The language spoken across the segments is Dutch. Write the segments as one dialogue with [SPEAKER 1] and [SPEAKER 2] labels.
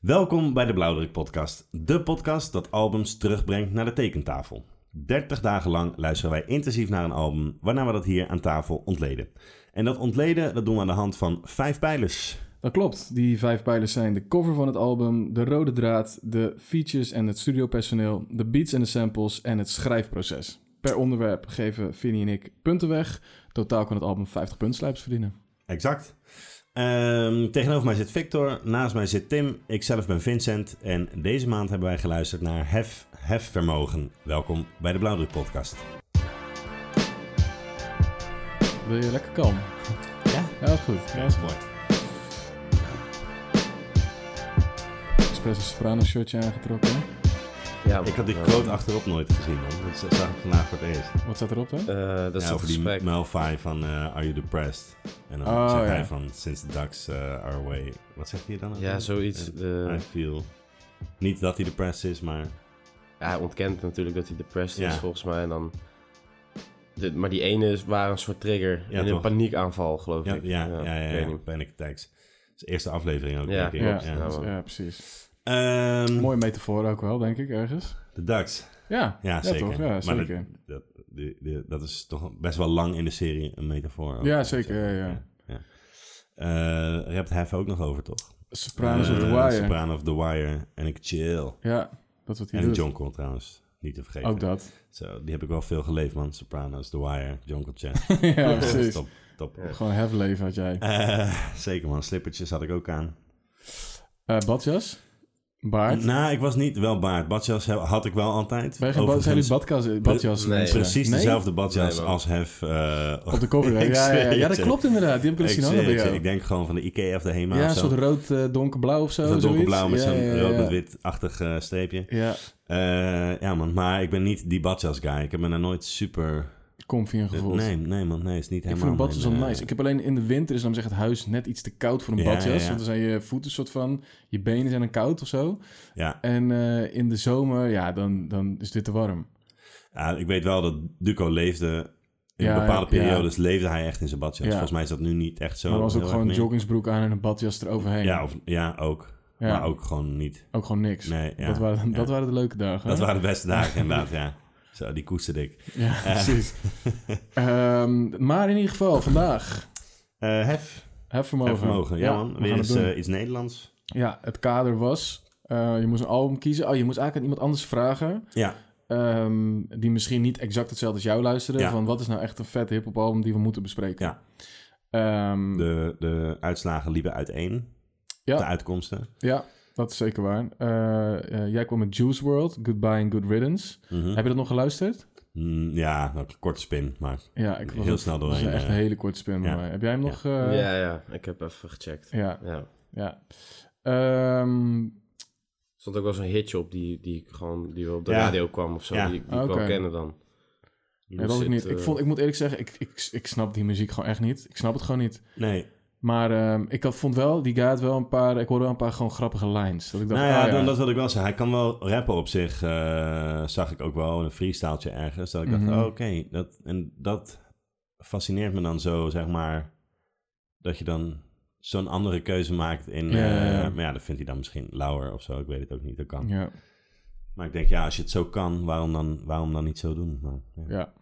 [SPEAKER 1] Welkom bij de Blauwdruk Podcast, de podcast dat albums terugbrengt naar de tekentafel. 30 dagen lang luisteren wij intensief naar een album, waarna we dat hier aan tafel ontleden. En dat ontleden dat doen we aan de hand van vijf pijlers.
[SPEAKER 2] Dat klopt. Die vijf pijlers zijn de cover van het album, de rode draad, de features en het studiopersoneel, de beats en de samples en het schrijfproces. Per onderwerp geven Vinnie en ik punten weg. Totaal kan het album 50 puntslijps verdienen.
[SPEAKER 1] Exact. Ehm, tegenover mij zit Victor, naast mij zit Tim, ikzelf ben Vincent en deze maand hebben wij geluisterd naar Hef, Hefvermogen. Welkom bij de Blauwdruk Podcast.
[SPEAKER 2] Wil je lekker kalm?
[SPEAKER 1] Ja.
[SPEAKER 2] Ja, dat is goed.
[SPEAKER 1] Ja, is mooi.
[SPEAKER 2] Espresso Soprano shirtje aangetrokken. hè?
[SPEAKER 3] Ja,
[SPEAKER 1] Ik had die
[SPEAKER 3] eh,
[SPEAKER 1] quote achterop nooit gezien, man. Dat zag ik vandaag voor het eerst.
[SPEAKER 2] Wat staat erop dan?
[SPEAKER 3] eh, dat is
[SPEAKER 1] Ja,
[SPEAKER 3] toch
[SPEAKER 1] over die
[SPEAKER 3] gesprek.
[SPEAKER 1] Malfoy van eh, Are You Depressed? En dan
[SPEAKER 2] Oh,
[SPEAKER 1] zegt
[SPEAKER 2] ja.
[SPEAKER 1] hij van Since the Ducks eh, Are Away. Wat zegt hij dan? ook
[SPEAKER 3] Ja,
[SPEAKER 1] weer?
[SPEAKER 3] zoiets. eh.
[SPEAKER 1] I
[SPEAKER 3] De,
[SPEAKER 1] feel. Niet dat hij depressed is, maar
[SPEAKER 3] ja, hij ontkent natuurlijk dat hij depressed
[SPEAKER 1] Ja.
[SPEAKER 3] is, volgens mij. En dan, de, maar die ene is, waren een soort trigger.
[SPEAKER 1] Ja,
[SPEAKER 3] in
[SPEAKER 1] toch?
[SPEAKER 3] een paniekaanval, geloof
[SPEAKER 1] ja,
[SPEAKER 3] ik.
[SPEAKER 1] ja, ja, ja,
[SPEAKER 3] ik
[SPEAKER 1] ja,
[SPEAKER 3] weet
[SPEAKER 1] ja,
[SPEAKER 3] niet.
[SPEAKER 1] panic attacks. Dat is de eerste aflevering ook,
[SPEAKER 3] Ja,
[SPEAKER 1] denk ik.
[SPEAKER 2] ja,
[SPEAKER 3] klopt. Nou, Ja, man.
[SPEAKER 2] ja, precies.
[SPEAKER 1] Ehm,
[SPEAKER 2] Mooie metafoor ook wel, denk ik, ergens.
[SPEAKER 1] De Ducks.
[SPEAKER 2] Ja,
[SPEAKER 1] Ja, zeker.
[SPEAKER 2] toch? Ja,
[SPEAKER 1] Maar dat-
[SPEAKER 2] zeker.
[SPEAKER 1] Dat, die- die- dat is toch best wel lang in de serie een metafoor. ook.
[SPEAKER 2] Ja, zeker, ja, ja.
[SPEAKER 1] oh, ja. Eh, daar hebt Hef ook nog over, toch?
[SPEAKER 2] Sopranos of the
[SPEAKER 1] Eh,
[SPEAKER 2] Wire.
[SPEAKER 1] Soprano of The Wire. En ik chill.
[SPEAKER 2] Ja, dat is wat hij
[SPEAKER 1] En
[SPEAKER 2] doet. Oh,
[SPEAKER 1] Jonkel trouwens, niet te vergeten.
[SPEAKER 2] ook dat.
[SPEAKER 1] Zo, die heb ik wel veel geleefd, man. Sopranos, The Wire, Jonkel Chat.
[SPEAKER 2] ja, precies.
[SPEAKER 1] Top, top.
[SPEAKER 3] Ja.
[SPEAKER 2] Gewoon have leven had jij.
[SPEAKER 1] Eh, zeker, man. Slippertjes had ik ook aan.
[SPEAKER 2] Eh badjas? Baard?
[SPEAKER 1] Nou, ik was niet wel baard. Badjas he- had ik wel altijd.
[SPEAKER 2] Wij geen bad, zijn
[SPEAKER 1] Overigens,
[SPEAKER 2] jullie badjas, badjas
[SPEAKER 3] Nee.
[SPEAKER 2] mensen?
[SPEAKER 1] Precies
[SPEAKER 2] Nee?
[SPEAKER 1] dezelfde badjas
[SPEAKER 3] Nee, man.
[SPEAKER 1] als Hef. eh,
[SPEAKER 2] Op de cover, hè?
[SPEAKER 1] Ik
[SPEAKER 2] ja, ja, ja.
[SPEAKER 1] zweer
[SPEAKER 2] ja,
[SPEAKER 1] het
[SPEAKER 2] dat
[SPEAKER 1] je.
[SPEAKER 2] klopt inderdaad. Die heb ik
[SPEAKER 1] ik,
[SPEAKER 2] al zien
[SPEAKER 1] zweer
[SPEAKER 2] hangen bij
[SPEAKER 1] het je,
[SPEAKER 2] jou.
[SPEAKER 1] ik denk gewoon van de Ikea of de Hema
[SPEAKER 2] ja,
[SPEAKER 1] of
[SPEAKER 2] een
[SPEAKER 1] zo.
[SPEAKER 2] soort rood, eh, donkerblauw of zo.
[SPEAKER 1] dat
[SPEAKER 2] zoiets.
[SPEAKER 1] donkerblauw met
[SPEAKER 2] Ja,
[SPEAKER 1] zo'n
[SPEAKER 2] ja, ja,
[SPEAKER 1] rood
[SPEAKER 2] ja.
[SPEAKER 1] met wit-achtig eh, streepje.
[SPEAKER 2] Ja,
[SPEAKER 1] Eh, ja, man. Maar ik ben niet die badjas guy. Ik heb me daar nooit super...
[SPEAKER 2] comfy in gevoeld.
[SPEAKER 1] Nee, nee, man. Nee, is niet
[SPEAKER 2] ik
[SPEAKER 1] helemaal...
[SPEAKER 2] vind een badjas wel
[SPEAKER 1] mijn, eh,
[SPEAKER 2] nice. Ik heb alleen in de winter is dan zeg het huis net iets te koud voor een
[SPEAKER 1] Ja, ja,
[SPEAKER 2] badjas.
[SPEAKER 1] ja.
[SPEAKER 2] Want dan zijn je voeten soort van, je benen zijn dan koud of zo.
[SPEAKER 1] Ja.
[SPEAKER 2] En eh, in de zomer, ja, dan, dan is dit te warm.
[SPEAKER 1] Ja, ik weet wel dat Duco leefde. In
[SPEAKER 2] Ja,
[SPEAKER 1] bepaalde
[SPEAKER 2] ja.
[SPEAKER 1] periodes leefde hij echt in zijn badjas.
[SPEAKER 2] Ja.
[SPEAKER 1] Volgens mij is dat nu niet echt zo.
[SPEAKER 2] maar er was ook
[SPEAKER 1] heel
[SPEAKER 2] gewoon
[SPEAKER 1] erg meer.
[SPEAKER 2] joggingsbroek aan en een badjas eroverheen.
[SPEAKER 1] Ja, of, ja ook.
[SPEAKER 2] Ja,
[SPEAKER 1] Maar ook gewoon niet.
[SPEAKER 2] ook gewoon niks.
[SPEAKER 1] Nee, ja.
[SPEAKER 2] dat, waren,
[SPEAKER 1] ja.
[SPEAKER 2] dat waren de leuke dagen.
[SPEAKER 1] Dat
[SPEAKER 2] hè?
[SPEAKER 1] waren de beste dagen inderdaad, ja. Zo, die koesterde ik.
[SPEAKER 2] Ja, precies. Ehm, maar in ieder geval, vandaag.
[SPEAKER 1] Eh, hef.
[SPEAKER 2] Hefvermogen.
[SPEAKER 1] Hef vermogen. Ja, man.
[SPEAKER 2] we
[SPEAKER 1] Weer
[SPEAKER 2] gaan het
[SPEAKER 1] eens
[SPEAKER 2] doen.
[SPEAKER 1] eh, iets Nederlands.
[SPEAKER 2] Ja, het kader was... eh, je moest een album kiezen. Oh, je moest eigenlijk aan iemand anders vragen...
[SPEAKER 1] Ja,
[SPEAKER 2] ehm, die misschien niet exact hetzelfde als jou luisteren...
[SPEAKER 1] Ja.
[SPEAKER 2] van wat is nou echt een vette hip album die we moeten bespreken.
[SPEAKER 1] Ja.
[SPEAKER 2] Ehm,
[SPEAKER 1] de, de uitslagen liepen uiteen.
[SPEAKER 2] Ja.
[SPEAKER 1] De uitkomsten.
[SPEAKER 2] ja dat is zeker waar. Eh, eh, jij kwam met Juice World, Goodbye and Good Riddance.
[SPEAKER 1] Mhm.
[SPEAKER 2] Heb je dat nog geluisterd?
[SPEAKER 1] Mm, ja, ook een korte spin, maar
[SPEAKER 2] Ja, ik was
[SPEAKER 1] heel
[SPEAKER 2] het-
[SPEAKER 1] snel
[SPEAKER 2] Dat is
[SPEAKER 1] doorheen.
[SPEAKER 2] een echt
[SPEAKER 1] eh.
[SPEAKER 2] een hele korte spin. bij
[SPEAKER 1] ja.
[SPEAKER 2] mij. Heb jij hem
[SPEAKER 1] Ja.
[SPEAKER 2] nog... eh,
[SPEAKER 3] ja, ja, ik heb even gecheckt.
[SPEAKER 2] Ja,
[SPEAKER 3] Ja.
[SPEAKER 2] ja. Ehm,
[SPEAKER 3] Er stond ook wel zo'n hitje op die, die, ik gewoon, die wel op de
[SPEAKER 1] Ja.
[SPEAKER 3] radio kwam of zo.
[SPEAKER 1] Ja.
[SPEAKER 3] Die, die ik
[SPEAKER 2] Oké.
[SPEAKER 3] wel kennen dan.
[SPEAKER 2] Ja, dat
[SPEAKER 3] Lucid,
[SPEAKER 2] ik niet. Ik,
[SPEAKER 3] eh,
[SPEAKER 2] vond, ik moet eerlijk zeggen, ik, ik, ik snap die muziek gewoon echt niet. Ik snap het gewoon niet.
[SPEAKER 1] Nee,
[SPEAKER 2] Maar ehm, ik had, vond wel, die guy had wel een paar, ik hoorde wel een paar gewoon grappige lines. Dat ik dacht,
[SPEAKER 1] nou ja,
[SPEAKER 2] ah, ja.
[SPEAKER 1] Dan, dat wil ik wel zeggen. Hij kan wel rappen op zich, eh, zag ik ook wel. Een freestyletje ergens. Dat ik dacht,
[SPEAKER 2] Mhm.
[SPEAKER 1] oh, oké. dat, en dat fascineert me dan zo, zeg maar. Dat je dan zo'n andere keuze maakt in...
[SPEAKER 2] Ja, ja, ja.
[SPEAKER 1] eh, maar ja, dat vindt hij dan misschien lauwer of zo. Ik weet het ook niet, dat kan.
[SPEAKER 2] Ja,
[SPEAKER 1] Maar ik denk, ja, als je het zo kan, waarom dan, waarom dan niet zo doen? Maar, ja.
[SPEAKER 2] ja.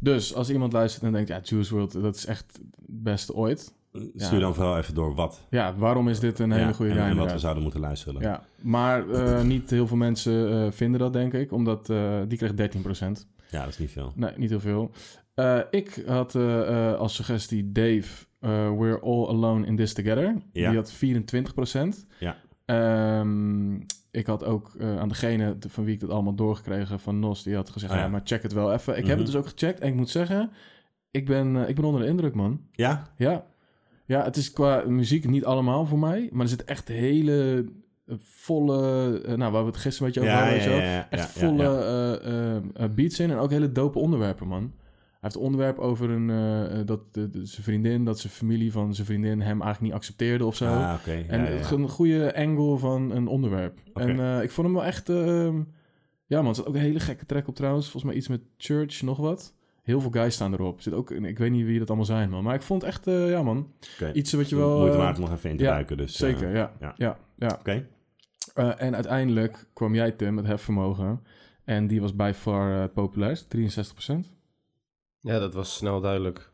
[SPEAKER 2] Dus als iemand luistert en denkt, ja, Juice World, dat is echt het beste ooit.
[SPEAKER 1] Stuur dan vooral even door wat.
[SPEAKER 2] Ja, waarom is dit een hele
[SPEAKER 1] Ja,
[SPEAKER 2] goede
[SPEAKER 1] en, en
[SPEAKER 2] rij?
[SPEAKER 1] wat we
[SPEAKER 2] inderdaad?
[SPEAKER 1] zouden moeten luisteren.
[SPEAKER 2] Ja, maar eh, niet heel veel mensen eh, vinden dat, denk ik. Omdat eh, die krijgt 13%.
[SPEAKER 1] Ja, dat is niet veel.
[SPEAKER 2] Nee, niet heel veel. Eh, ik had eh, eh, als suggestie Dave, eh, We're All Alone in This Together.
[SPEAKER 1] Ja.
[SPEAKER 2] Die had 24
[SPEAKER 1] Ja.
[SPEAKER 2] Ehm, ik had ook eh, aan degene te- van wie ik dat allemaal doorgekregen van Nos, die had gezegd,
[SPEAKER 1] Ah, ja.
[SPEAKER 2] ja. maar check het wel even. Ik heb
[SPEAKER 1] Mhm.
[SPEAKER 2] het dus ook gecheckt en ik moet zeggen, ik ben, eh, ik ben onder de indruk, man.
[SPEAKER 1] Ja?
[SPEAKER 2] Ja. ja, het is qua muziek niet allemaal voor mij, maar er zit echt hele eh, volle, eh, nou, waar we het gisteren een beetje over
[SPEAKER 1] Ja,
[SPEAKER 2] hadden.
[SPEAKER 1] ja,
[SPEAKER 2] en zo.
[SPEAKER 1] ja, ja, ja,
[SPEAKER 2] Echt
[SPEAKER 1] ja,
[SPEAKER 2] volle
[SPEAKER 1] ja.
[SPEAKER 2] eh, eh, eh, beats in en ook hele dope onderwerpen, man. Hij heeft een onderwerp over een, eh, eh, dat de- de- zijn vriendin, dat zijn familie van zijn vriendin hem eigenlijk niet accepteerde of zo.
[SPEAKER 1] Ah, oké. Ja,
[SPEAKER 2] en
[SPEAKER 1] ja, ja.
[SPEAKER 2] het- een goede angle van een onderwerp.
[SPEAKER 1] Oké.
[SPEAKER 2] En eh, ik vond hem wel echt... eh, ja man, er zat ook een hele gekke track op trouwens. Volgens mij iets met Church, nog wat. Heel veel guys staan erop. Zit ook, een- ik weet niet wie dat allemaal zijn, man. Maar ik vond echt, eh, ja man,
[SPEAKER 1] Oké.
[SPEAKER 2] iets wat je wel...
[SPEAKER 1] Moeite
[SPEAKER 2] eh,
[SPEAKER 1] waard om nog even in te
[SPEAKER 2] ja,
[SPEAKER 1] duiken. Dus, eh,
[SPEAKER 2] Zeker, ja.
[SPEAKER 1] ja.
[SPEAKER 2] Ja, ja.
[SPEAKER 1] Oké.
[SPEAKER 2] Eh, en uiteindelijk kwam jij, Tim, met hefvermogen. En die was by far eh, het populairst, 63%.
[SPEAKER 3] eh, Ja, dat was snel duidelijk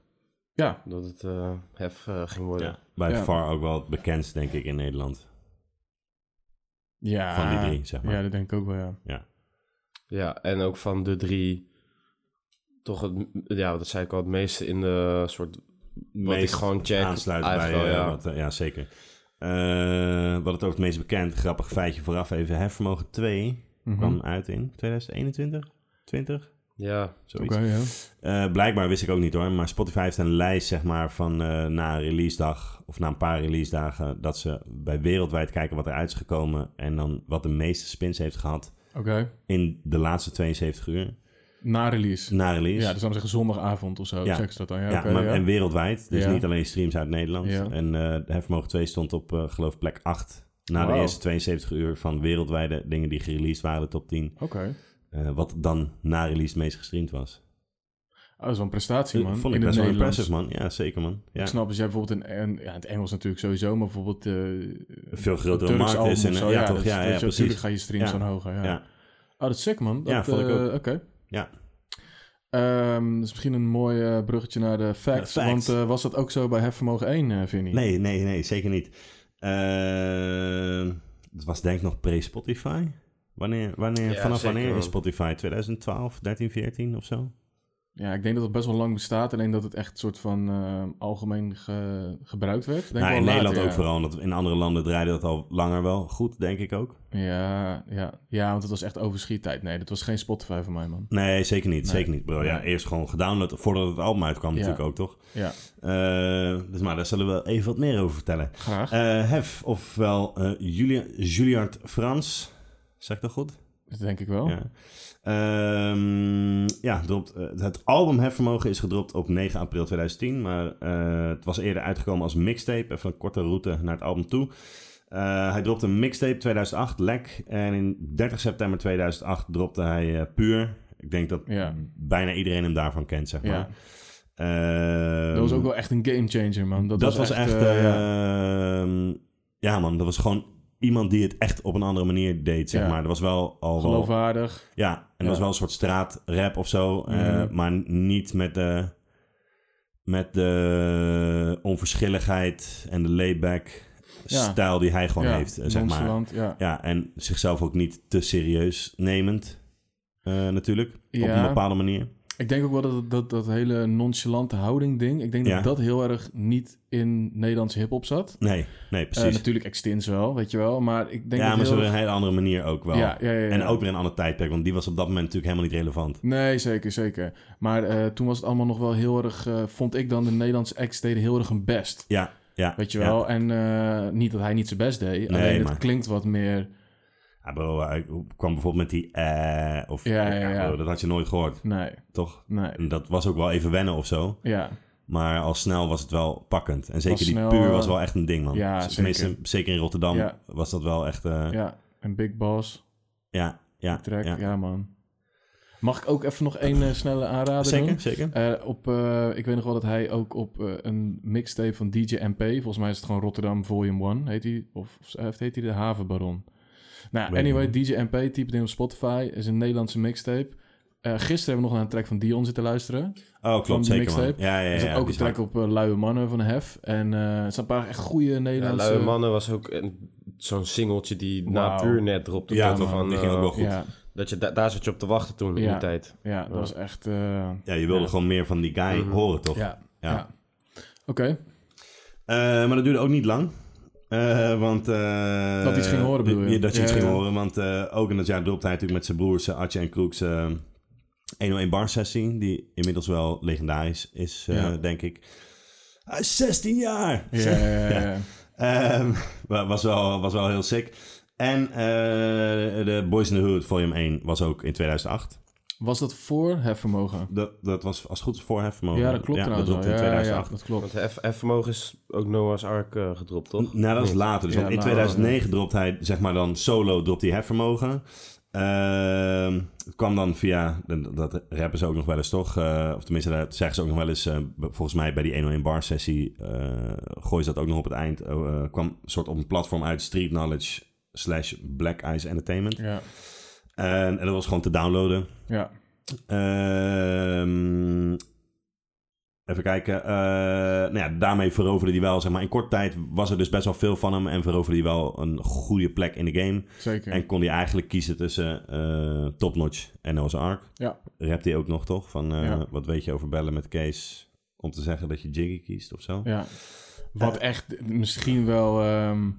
[SPEAKER 2] Ja,
[SPEAKER 3] dat het eh, hef eh, ging worden.
[SPEAKER 1] Ja. Bij
[SPEAKER 2] Ja.
[SPEAKER 1] far ook wel het bekendst, denk ik, in Nederland.
[SPEAKER 2] ja.
[SPEAKER 1] Van
[SPEAKER 3] Ah,
[SPEAKER 1] die drie, zeg maar.
[SPEAKER 2] Ja, dat denk ik ook wel, ja.
[SPEAKER 3] Ja, en ook van de drie toch het, ja, dat zei ik al, het meeste in de soort, wat ik
[SPEAKER 1] Meest
[SPEAKER 3] gewoon check.
[SPEAKER 1] aansluit bij...
[SPEAKER 3] eigenlijk wel,
[SPEAKER 1] eh,
[SPEAKER 3] ja.
[SPEAKER 1] wat, eh, ja, zeker. Eh, wat het over het meest bekend, grappig feitje vooraf even. Hefvermogen 2
[SPEAKER 2] Mhm.
[SPEAKER 1] kwam uit in 2021, 20,
[SPEAKER 3] Ja,
[SPEAKER 1] zoiets.
[SPEAKER 2] Oké, ja.
[SPEAKER 1] Eh, blijkbaar wist ik ook niet hoor, maar Spotify heeft een lijst zeg maar van eh, na een release dag of na een paar release dagen dat ze bij wereldwijd kijken wat eruit is gekomen en dan wat de meeste spins heeft gehad
[SPEAKER 2] Oké,
[SPEAKER 1] in de laatste 72 uur
[SPEAKER 2] na release.
[SPEAKER 1] na release.
[SPEAKER 2] Ja, dus dan zeggen zondagavond of zo.
[SPEAKER 1] Ja.
[SPEAKER 2] Check ze dat dan. Ja,
[SPEAKER 1] Ja,
[SPEAKER 2] oké,
[SPEAKER 1] maar,
[SPEAKER 2] eh, ja.
[SPEAKER 1] en wereldwijd. Dus
[SPEAKER 2] Ja.
[SPEAKER 1] niet alleen streams uit Nederland.
[SPEAKER 2] Ja.
[SPEAKER 1] En eh Hefvermogen 2 stond op, eh, geloof ik, plek 8. Na de
[SPEAKER 2] Wauw.
[SPEAKER 1] eerste 72 uur van wereldwijde dingen die gereleased waren, de top 10.
[SPEAKER 2] Oké. Ah,
[SPEAKER 1] eh, wat dan na release het meest gestreamd was.
[SPEAKER 2] Oh, dat is wel een prestatie, man.
[SPEAKER 1] Eh, Vond
[SPEAKER 2] in
[SPEAKER 1] ik
[SPEAKER 2] het
[SPEAKER 1] best wel
[SPEAKER 2] Nederlands.
[SPEAKER 1] impressive, man. Ja, zeker, man. Ja.
[SPEAKER 2] Ik snap, dus jij bijvoorbeeld in, en, ja, in het Engels natuurlijk sowieso, maar bijvoorbeeld... eh,
[SPEAKER 1] Een veel grotere
[SPEAKER 2] Turks
[SPEAKER 1] markt is.
[SPEAKER 2] album
[SPEAKER 1] En, eh,
[SPEAKER 2] of zo,
[SPEAKER 1] ja, toch?
[SPEAKER 2] dus
[SPEAKER 1] Ja,
[SPEAKER 2] weet
[SPEAKER 1] ja,
[SPEAKER 2] je,
[SPEAKER 1] precies.
[SPEAKER 2] Natuurlijk ga je streams
[SPEAKER 1] Ja.
[SPEAKER 2] dan hoger. Ja.
[SPEAKER 1] Ja.
[SPEAKER 2] Oh, dat is sick, man. Dat,
[SPEAKER 1] Ja, vond ik
[SPEAKER 2] eh,
[SPEAKER 1] ook.
[SPEAKER 2] Oké.
[SPEAKER 1] Ja.
[SPEAKER 2] Ehm, dat is misschien een mooi eh, bruggetje naar de facts.
[SPEAKER 1] facts.
[SPEAKER 2] Want eh, was dat ook zo bij Hefvermogen 1, eh Vinnie?
[SPEAKER 1] Nee, nee, nee, zeker niet. Eh, het was denk ik nog pre-Spotify. Wanneer, wanneer,
[SPEAKER 3] Ja,
[SPEAKER 1] vanaf
[SPEAKER 3] zeker,
[SPEAKER 1] wanneer
[SPEAKER 3] man.
[SPEAKER 1] is Spotify? 2012, 13, 14 of zo?
[SPEAKER 2] Ja, ik denk dat het best wel lang bestaat. Alleen dat het echt soort van eh, algemeen ge- gebruikt werd. Denk
[SPEAKER 1] Nou,
[SPEAKER 2] wel
[SPEAKER 1] in
[SPEAKER 2] later,
[SPEAKER 1] Nederland
[SPEAKER 2] ja.
[SPEAKER 1] ook vooral. Omdat in andere landen draaide dat al langer wel goed, denk ik ook.
[SPEAKER 2] Ja, ja, ja, want het was echt overschiettijd. Nee, dat was geen Spotify voor mij, man.
[SPEAKER 1] Nee, zeker niet.
[SPEAKER 2] Nee.
[SPEAKER 1] Zeker niet, bro. Ja,
[SPEAKER 2] Nee.
[SPEAKER 1] eerst gewoon gedownload voordat het album uitkwam
[SPEAKER 2] Ja.
[SPEAKER 1] natuurlijk ook, toch?
[SPEAKER 2] Ja.
[SPEAKER 1] Eh, dus maar daar zullen we even wat meer over vertellen.
[SPEAKER 2] Graag.
[SPEAKER 1] Eh, Hef, ofwel eh, Julia, Juliard Frans. Zeg ik dat goed?
[SPEAKER 2] dat denk ik wel.
[SPEAKER 1] Ja. Ehm, ja, dropt, eh, het album Hefvermogen is gedropt op 9 april 2010. Maar eh, het was eerder uitgekomen als mixtape. Even een korte route naar het album toe. Eh, hij dropte een mixtape 2008, Lek. En in 30 september 2008 dropte hij eh, Puur. Ik denk dat
[SPEAKER 2] Ja.
[SPEAKER 1] bijna iedereen hem daarvan kent, zeg maar.
[SPEAKER 2] Ja.
[SPEAKER 1] Ehm,
[SPEAKER 2] Dat was ook wel echt een gamechanger, man. Dat,
[SPEAKER 1] dat, was echt...
[SPEAKER 2] eh, ja.
[SPEAKER 1] ehm, ja, man, dat was gewoon iemand die het echt op een andere manier deed, zeg
[SPEAKER 2] Ja.
[SPEAKER 1] maar. Er was wel al wel...
[SPEAKER 2] geloofwaardig.
[SPEAKER 1] Ja, en dat
[SPEAKER 2] Ja.
[SPEAKER 1] was wel een soort straatrap of zo. eh,
[SPEAKER 2] Mhm.
[SPEAKER 1] maar niet met de, met de onverschilligheid en de layback
[SPEAKER 2] Ja.
[SPEAKER 1] stijl die hij gewoon
[SPEAKER 2] ja,
[SPEAKER 1] heeft, eh, zeg maar.
[SPEAKER 2] nonchalant, Ja.
[SPEAKER 1] Ja, en zichzelf ook niet te serieus nemend, eh, natuurlijk. Op
[SPEAKER 2] Ja.
[SPEAKER 1] een bepaalde manier.
[SPEAKER 2] Ik denk ook wel dat dat, dat hele nonchalante houding ding... Ik denk
[SPEAKER 1] Ja.
[SPEAKER 2] dat dat heel erg niet in Nederlandse hip-hop zat.
[SPEAKER 1] Nee, nee,
[SPEAKER 2] Eh,
[SPEAKER 1] precies.
[SPEAKER 2] natuurlijk Extins wel, weet je wel. Maar ik denk
[SPEAKER 1] ja,
[SPEAKER 2] dat
[SPEAKER 1] maar
[SPEAKER 2] heel
[SPEAKER 1] zo op een
[SPEAKER 2] erg-
[SPEAKER 1] hele andere manier ook wel.
[SPEAKER 2] Ja, ja, ja, ja.
[SPEAKER 1] En ook weer een ander tijdperk, want die was op dat moment natuurlijk helemaal niet relevant.
[SPEAKER 2] Nee, zeker, zeker. Maar eh, toen was het allemaal nog wel heel erg... eh, vond ik dan de Nederlandse acts deden heel erg hun best.
[SPEAKER 1] Ja, ja.
[SPEAKER 2] Weet je
[SPEAKER 1] ja.
[SPEAKER 2] wel? En eh, niet dat hij niet zijn best deed.
[SPEAKER 1] Nee,
[SPEAKER 2] alleen
[SPEAKER 1] maar-
[SPEAKER 2] het klinkt wat meer...
[SPEAKER 1] Ja, Ah, bro, hij kwam bijvoorbeeld met die eh, of
[SPEAKER 2] Ja, ja, ja.
[SPEAKER 1] bro, dat had je nooit gehoord,
[SPEAKER 2] Nee,
[SPEAKER 1] toch?
[SPEAKER 2] nee.
[SPEAKER 1] En dat was ook wel even wennen of zo.
[SPEAKER 2] Ja,
[SPEAKER 1] Maar al snel was het wel pakkend. En zeker
[SPEAKER 2] Was
[SPEAKER 1] die
[SPEAKER 2] snel,
[SPEAKER 1] puur
[SPEAKER 2] eh,
[SPEAKER 1] was wel echt een ding, man.
[SPEAKER 2] ja,
[SPEAKER 1] Z- Tenminste, zeker,
[SPEAKER 2] zeker.
[SPEAKER 1] in Rotterdam
[SPEAKER 2] Ja.
[SPEAKER 1] was dat wel echt... eh, ja,
[SPEAKER 2] ja. En Big Boss...
[SPEAKER 1] ja, ja.
[SPEAKER 2] Track, ja. man. Mag ik ook even nog één eh, snelle aanrader doen?
[SPEAKER 1] Zeker, zeker.
[SPEAKER 2] Eh, op, eh, ik weet nog wel dat hij ook op eh, een mixtape van DJ MP... Volgens mij is het gewoon Rotterdam Volume 1, heet hij. Of, eh, of heeft- heet hij de Havenbaron? Nou,
[SPEAKER 1] Weet
[SPEAKER 2] anyway,
[SPEAKER 1] ik
[SPEAKER 2] DJ MP, type in op Spotify. Is een Nederlandse mixtape. Eh, gisteren hebben we nog naar een track van Dion zitten luisteren.
[SPEAKER 1] oh, klopt,
[SPEAKER 2] die
[SPEAKER 1] zeker, man.
[SPEAKER 2] mixtape.
[SPEAKER 1] Ja, ja,
[SPEAKER 2] Er
[SPEAKER 1] ja.
[SPEAKER 2] zat
[SPEAKER 1] ja,
[SPEAKER 2] ook een
[SPEAKER 1] die
[SPEAKER 2] track op eh, Luie Mannen van Hef. En eh er zijn een paar echt goede
[SPEAKER 3] Ja,
[SPEAKER 2] Nederlandse...
[SPEAKER 3] Luie Mannen was ook een- zo'n singeltje die na
[SPEAKER 2] Wauw.
[SPEAKER 3] puur net dropte.
[SPEAKER 1] Ja,
[SPEAKER 3] toch,
[SPEAKER 1] toch,
[SPEAKER 3] van,
[SPEAKER 1] die ging ook wel
[SPEAKER 3] eh,
[SPEAKER 1] goed.
[SPEAKER 2] Ja,
[SPEAKER 3] dat je, da- daar zat je op te wachten toen, in
[SPEAKER 2] Ja.
[SPEAKER 3] die tijd.
[SPEAKER 2] ja, dat was echt... eh,
[SPEAKER 1] Ja, je wilde
[SPEAKER 3] Ja.
[SPEAKER 1] gewoon meer van die guy
[SPEAKER 3] Mhm.
[SPEAKER 1] horen, toch?
[SPEAKER 2] ja,
[SPEAKER 1] Ja.
[SPEAKER 2] ja. Oké,
[SPEAKER 1] Eh, maar dat duurde ook niet lang. Eh, want, eh,
[SPEAKER 2] Dat hij iets ging horen, bedoel je?
[SPEAKER 1] ja, Dat je iets
[SPEAKER 2] Ja,
[SPEAKER 1] ging
[SPEAKER 2] ja.
[SPEAKER 1] horen, want eh, ook in dat jaar dropte hij natuurlijk met zijn broers eh, Atje en Kroeks eh 101 Bar Sessie, die inmiddels wel legendarisch is, eh,
[SPEAKER 2] Ja.
[SPEAKER 1] denk ik. Hij is 16 jaar!
[SPEAKER 2] ja, ja, ja, ja.
[SPEAKER 1] Ehm, wa- was, wel, was wel heel sick. En eh, de Boys in the Hood volume 1 was ook in 2008.
[SPEAKER 2] Was dat voor hefvermogen?
[SPEAKER 1] Dat, dat was als het goed is voor hefvermogen.
[SPEAKER 2] Ja, dat klopt trouwens.
[SPEAKER 1] dat
[SPEAKER 2] wel.
[SPEAKER 1] dropte in
[SPEAKER 2] Ja, ja,
[SPEAKER 1] 2008.
[SPEAKER 2] dat klopt.
[SPEAKER 3] Want F- F-vermogen is ook Noah's Ark eh, gedropt, toch?
[SPEAKER 1] Nou, dat is later. Dus
[SPEAKER 2] Ja,
[SPEAKER 1] want in
[SPEAKER 2] later,
[SPEAKER 1] 2009 dropt hij, zeg maar dan solo, dropt hij hefvermogen. Ehm, het kwam dan via, dat- dat rappen ze ook nog wel eens toch, Eh, of tenminste dat zeggen ze ook nog wel eens, eh, b- volgens mij bij die 101 bar Oh, sessie, gooi ze dat ook nog op het eind, Eh, eh, kwam een soort op een platform uit, Street Knowledge slash Black Eyes Entertainment.
[SPEAKER 2] Ja,
[SPEAKER 1] En, en dat was gewoon te downloaden.
[SPEAKER 2] ja.
[SPEAKER 1] Ehm, even kijken. Eh, nou ja, daarmee veroverde hij wel, zeg maar. In korte tijd was er dus best wel veel van hem. En veroverde hij wel een goede plek in de game.
[SPEAKER 2] zeker.
[SPEAKER 1] En kon hij eigenlijk kiezen tussen eh, Top Notch en Noah's Ark.
[SPEAKER 2] Ja.
[SPEAKER 1] Rapt hij ook nog, toch? Van eh,
[SPEAKER 2] Ja.
[SPEAKER 1] wat weet je over bellen met Kees? Om te zeggen dat je Jiggy kiest of zo.
[SPEAKER 2] Ja. Wat
[SPEAKER 1] Eh,
[SPEAKER 2] echt misschien wel ehm,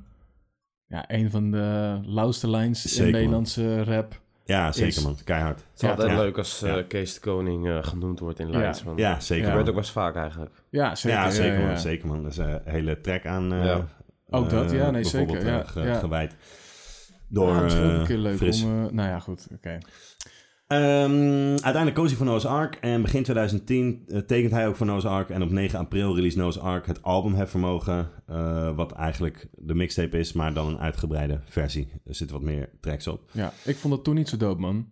[SPEAKER 2] ja, een van de lauwste lines
[SPEAKER 1] Zeker,
[SPEAKER 2] in
[SPEAKER 1] man.
[SPEAKER 2] Nederlandse rap.
[SPEAKER 1] Ja, zeker
[SPEAKER 2] Is-
[SPEAKER 1] man. Keihard.
[SPEAKER 3] Het is altijd
[SPEAKER 1] ja.
[SPEAKER 3] leuk als eh,
[SPEAKER 1] Ja.
[SPEAKER 3] Kees de Koning eh, genoemd wordt in lijns. want
[SPEAKER 1] Ja,
[SPEAKER 3] Dat
[SPEAKER 1] zeker
[SPEAKER 3] gebeurt
[SPEAKER 1] man.
[SPEAKER 3] ook best vaak eigenlijk.
[SPEAKER 2] Ja, zeker.
[SPEAKER 1] ja, zeker
[SPEAKER 2] ja,
[SPEAKER 1] man.
[SPEAKER 2] ja.
[SPEAKER 1] Zeker man. Dat is eh, een hele track aan... eh,
[SPEAKER 3] Ja.
[SPEAKER 2] Ook dat, ja,
[SPEAKER 1] eh,
[SPEAKER 2] nee, zeker,
[SPEAKER 1] bijvoorbeeld, eh,
[SPEAKER 2] ja,
[SPEAKER 1] ge-
[SPEAKER 2] ja. Nou,
[SPEAKER 1] Gewijd.
[SPEAKER 2] Ja,
[SPEAKER 1] Door
[SPEAKER 2] misschien ook
[SPEAKER 1] eh,
[SPEAKER 2] een keer leuk
[SPEAKER 1] Fris.
[SPEAKER 2] om... eh, nou ja, goed. Oké.
[SPEAKER 1] Ehm, uiteindelijk koos hij voor Noah's Ark en begin 2010 eh, tekent hij ook voor Noah's Ark. En op 9 april release Noah's Ark het album Het Vermogen, eh, wat eigenlijk de mixtape is, maar dan een uitgebreide versie. Er zitten wat meer tracks op.
[SPEAKER 2] Ja, ik vond dat toen niet zo dope, man.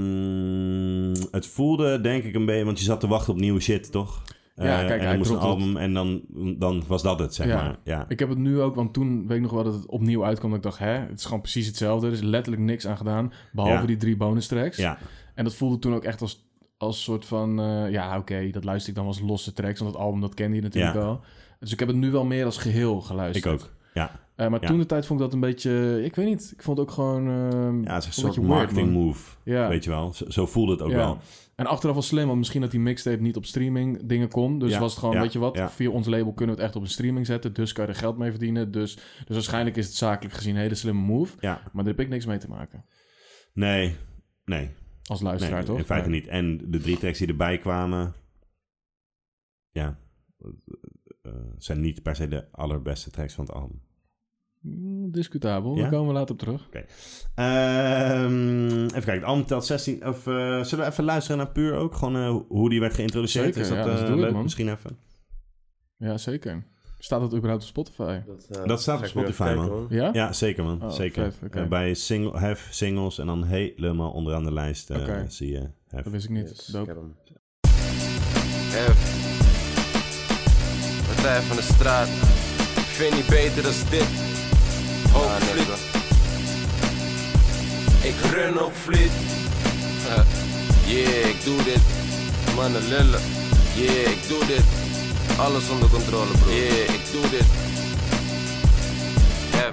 [SPEAKER 1] Ehm, het voelde denk ik een beetje, want je zat te wachten op nieuwe shit, toch?
[SPEAKER 2] Ja,
[SPEAKER 1] Eh,
[SPEAKER 2] kijk,
[SPEAKER 1] en
[SPEAKER 2] hij
[SPEAKER 1] dan moest een
[SPEAKER 2] trottelt.
[SPEAKER 1] album en dan, dan was dat het, zeg
[SPEAKER 2] Ja.
[SPEAKER 1] maar. Ja.
[SPEAKER 2] Ik heb het nu ook, want toen weet ik nog wel dat het opnieuw uitkwam. Dat ik dacht, hè, het is gewoon precies hetzelfde. Er is letterlijk niks aan gedaan, behalve
[SPEAKER 1] Ja.
[SPEAKER 2] die drie bonus tracks.
[SPEAKER 1] Ja.
[SPEAKER 2] En dat voelde toen ook echt als, als soort van... eh, ja, oké, dat luister ik dan als losse tracks. Want dat album, dat kende je natuurlijk
[SPEAKER 1] Ja.
[SPEAKER 2] al. Dus ik heb het nu wel meer als geheel geluisterd.
[SPEAKER 1] Ik ook. Ja,
[SPEAKER 2] Eh, maar
[SPEAKER 1] Ja.
[SPEAKER 2] toen de tijd vond ik dat een beetje... Ik weet niet, ik vond het ook gewoon... ehm,
[SPEAKER 1] ja het is een
[SPEAKER 2] vond het
[SPEAKER 1] soort
[SPEAKER 2] je weird,
[SPEAKER 1] marketing
[SPEAKER 2] man.
[SPEAKER 1] move,
[SPEAKER 2] Ja.
[SPEAKER 1] weet je wel. Zo, zo voelde het ook
[SPEAKER 2] Ja.
[SPEAKER 1] wel.
[SPEAKER 2] En achteraf was slim, want misschien dat die mixtape niet op streaming dingen kon. Dus
[SPEAKER 1] Ja,
[SPEAKER 2] was het gewoon,
[SPEAKER 1] ja,
[SPEAKER 2] weet je wat,
[SPEAKER 1] ja.
[SPEAKER 2] via ons label kunnen we het echt op een streaming zetten. Dus kan je er geld mee verdienen. Dus, dus waarschijnlijk is het zakelijk gezien een hele slimme move.
[SPEAKER 1] Ja.
[SPEAKER 2] Maar daar heb ik niks mee te maken.
[SPEAKER 1] Nee, nee.
[SPEAKER 2] Als luisteraar,
[SPEAKER 1] Nee,
[SPEAKER 2] toch?
[SPEAKER 1] in feite
[SPEAKER 2] Nee.
[SPEAKER 1] niet. En de drie tracks die erbij kwamen... Ja. eh, zijn niet per se de allerbeste tracks van het album.
[SPEAKER 2] Mm, discutabel,
[SPEAKER 1] Ja?
[SPEAKER 2] daar komen we later op terug.
[SPEAKER 1] Ehm, even kijken, het album telt 16... Of, eh, zullen we even luisteren naar Puur ook? Gewoon eh, hoe die werd geïntroduceerd?
[SPEAKER 2] Zeker,
[SPEAKER 1] is dat
[SPEAKER 2] ja, dus
[SPEAKER 1] eh,
[SPEAKER 2] doe het,
[SPEAKER 1] leuk?
[SPEAKER 2] man.
[SPEAKER 1] Misschien even.
[SPEAKER 2] Ja, zeker. Staat dat überhaupt op Spotify?
[SPEAKER 3] Dat,
[SPEAKER 1] Dat staat op Spotify, man.
[SPEAKER 2] Ja?
[SPEAKER 1] Ja, zeker man.
[SPEAKER 2] Oh,
[SPEAKER 1] zeker.
[SPEAKER 2] vet, oké.
[SPEAKER 1] Eh, bij single, have singles en dan helemaal onderaan de lijst eh,
[SPEAKER 2] Oké.
[SPEAKER 1] zie je have.
[SPEAKER 2] Dat wist ik niet. Dope.
[SPEAKER 4] F. Partij van de straat. Ik vind niet beter dan dit. Hoogvliet. ik run ook vliet. Eh, yeah, ik doe dit. Mannen lullen. Yeah, ik doe dit. Alles onder controle, bro. Yeah, ik doe dit.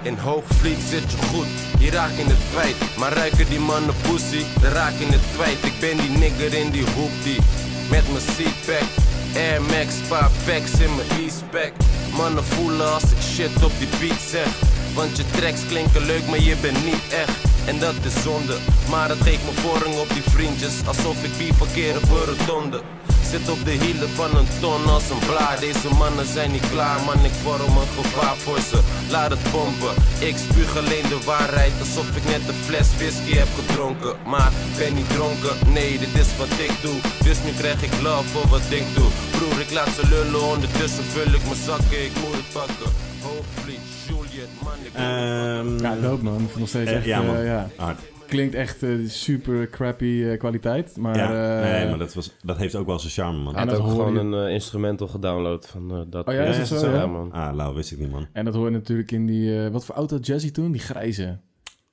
[SPEAKER 4] F. In hoogvliet zit je goed, je raakt in het kwijt. Maar ruiken die mannen pussy, dan raak je in het kwijt. Ik ben die nigger in die hoek die met mijn seatpack. Air Max, paar packs in mijn e-spec. Mannen voelen als ik shit op die beat zeg. Want je tracks klinken leuk, maar je bent niet echt. En dat is zonde, maar het geeft me voorrang op die vriendjes. Alsof ik die verkeerde voor rotonde. Zit op de hielen van een ton als een blaar. Deze mannen zijn niet klaar, man. Ik vorm een gevaar voor ze. Laat het pompen. Ik spuug alleen de waarheid. Alsof ik net een fles whisky heb gedronken. Maar ik ben niet dronken. Nee, dit is wat ik doe. Dus nu krijg ik love voor wat ik doe. Broer, ik laat ze lullen. Ondertussen vul ik mijn zakken. Ik moet het pakken. Hoogvliet, Juliet, man. Ik moet het pakken.
[SPEAKER 1] Ehm,
[SPEAKER 2] Ja, dope man. Ik vond het nog steeds
[SPEAKER 1] eh,
[SPEAKER 2] echt...
[SPEAKER 1] ja, man.
[SPEAKER 2] eh, ja.
[SPEAKER 1] hard.
[SPEAKER 2] Klinkt echt eh, super crappy eh, kwaliteit. Maar,
[SPEAKER 1] Ja,
[SPEAKER 2] eh,
[SPEAKER 1] nee, maar dat, was, dat heeft ook wel zijn charme man.
[SPEAKER 3] Hij
[SPEAKER 2] En
[SPEAKER 3] had
[SPEAKER 2] dat
[SPEAKER 3] ook
[SPEAKER 2] hoor
[SPEAKER 3] gewoon
[SPEAKER 2] je-
[SPEAKER 3] een eh, instrumental gedownload van eh, dat.
[SPEAKER 2] Oh ja, is
[SPEAKER 1] het
[SPEAKER 2] zo, ja?
[SPEAKER 3] man.
[SPEAKER 1] Ah, lauw, wist ik niet man.
[SPEAKER 2] En dat hoor je natuurlijk in die... eh, wat voor auto had Jazzy toen? Die grijze.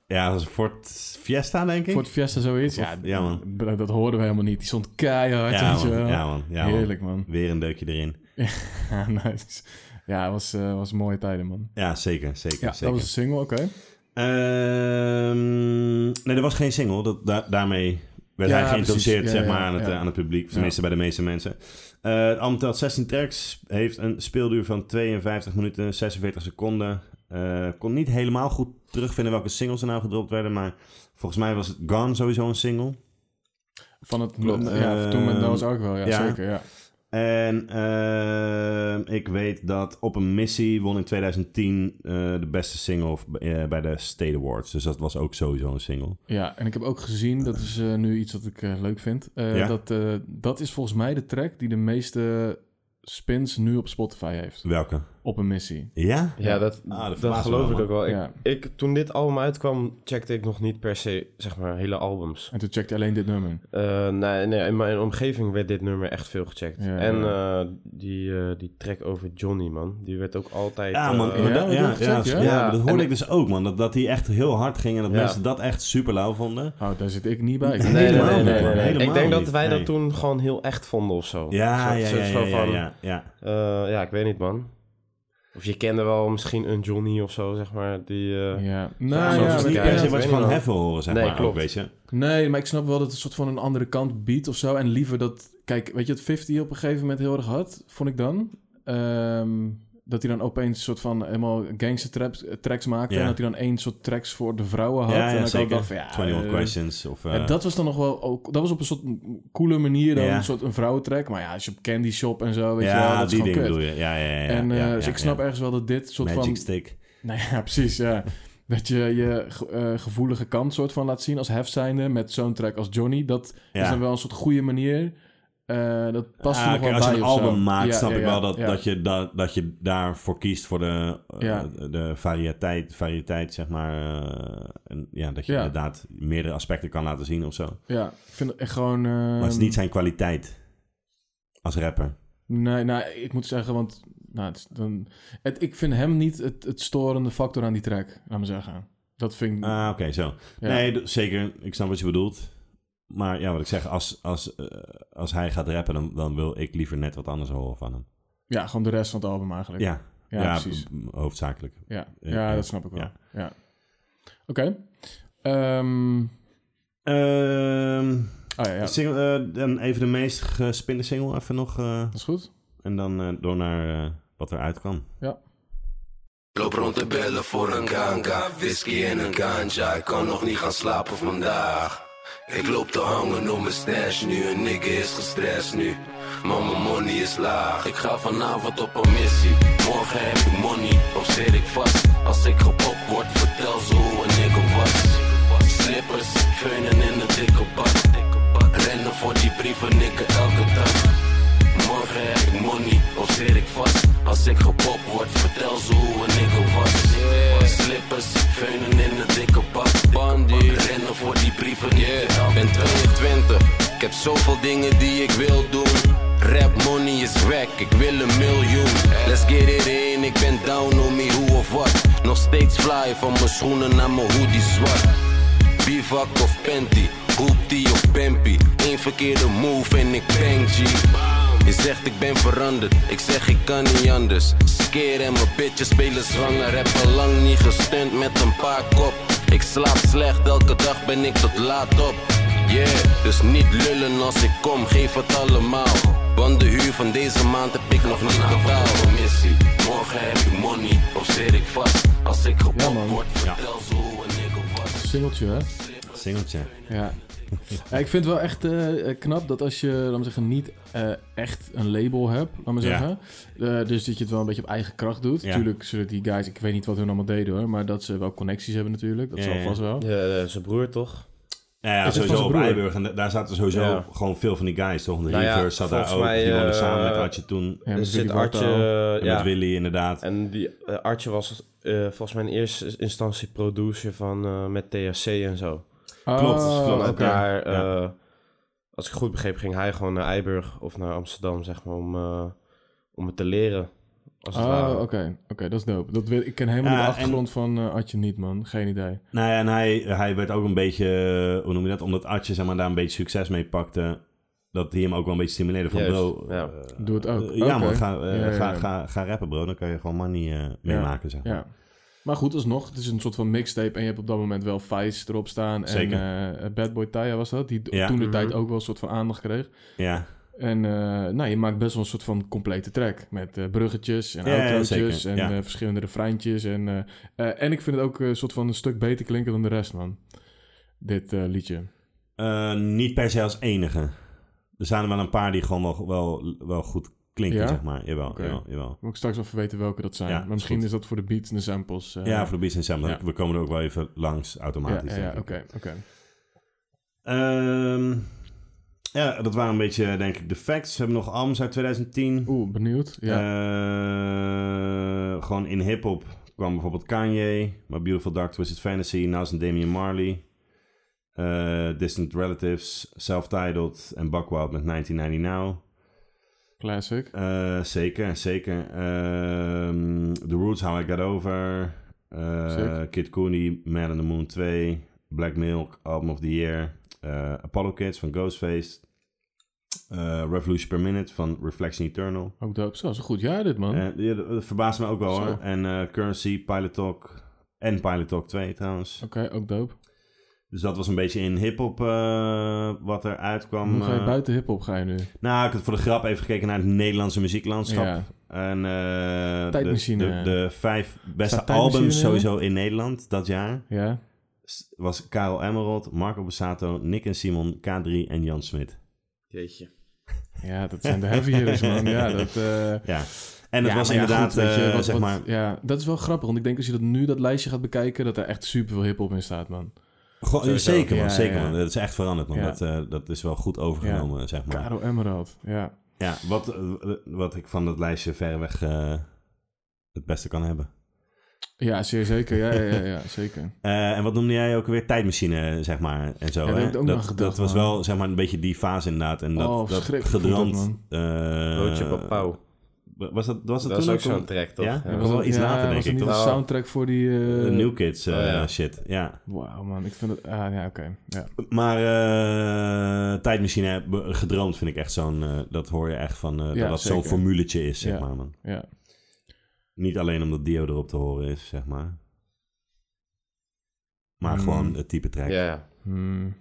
[SPEAKER 1] Ja, dat was een Ford Fiesta, denk ik.
[SPEAKER 2] Ford Fiesta zoiets. Ja,
[SPEAKER 1] Of- ja, man.
[SPEAKER 2] d- Dat hoorden we helemaal niet. Die stond keihard.
[SPEAKER 1] Ja,
[SPEAKER 2] weet je
[SPEAKER 1] man.
[SPEAKER 2] wel.
[SPEAKER 1] Ja, man. Ja, man.
[SPEAKER 2] Heerlijk, man.
[SPEAKER 1] Weer een deukje erin.
[SPEAKER 2] Ja, nice. Ja, was, eh, was mooie tijden, man.
[SPEAKER 1] Ja, zeker, zeker,
[SPEAKER 2] Ja,
[SPEAKER 1] zeker.
[SPEAKER 2] dat was een single, oké.
[SPEAKER 1] Ehm, nee, er was geen single. Dat, da- daarmee werd
[SPEAKER 2] Ja,
[SPEAKER 1] hij geïntroduceerd
[SPEAKER 2] precies. Ja,
[SPEAKER 1] zeg maar,
[SPEAKER 2] ja,
[SPEAKER 1] aan, het,
[SPEAKER 2] ja.
[SPEAKER 1] eh, aan het publiek. Tenminste, bij de meeste mensen. Eh het album telt 16 tracks. Heeft een speelduur van 52 minuten en 46 seconden. Eh, kon niet helemaal goed terugvinden welke singles er nou gedropt werden. Maar volgens mij was het Gone sowieso een single.
[SPEAKER 2] Van het... eh,
[SPEAKER 1] Klopt.
[SPEAKER 2] Ja, toen met
[SPEAKER 1] Ehm,
[SPEAKER 2] Noah's Ark wel. Ja,
[SPEAKER 1] ja.
[SPEAKER 2] zeker, ja.
[SPEAKER 1] En ehm, ik weet dat Op een Missie won in 2010 eh, de beste single v- eh, bij de State Awards. Dus dat was ook sowieso een single.
[SPEAKER 2] Ja, en ik heb ook gezien, dat is eh, nu iets wat ik eh, leuk vind. eh,
[SPEAKER 1] Ja.
[SPEAKER 2] dat, eh, dat is volgens mij de track die de meeste spins nu op Spotify heeft.
[SPEAKER 1] Welke?
[SPEAKER 2] op een missie.
[SPEAKER 1] Ja?
[SPEAKER 3] Ja, dat,
[SPEAKER 1] Ah, dat
[SPEAKER 3] dat,
[SPEAKER 1] verbaast me
[SPEAKER 3] geloof ik
[SPEAKER 1] wel,
[SPEAKER 3] ook wel. Oh, Ik,
[SPEAKER 2] Ja.
[SPEAKER 3] ik, toen dit album uitkwam, checkte ik nog niet per se, zeg maar, hele albums.
[SPEAKER 2] En toen checkte alleen dit nummer.
[SPEAKER 3] Eh, nee, nee, in mijn omgeving werd dit nummer echt veel gecheckt.
[SPEAKER 2] Ja,
[SPEAKER 3] en
[SPEAKER 2] ja.
[SPEAKER 3] eh, die, eh, die track over Johnny, man, die werd ook altijd...
[SPEAKER 1] Ja, man.
[SPEAKER 3] eh,
[SPEAKER 1] maar
[SPEAKER 2] ja,
[SPEAKER 1] dat-
[SPEAKER 2] dat
[SPEAKER 1] ja,
[SPEAKER 2] heb je gecheckt,
[SPEAKER 1] ja,
[SPEAKER 2] ja?
[SPEAKER 1] ja, maar dat hoorde
[SPEAKER 3] En-
[SPEAKER 1] ik dus ook, man. Dat, dat hij echt heel hard ging en dat
[SPEAKER 3] Ja.
[SPEAKER 1] mensen dat echt super lauw vonden.
[SPEAKER 2] Oh, daar zit ik niet bij.
[SPEAKER 1] Nee,
[SPEAKER 3] Nee, nee,
[SPEAKER 1] Helemaal
[SPEAKER 3] nee,
[SPEAKER 1] niet,
[SPEAKER 3] nee,
[SPEAKER 1] man.
[SPEAKER 3] nee, nee.
[SPEAKER 1] Helemaal
[SPEAKER 3] Ik denk dat
[SPEAKER 1] niet.
[SPEAKER 3] wij
[SPEAKER 1] Nee.
[SPEAKER 3] dat toen gewoon heel echt vonden of zo.
[SPEAKER 1] Ja,
[SPEAKER 3] Een
[SPEAKER 1] ja,
[SPEAKER 3] soort-
[SPEAKER 1] ja, ja,
[SPEAKER 3] soort
[SPEAKER 1] ja,
[SPEAKER 3] van,
[SPEAKER 1] ja, ja.
[SPEAKER 3] eh, ja, ik weet niet, man. Of je kende wel misschien een Johnny of zo, zeg maar, die... eh,
[SPEAKER 2] Ja.
[SPEAKER 1] Ja,
[SPEAKER 2] Nou,
[SPEAKER 1] maar
[SPEAKER 2] ja,
[SPEAKER 3] Soms
[SPEAKER 1] het is
[SPEAKER 2] maar
[SPEAKER 1] niet
[SPEAKER 2] ik-
[SPEAKER 3] ja,
[SPEAKER 1] per
[SPEAKER 3] ik
[SPEAKER 1] se
[SPEAKER 3] weet
[SPEAKER 1] wat je
[SPEAKER 3] niet
[SPEAKER 1] van
[SPEAKER 3] wel.
[SPEAKER 1] heffen horen, zeg
[SPEAKER 3] Nee,
[SPEAKER 1] maar. ook,
[SPEAKER 3] klopt.
[SPEAKER 1] weet
[SPEAKER 2] Oh,
[SPEAKER 1] je.
[SPEAKER 2] Nee, maar ik snap wel dat het een soort van een andere kant biedt of zo. En liever dat... Kijk, weet je wat 50 op een gegeven moment heel erg had? Vond ik dan. Ehm, dat hij dan opeens een soort van helemaal gangster traps- eh, tracks maakte.
[SPEAKER 1] Ja.
[SPEAKER 2] En dat hij dan één soort tracks voor de vrouwen had.
[SPEAKER 1] Ja,
[SPEAKER 2] en
[SPEAKER 1] ja,
[SPEAKER 2] dat ik ook
[SPEAKER 1] zeker.
[SPEAKER 2] dacht van, ja,
[SPEAKER 1] 21
[SPEAKER 2] eh,
[SPEAKER 1] Questions of... eh,
[SPEAKER 2] ja, dat was dan nog wel... Ook, dat was op een soort coole manier dan.
[SPEAKER 1] Ja.
[SPEAKER 2] Een soort een vrouwentrack. Maar ja, als je op Candy Shop en zo, weet je wel,
[SPEAKER 1] ja,
[SPEAKER 2] dat is
[SPEAKER 1] die
[SPEAKER 2] gewoon
[SPEAKER 1] dingen
[SPEAKER 2] kut.
[SPEAKER 1] bedoel je. Ja, ja, ja. ja,
[SPEAKER 2] en eh,
[SPEAKER 1] ja,
[SPEAKER 2] dus
[SPEAKER 1] ja,
[SPEAKER 2] ik snap
[SPEAKER 1] ja.
[SPEAKER 2] ergens wel dat dit soort
[SPEAKER 1] Magic
[SPEAKER 2] van...
[SPEAKER 1] Stick.
[SPEAKER 2] Nou ja, precies, ja. Dat je je ge- eh, gevoelige kant soort van laat zien als hefzijnde met zo'n track als Johnny. Dat is
[SPEAKER 1] Ja.
[SPEAKER 2] Dus dan wel een soort goede manier. Eh, dat past er
[SPEAKER 1] Ah,
[SPEAKER 2] nog wel
[SPEAKER 1] kijk, als
[SPEAKER 2] bij
[SPEAKER 1] je een
[SPEAKER 2] of zo.
[SPEAKER 1] album maakt,
[SPEAKER 2] Ja,
[SPEAKER 1] snap
[SPEAKER 2] ja,
[SPEAKER 1] ik
[SPEAKER 2] ja,
[SPEAKER 1] wel dat,
[SPEAKER 2] ja.
[SPEAKER 1] dat, je da- dat je daarvoor kiest voor de, eh,
[SPEAKER 2] Ja.
[SPEAKER 1] de variëteit, variëteit, zeg maar. eh, en ja, dat je
[SPEAKER 2] Ja.
[SPEAKER 1] inderdaad meerdere aspecten kan laten zien of zo.
[SPEAKER 2] Ja, ik vind het echt gewoon...
[SPEAKER 1] maar
[SPEAKER 2] Ehm.
[SPEAKER 1] het is niet zijn kwaliteit als rapper.
[SPEAKER 2] Nee, nou, ik moet zeggen, want... Nou, het is dan, het, ik vind hem niet het, het storende factor aan die track, laat me zeggen. Dat vind ik...
[SPEAKER 1] Ah, oké, zo.
[SPEAKER 2] ja.
[SPEAKER 1] Nee, d- zeker. Ik snap wat je bedoelt. Maar ja, wat ik zeg, als, als, eh, als hij gaat rappen, dan, dan wil ik liever net wat anders horen van hem.
[SPEAKER 2] ja, gewoon de rest van het album eigenlijk.
[SPEAKER 1] Ja, ja,
[SPEAKER 2] Ja, precies.
[SPEAKER 1] b- b- hoofdzakelijk.
[SPEAKER 2] Ja,
[SPEAKER 1] Ja,
[SPEAKER 2] ja,
[SPEAKER 1] ja.
[SPEAKER 2] dat snap ik wel.
[SPEAKER 1] Ja.
[SPEAKER 2] Ja. Oké. Ehm,
[SPEAKER 1] Ehm,
[SPEAKER 2] ah ja, ja, dat
[SPEAKER 1] single, eh, dan even de meest gespinde single even nog. eh,
[SPEAKER 2] is goed.
[SPEAKER 1] En dan eh, door naar eh, wat eruit kwam.
[SPEAKER 4] Loop rond te bellen voor een ganga, whisky en een ganja. Ik kan nog niet gaan slapen vandaag. Ik loop te hangen om mijn stash nu, een nigga is gestrest nu. Maar mijn money is laag. Ik ga vanavond op een missie. Morgen heb ik money, of zit ik vast? Als ik gepopt word, vertel zo hoe een nigga was. Slippers, veunen in de dikke bak. Rennen voor die brieven, nigga, elke dag. Morgen heb ik money, of zit ik vast? Als ik gepopt word, vertel ze hoe een nigga was. Slippers, veunen in een dikke bak. Bandie, rennen voor die brieven. Yeah. Ben 2020, ik heb zoveel dingen die ik wil doen. Rap money is wack, ik wil een miljoen. Let's get it in, ik ben down on me, hoe of wat. Nog steeds fly, van mijn schoenen naar mijn hoodie zwart. Bivak of panty, hoopty of pampy. Eén verkeerde move en ik bang G. Je zegt ik ben veranderd, ik zeg ik kan niet anders. Skeer en mijn bitches spelen zwanger. Heb al lang niet gestunt met een paar kop. Ik slaap slecht, elke dag ben ik tot laat op. Yeah, dus niet lullen als ik kom, geef het allemaal. Want de huur van deze maand heb ik nog niet gebouwd. Missie, morgen heb ik money, of zit ik vast? Als ik
[SPEAKER 2] man.
[SPEAKER 4] gepopt word, vertel zo hoe een nigga was.
[SPEAKER 2] Singeltje, hè?
[SPEAKER 1] Singeltje.
[SPEAKER 2] Ja. Ja, ik vind het wel echt eh, eh, knap dat als je, laat me zeggen, niet eh, echt een label hebt, laat me
[SPEAKER 1] Ja.
[SPEAKER 2] zeggen. eh, dus dat je het wel een beetje op eigen kracht doet.
[SPEAKER 1] Ja.
[SPEAKER 2] Natuurlijk zullen die guys, ik weet niet wat hun allemaal deden hoor, maar dat ze wel connecties hebben natuurlijk. Dat
[SPEAKER 1] Ja,
[SPEAKER 2] zal
[SPEAKER 1] ja.
[SPEAKER 2] vast wel.
[SPEAKER 3] ja, eh, zijn broer, toch?
[SPEAKER 1] Ja, ja
[SPEAKER 2] Is het
[SPEAKER 1] sowieso
[SPEAKER 2] van zijn
[SPEAKER 1] op
[SPEAKER 2] broer?
[SPEAKER 1] Eiburg. En da- daar zaten sowieso
[SPEAKER 3] Ja.
[SPEAKER 1] gewoon veel van die guys, toch? De
[SPEAKER 3] Nou ja,
[SPEAKER 1] Reverse zat daar
[SPEAKER 3] volgens
[SPEAKER 1] ook.
[SPEAKER 3] mij,
[SPEAKER 1] die woonden
[SPEAKER 3] eh,
[SPEAKER 1] samen met Artje toen.
[SPEAKER 2] Ja,
[SPEAKER 3] Er
[SPEAKER 2] met
[SPEAKER 3] zit
[SPEAKER 2] Willy Bartel.
[SPEAKER 3] Artje... eh,
[SPEAKER 1] En
[SPEAKER 3] ja.
[SPEAKER 1] met Willy inderdaad.
[SPEAKER 3] En die eh, Artje was eh, volgens mij in eerste instantie producer van eh, met THC en zo.
[SPEAKER 2] Oh,
[SPEAKER 1] Klopt, klopt.
[SPEAKER 2] oké.
[SPEAKER 3] Want daar,
[SPEAKER 1] ja.
[SPEAKER 3] eh, als ik goed begreep, ging hij gewoon naar Eiburg of naar Amsterdam, zeg maar, om, eh, om het te leren. Als het
[SPEAKER 2] Oh,
[SPEAKER 3] ware.
[SPEAKER 2] oké. Oké, dat is dope. Dat weet, ik ken helemaal
[SPEAKER 1] Ja,
[SPEAKER 2] de
[SPEAKER 1] en-
[SPEAKER 2] achtergrond van eh, Adje niet, man. Geen idee.
[SPEAKER 1] Nou ja, en hij, hij werd ook een beetje, eh, hoe noem je dat? Omdat Artje zeg maar, daar een beetje succes mee pakte. Dat die hem ook wel een beetje stimuleerde van
[SPEAKER 3] Juist,
[SPEAKER 1] bro.
[SPEAKER 3] ja.
[SPEAKER 1] eh,
[SPEAKER 2] Doe het ook.
[SPEAKER 1] eh, ja
[SPEAKER 2] Oké.
[SPEAKER 1] man, ga, eh,
[SPEAKER 2] Ja, ja,
[SPEAKER 1] Ga,
[SPEAKER 2] ja.
[SPEAKER 1] ga, ga rappen bro. Dan kan je gewoon money eh, meemaken zeg maar.
[SPEAKER 2] Ja. Maar goed, alsnog, het is een soort van mixtape en je hebt op dat moment wel Vice erop staan.
[SPEAKER 1] Zeker.
[SPEAKER 2] En eh Bad Boy Taya was dat, die
[SPEAKER 1] Ja.
[SPEAKER 2] toen de tijd
[SPEAKER 3] Mhm.
[SPEAKER 2] ook wel een soort van aandacht kreeg.
[SPEAKER 1] Ja.
[SPEAKER 2] En eh, nou, je maakt best wel een soort van complete track. Met eh, bruggetjes en
[SPEAKER 1] Ja, ja,
[SPEAKER 2] outrootjes
[SPEAKER 1] zeker,
[SPEAKER 2] en
[SPEAKER 1] ja.
[SPEAKER 2] eh, verschillende refreintjes. En, eh, eh, en ik vind het ook eh, een soort van een stuk beter klinken dan de rest, man. Dit eh, liedje.
[SPEAKER 1] Eh, niet per se als enige. Er zijn er wel een paar die gewoon wel, wel, wel goed klinken,
[SPEAKER 2] Ja?
[SPEAKER 1] zeg maar. Jawel,
[SPEAKER 2] Oké.
[SPEAKER 1] jawel, jawel.
[SPEAKER 2] Moet ik straks wel even weten welke dat zijn.
[SPEAKER 1] Ja,
[SPEAKER 2] maar
[SPEAKER 1] is
[SPEAKER 2] misschien is,
[SPEAKER 1] goed.
[SPEAKER 2] dat voor de beats en de samples. eh,
[SPEAKER 1] ja, voor de Beast en Sam. dan-
[SPEAKER 2] ja.
[SPEAKER 1] We komen er ook wel even langs
[SPEAKER 2] ja,
[SPEAKER 1] automatisch.
[SPEAKER 2] ja, ja,
[SPEAKER 1] denk
[SPEAKER 2] oké.
[SPEAKER 1] ik.
[SPEAKER 2] oké.
[SPEAKER 1] Ehm, ja, dat waren een beetje, denk ik, de facts. We hebben nog albums uit 2010.
[SPEAKER 2] Oeh, benieuwd. Ja.
[SPEAKER 1] Eh, eh, gewoon in hip-hop kwam bijvoorbeeld Kanye, My Beautiful Dark Twisted Fantasy, Nas en Damian Marley, eh, Distant Relatives, Self-Titled en Buckwild met 1990 Now.
[SPEAKER 2] Classic.
[SPEAKER 1] Eh, zeker, zeker. Ehm, the Roots, How I Got Over. eh,
[SPEAKER 2] Sick.
[SPEAKER 1] Kid Cooney, Man on the Moon 2. Black Milk, Album of the Year. eh, Apollo Kids van Ghostface. eh, Revolution Per Minute van Reflection Eternal.
[SPEAKER 2] Ook dope. Zo, is een goed jaar dit, man.
[SPEAKER 1] Eh, ja, dat dat verbaast me ook wel
[SPEAKER 2] Oh. Zo.
[SPEAKER 1] hoor. En eh, Currency, Pilot Talk en Pilot Talk 2 trouwens.
[SPEAKER 2] Oké, ook dope.
[SPEAKER 1] Dus dat was een beetje in hip-hop eh, wat er uitkwam.
[SPEAKER 2] Hoe ga je
[SPEAKER 1] eh.
[SPEAKER 2] buiten hip-hop ga je nu?
[SPEAKER 1] Nou, ik had voor de grap even gekeken naar het Nederlandse muzieklandschap.
[SPEAKER 2] Ja.
[SPEAKER 1] En eh,
[SPEAKER 2] Tijdmachine.
[SPEAKER 1] De, de, de vijf beste
[SPEAKER 2] Staat tijdmachine
[SPEAKER 1] albums
[SPEAKER 2] in?
[SPEAKER 1] sowieso in Nederland dat jaar
[SPEAKER 2] Ja.
[SPEAKER 1] s- was Karel Emerald, Marco Bassato, Nick en Simon, K3 en Jan Smit.
[SPEAKER 3] Jeetje.
[SPEAKER 2] ja, dat zijn de heavy hitters, man. Ja, dat... eh,
[SPEAKER 1] Ja. En dat
[SPEAKER 2] ja,
[SPEAKER 1] was
[SPEAKER 2] maar ja,
[SPEAKER 1] inderdaad,
[SPEAKER 2] goed, weet je,
[SPEAKER 1] eh,
[SPEAKER 2] wat-
[SPEAKER 1] zeg
[SPEAKER 2] wat-
[SPEAKER 1] maar,
[SPEAKER 2] Ja, dat is wel grappig. Want ik denk als je dat nu, dat lijstje gaat bekijken, dat er echt super veel hip-hop in staat, man.
[SPEAKER 1] Goh,
[SPEAKER 3] Sowieso.
[SPEAKER 1] zeker man,
[SPEAKER 2] Ja,
[SPEAKER 1] zeker
[SPEAKER 2] ja.
[SPEAKER 1] man. Dat is echt veranderd man.
[SPEAKER 2] Ja.
[SPEAKER 1] Dat, eh, dat is wel goed overgenomen, zeg maar.
[SPEAKER 2] Caro Emerald. Ja.
[SPEAKER 1] Ja, wat, eh, wat ik van dat lijstje verreweg eh, het beste kan hebben.
[SPEAKER 2] Ja, zeer zeker. Ja, ja, ja, ja zeker.
[SPEAKER 1] Eh, en wat noemde jij ook weer tijdmachine, zeg maar, en zo.
[SPEAKER 2] Ja, daar
[SPEAKER 1] hè?
[SPEAKER 2] heb ik ook
[SPEAKER 1] dat
[SPEAKER 2] nog gedacht,
[SPEAKER 1] dat was
[SPEAKER 2] man.
[SPEAKER 1] wel, zeg maar, een beetje die fase inderdaad. En dat,
[SPEAKER 2] Oh,
[SPEAKER 1] dat
[SPEAKER 2] verschrikkelijk
[SPEAKER 1] gedrand.
[SPEAKER 2] voelt dat,
[SPEAKER 1] eh,
[SPEAKER 3] Roodje papau.
[SPEAKER 1] was dat, was dat,
[SPEAKER 3] Dat is
[SPEAKER 1] toen
[SPEAKER 3] ook zo'n
[SPEAKER 1] al-
[SPEAKER 3] track, toch?
[SPEAKER 1] Ja?
[SPEAKER 3] Ja.
[SPEAKER 1] Dat was wel iets later,
[SPEAKER 2] was
[SPEAKER 1] denk
[SPEAKER 2] het
[SPEAKER 1] ik,
[SPEAKER 2] niet
[SPEAKER 1] toch?
[SPEAKER 2] een soundtrack voor die... eh,
[SPEAKER 1] De New Kids eh,
[SPEAKER 3] oh, ja.
[SPEAKER 1] shit, ja.
[SPEAKER 2] Wauw, man. Ik vind het... Ah, ja, oké. Ja.
[SPEAKER 1] Maar eh, tijdmachine heb- gedroomd vind ik echt zo'n... eh, dat hoor je echt van eh,
[SPEAKER 2] Ja,
[SPEAKER 1] dat dat zo'n
[SPEAKER 2] zeker.
[SPEAKER 1] formuletje is, zeg
[SPEAKER 2] Ja.
[SPEAKER 1] maar. Man.
[SPEAKER 2] ja.
[SPEAKER 1] Niet alleen omdat Dio erop te horen is, zeg maar. Maar
[SPEAKER 2] Hmm.
[SPEAKER 1] gewoon het type track.
[SPEAKER 3] Ja, ja.
[SPEAKER 2] Hmm.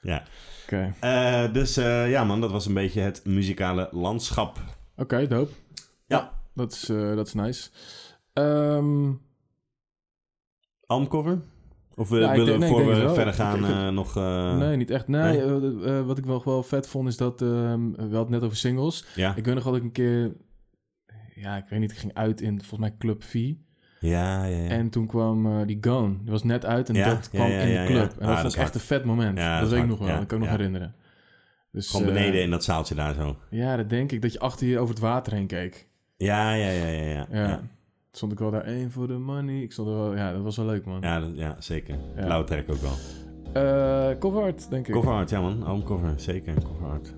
[SPEAKER 1] Ja.
[SPEAKER 2] Oké. Oké,
[SPEAKER 1] Eh, dus eh, ja man, dat was een beetje het muzikale landschap.
[SPEAKER 2] dope.
[SPEAKER 1] Ja.
[SPEAKER 2] Dat is, eh, dat is nice. Ehm,
[SPEAKER 1] Albumcover? Of we
[SPEAKER 2] Ja, ik
[SPEAKER 1] willen
[SPEAKER 2] denk- nee, ik
[SPEAKER 1] voor
[SPEAKER 2] denk
[SPEAKER 1] we
[SPEAKER 2] het wel.
[SPEAKER 1] verder gaan
[SPEAKER 2] Ik- ik-
[SPEAKER 1] eh, nog... eh,
[SPEAKER 2] nee, niet echt. Nee,
[SPEAKER 1] nee.
[SPEAKER 2] eh, eh, wat ik wel, wel vet vond is dat... ehm, we hadden het net over singles.
[SPEAKER 1] Ja,
[SPEAKER 2] Ik weet nog dat ik een keer... Ja, ik weet niet. Ik ging uit in volgens mij Club V.
[SPEAKER 1] ja, ja. ja.
[SPEAKER 2] En toen kwam eh, die Gone. Die was net uit en
[SPEAKER 1] Ja,
[SPEAKER 2] dat kwam
[SPEAKER 1] ja, ja,
[SPEAKER 2] in
[SPEAKER 1] ja,
[SPEAKER 2] de club.
[SPEAKER 1] ja.
[SPEAKER 2] En
[SPEAKER 1] Ah,
[SPEAKER 2] dat
[SPEAKER 1] dat
[SPEAKER 2] vond
[SPEAKER 1] is
[SPEAKER 2] ik
[SPEAKER 1] hard.
[SPEAKER 2] echt een vet moment.
[SPEAKER 1] Ja, dat
[SPEAKER 2] dat
[SPEAKER 1] is
[SPEAKER 2] weet ik
[SPEAKER 1] hard.
[SPEAKER 2] nog wel.
[SPEAKER 1] Ja,
[SPEAKER 2] dat kan ik nog
[SPEAKER 1] ja.
[SPEAKER 2] herinneren. Dus,
[SPEAKER 1] gewoon
[SPEAKER 2] eh,
[SPEAKER 1] beneden in dat zaaltje daar zo.
[SPEAKER 2] ja, dat denk ik. Dat je achter je over het water heen keek.
[SPEAKER 1] Ja, ja, ja, ja. Ja,
[SPEAKER 2] Ja.
[SPEAKER 1] ja.
[SPEAKER 2] Stond ik wel daar één voor de money. Ik stond er wel... Ja, dat was wel leuk, man.
[SPEAKER 1] ja, dat- ja zeker.
[SPEAKER 2] Ja.
[SPEAKER 1] Blauwe track ook wel.
[SPEAKER 2] Eh, cover art, denk ik.
[SPEAKER 1] Cover art, ja man. Albumcover, zeker. Cover art.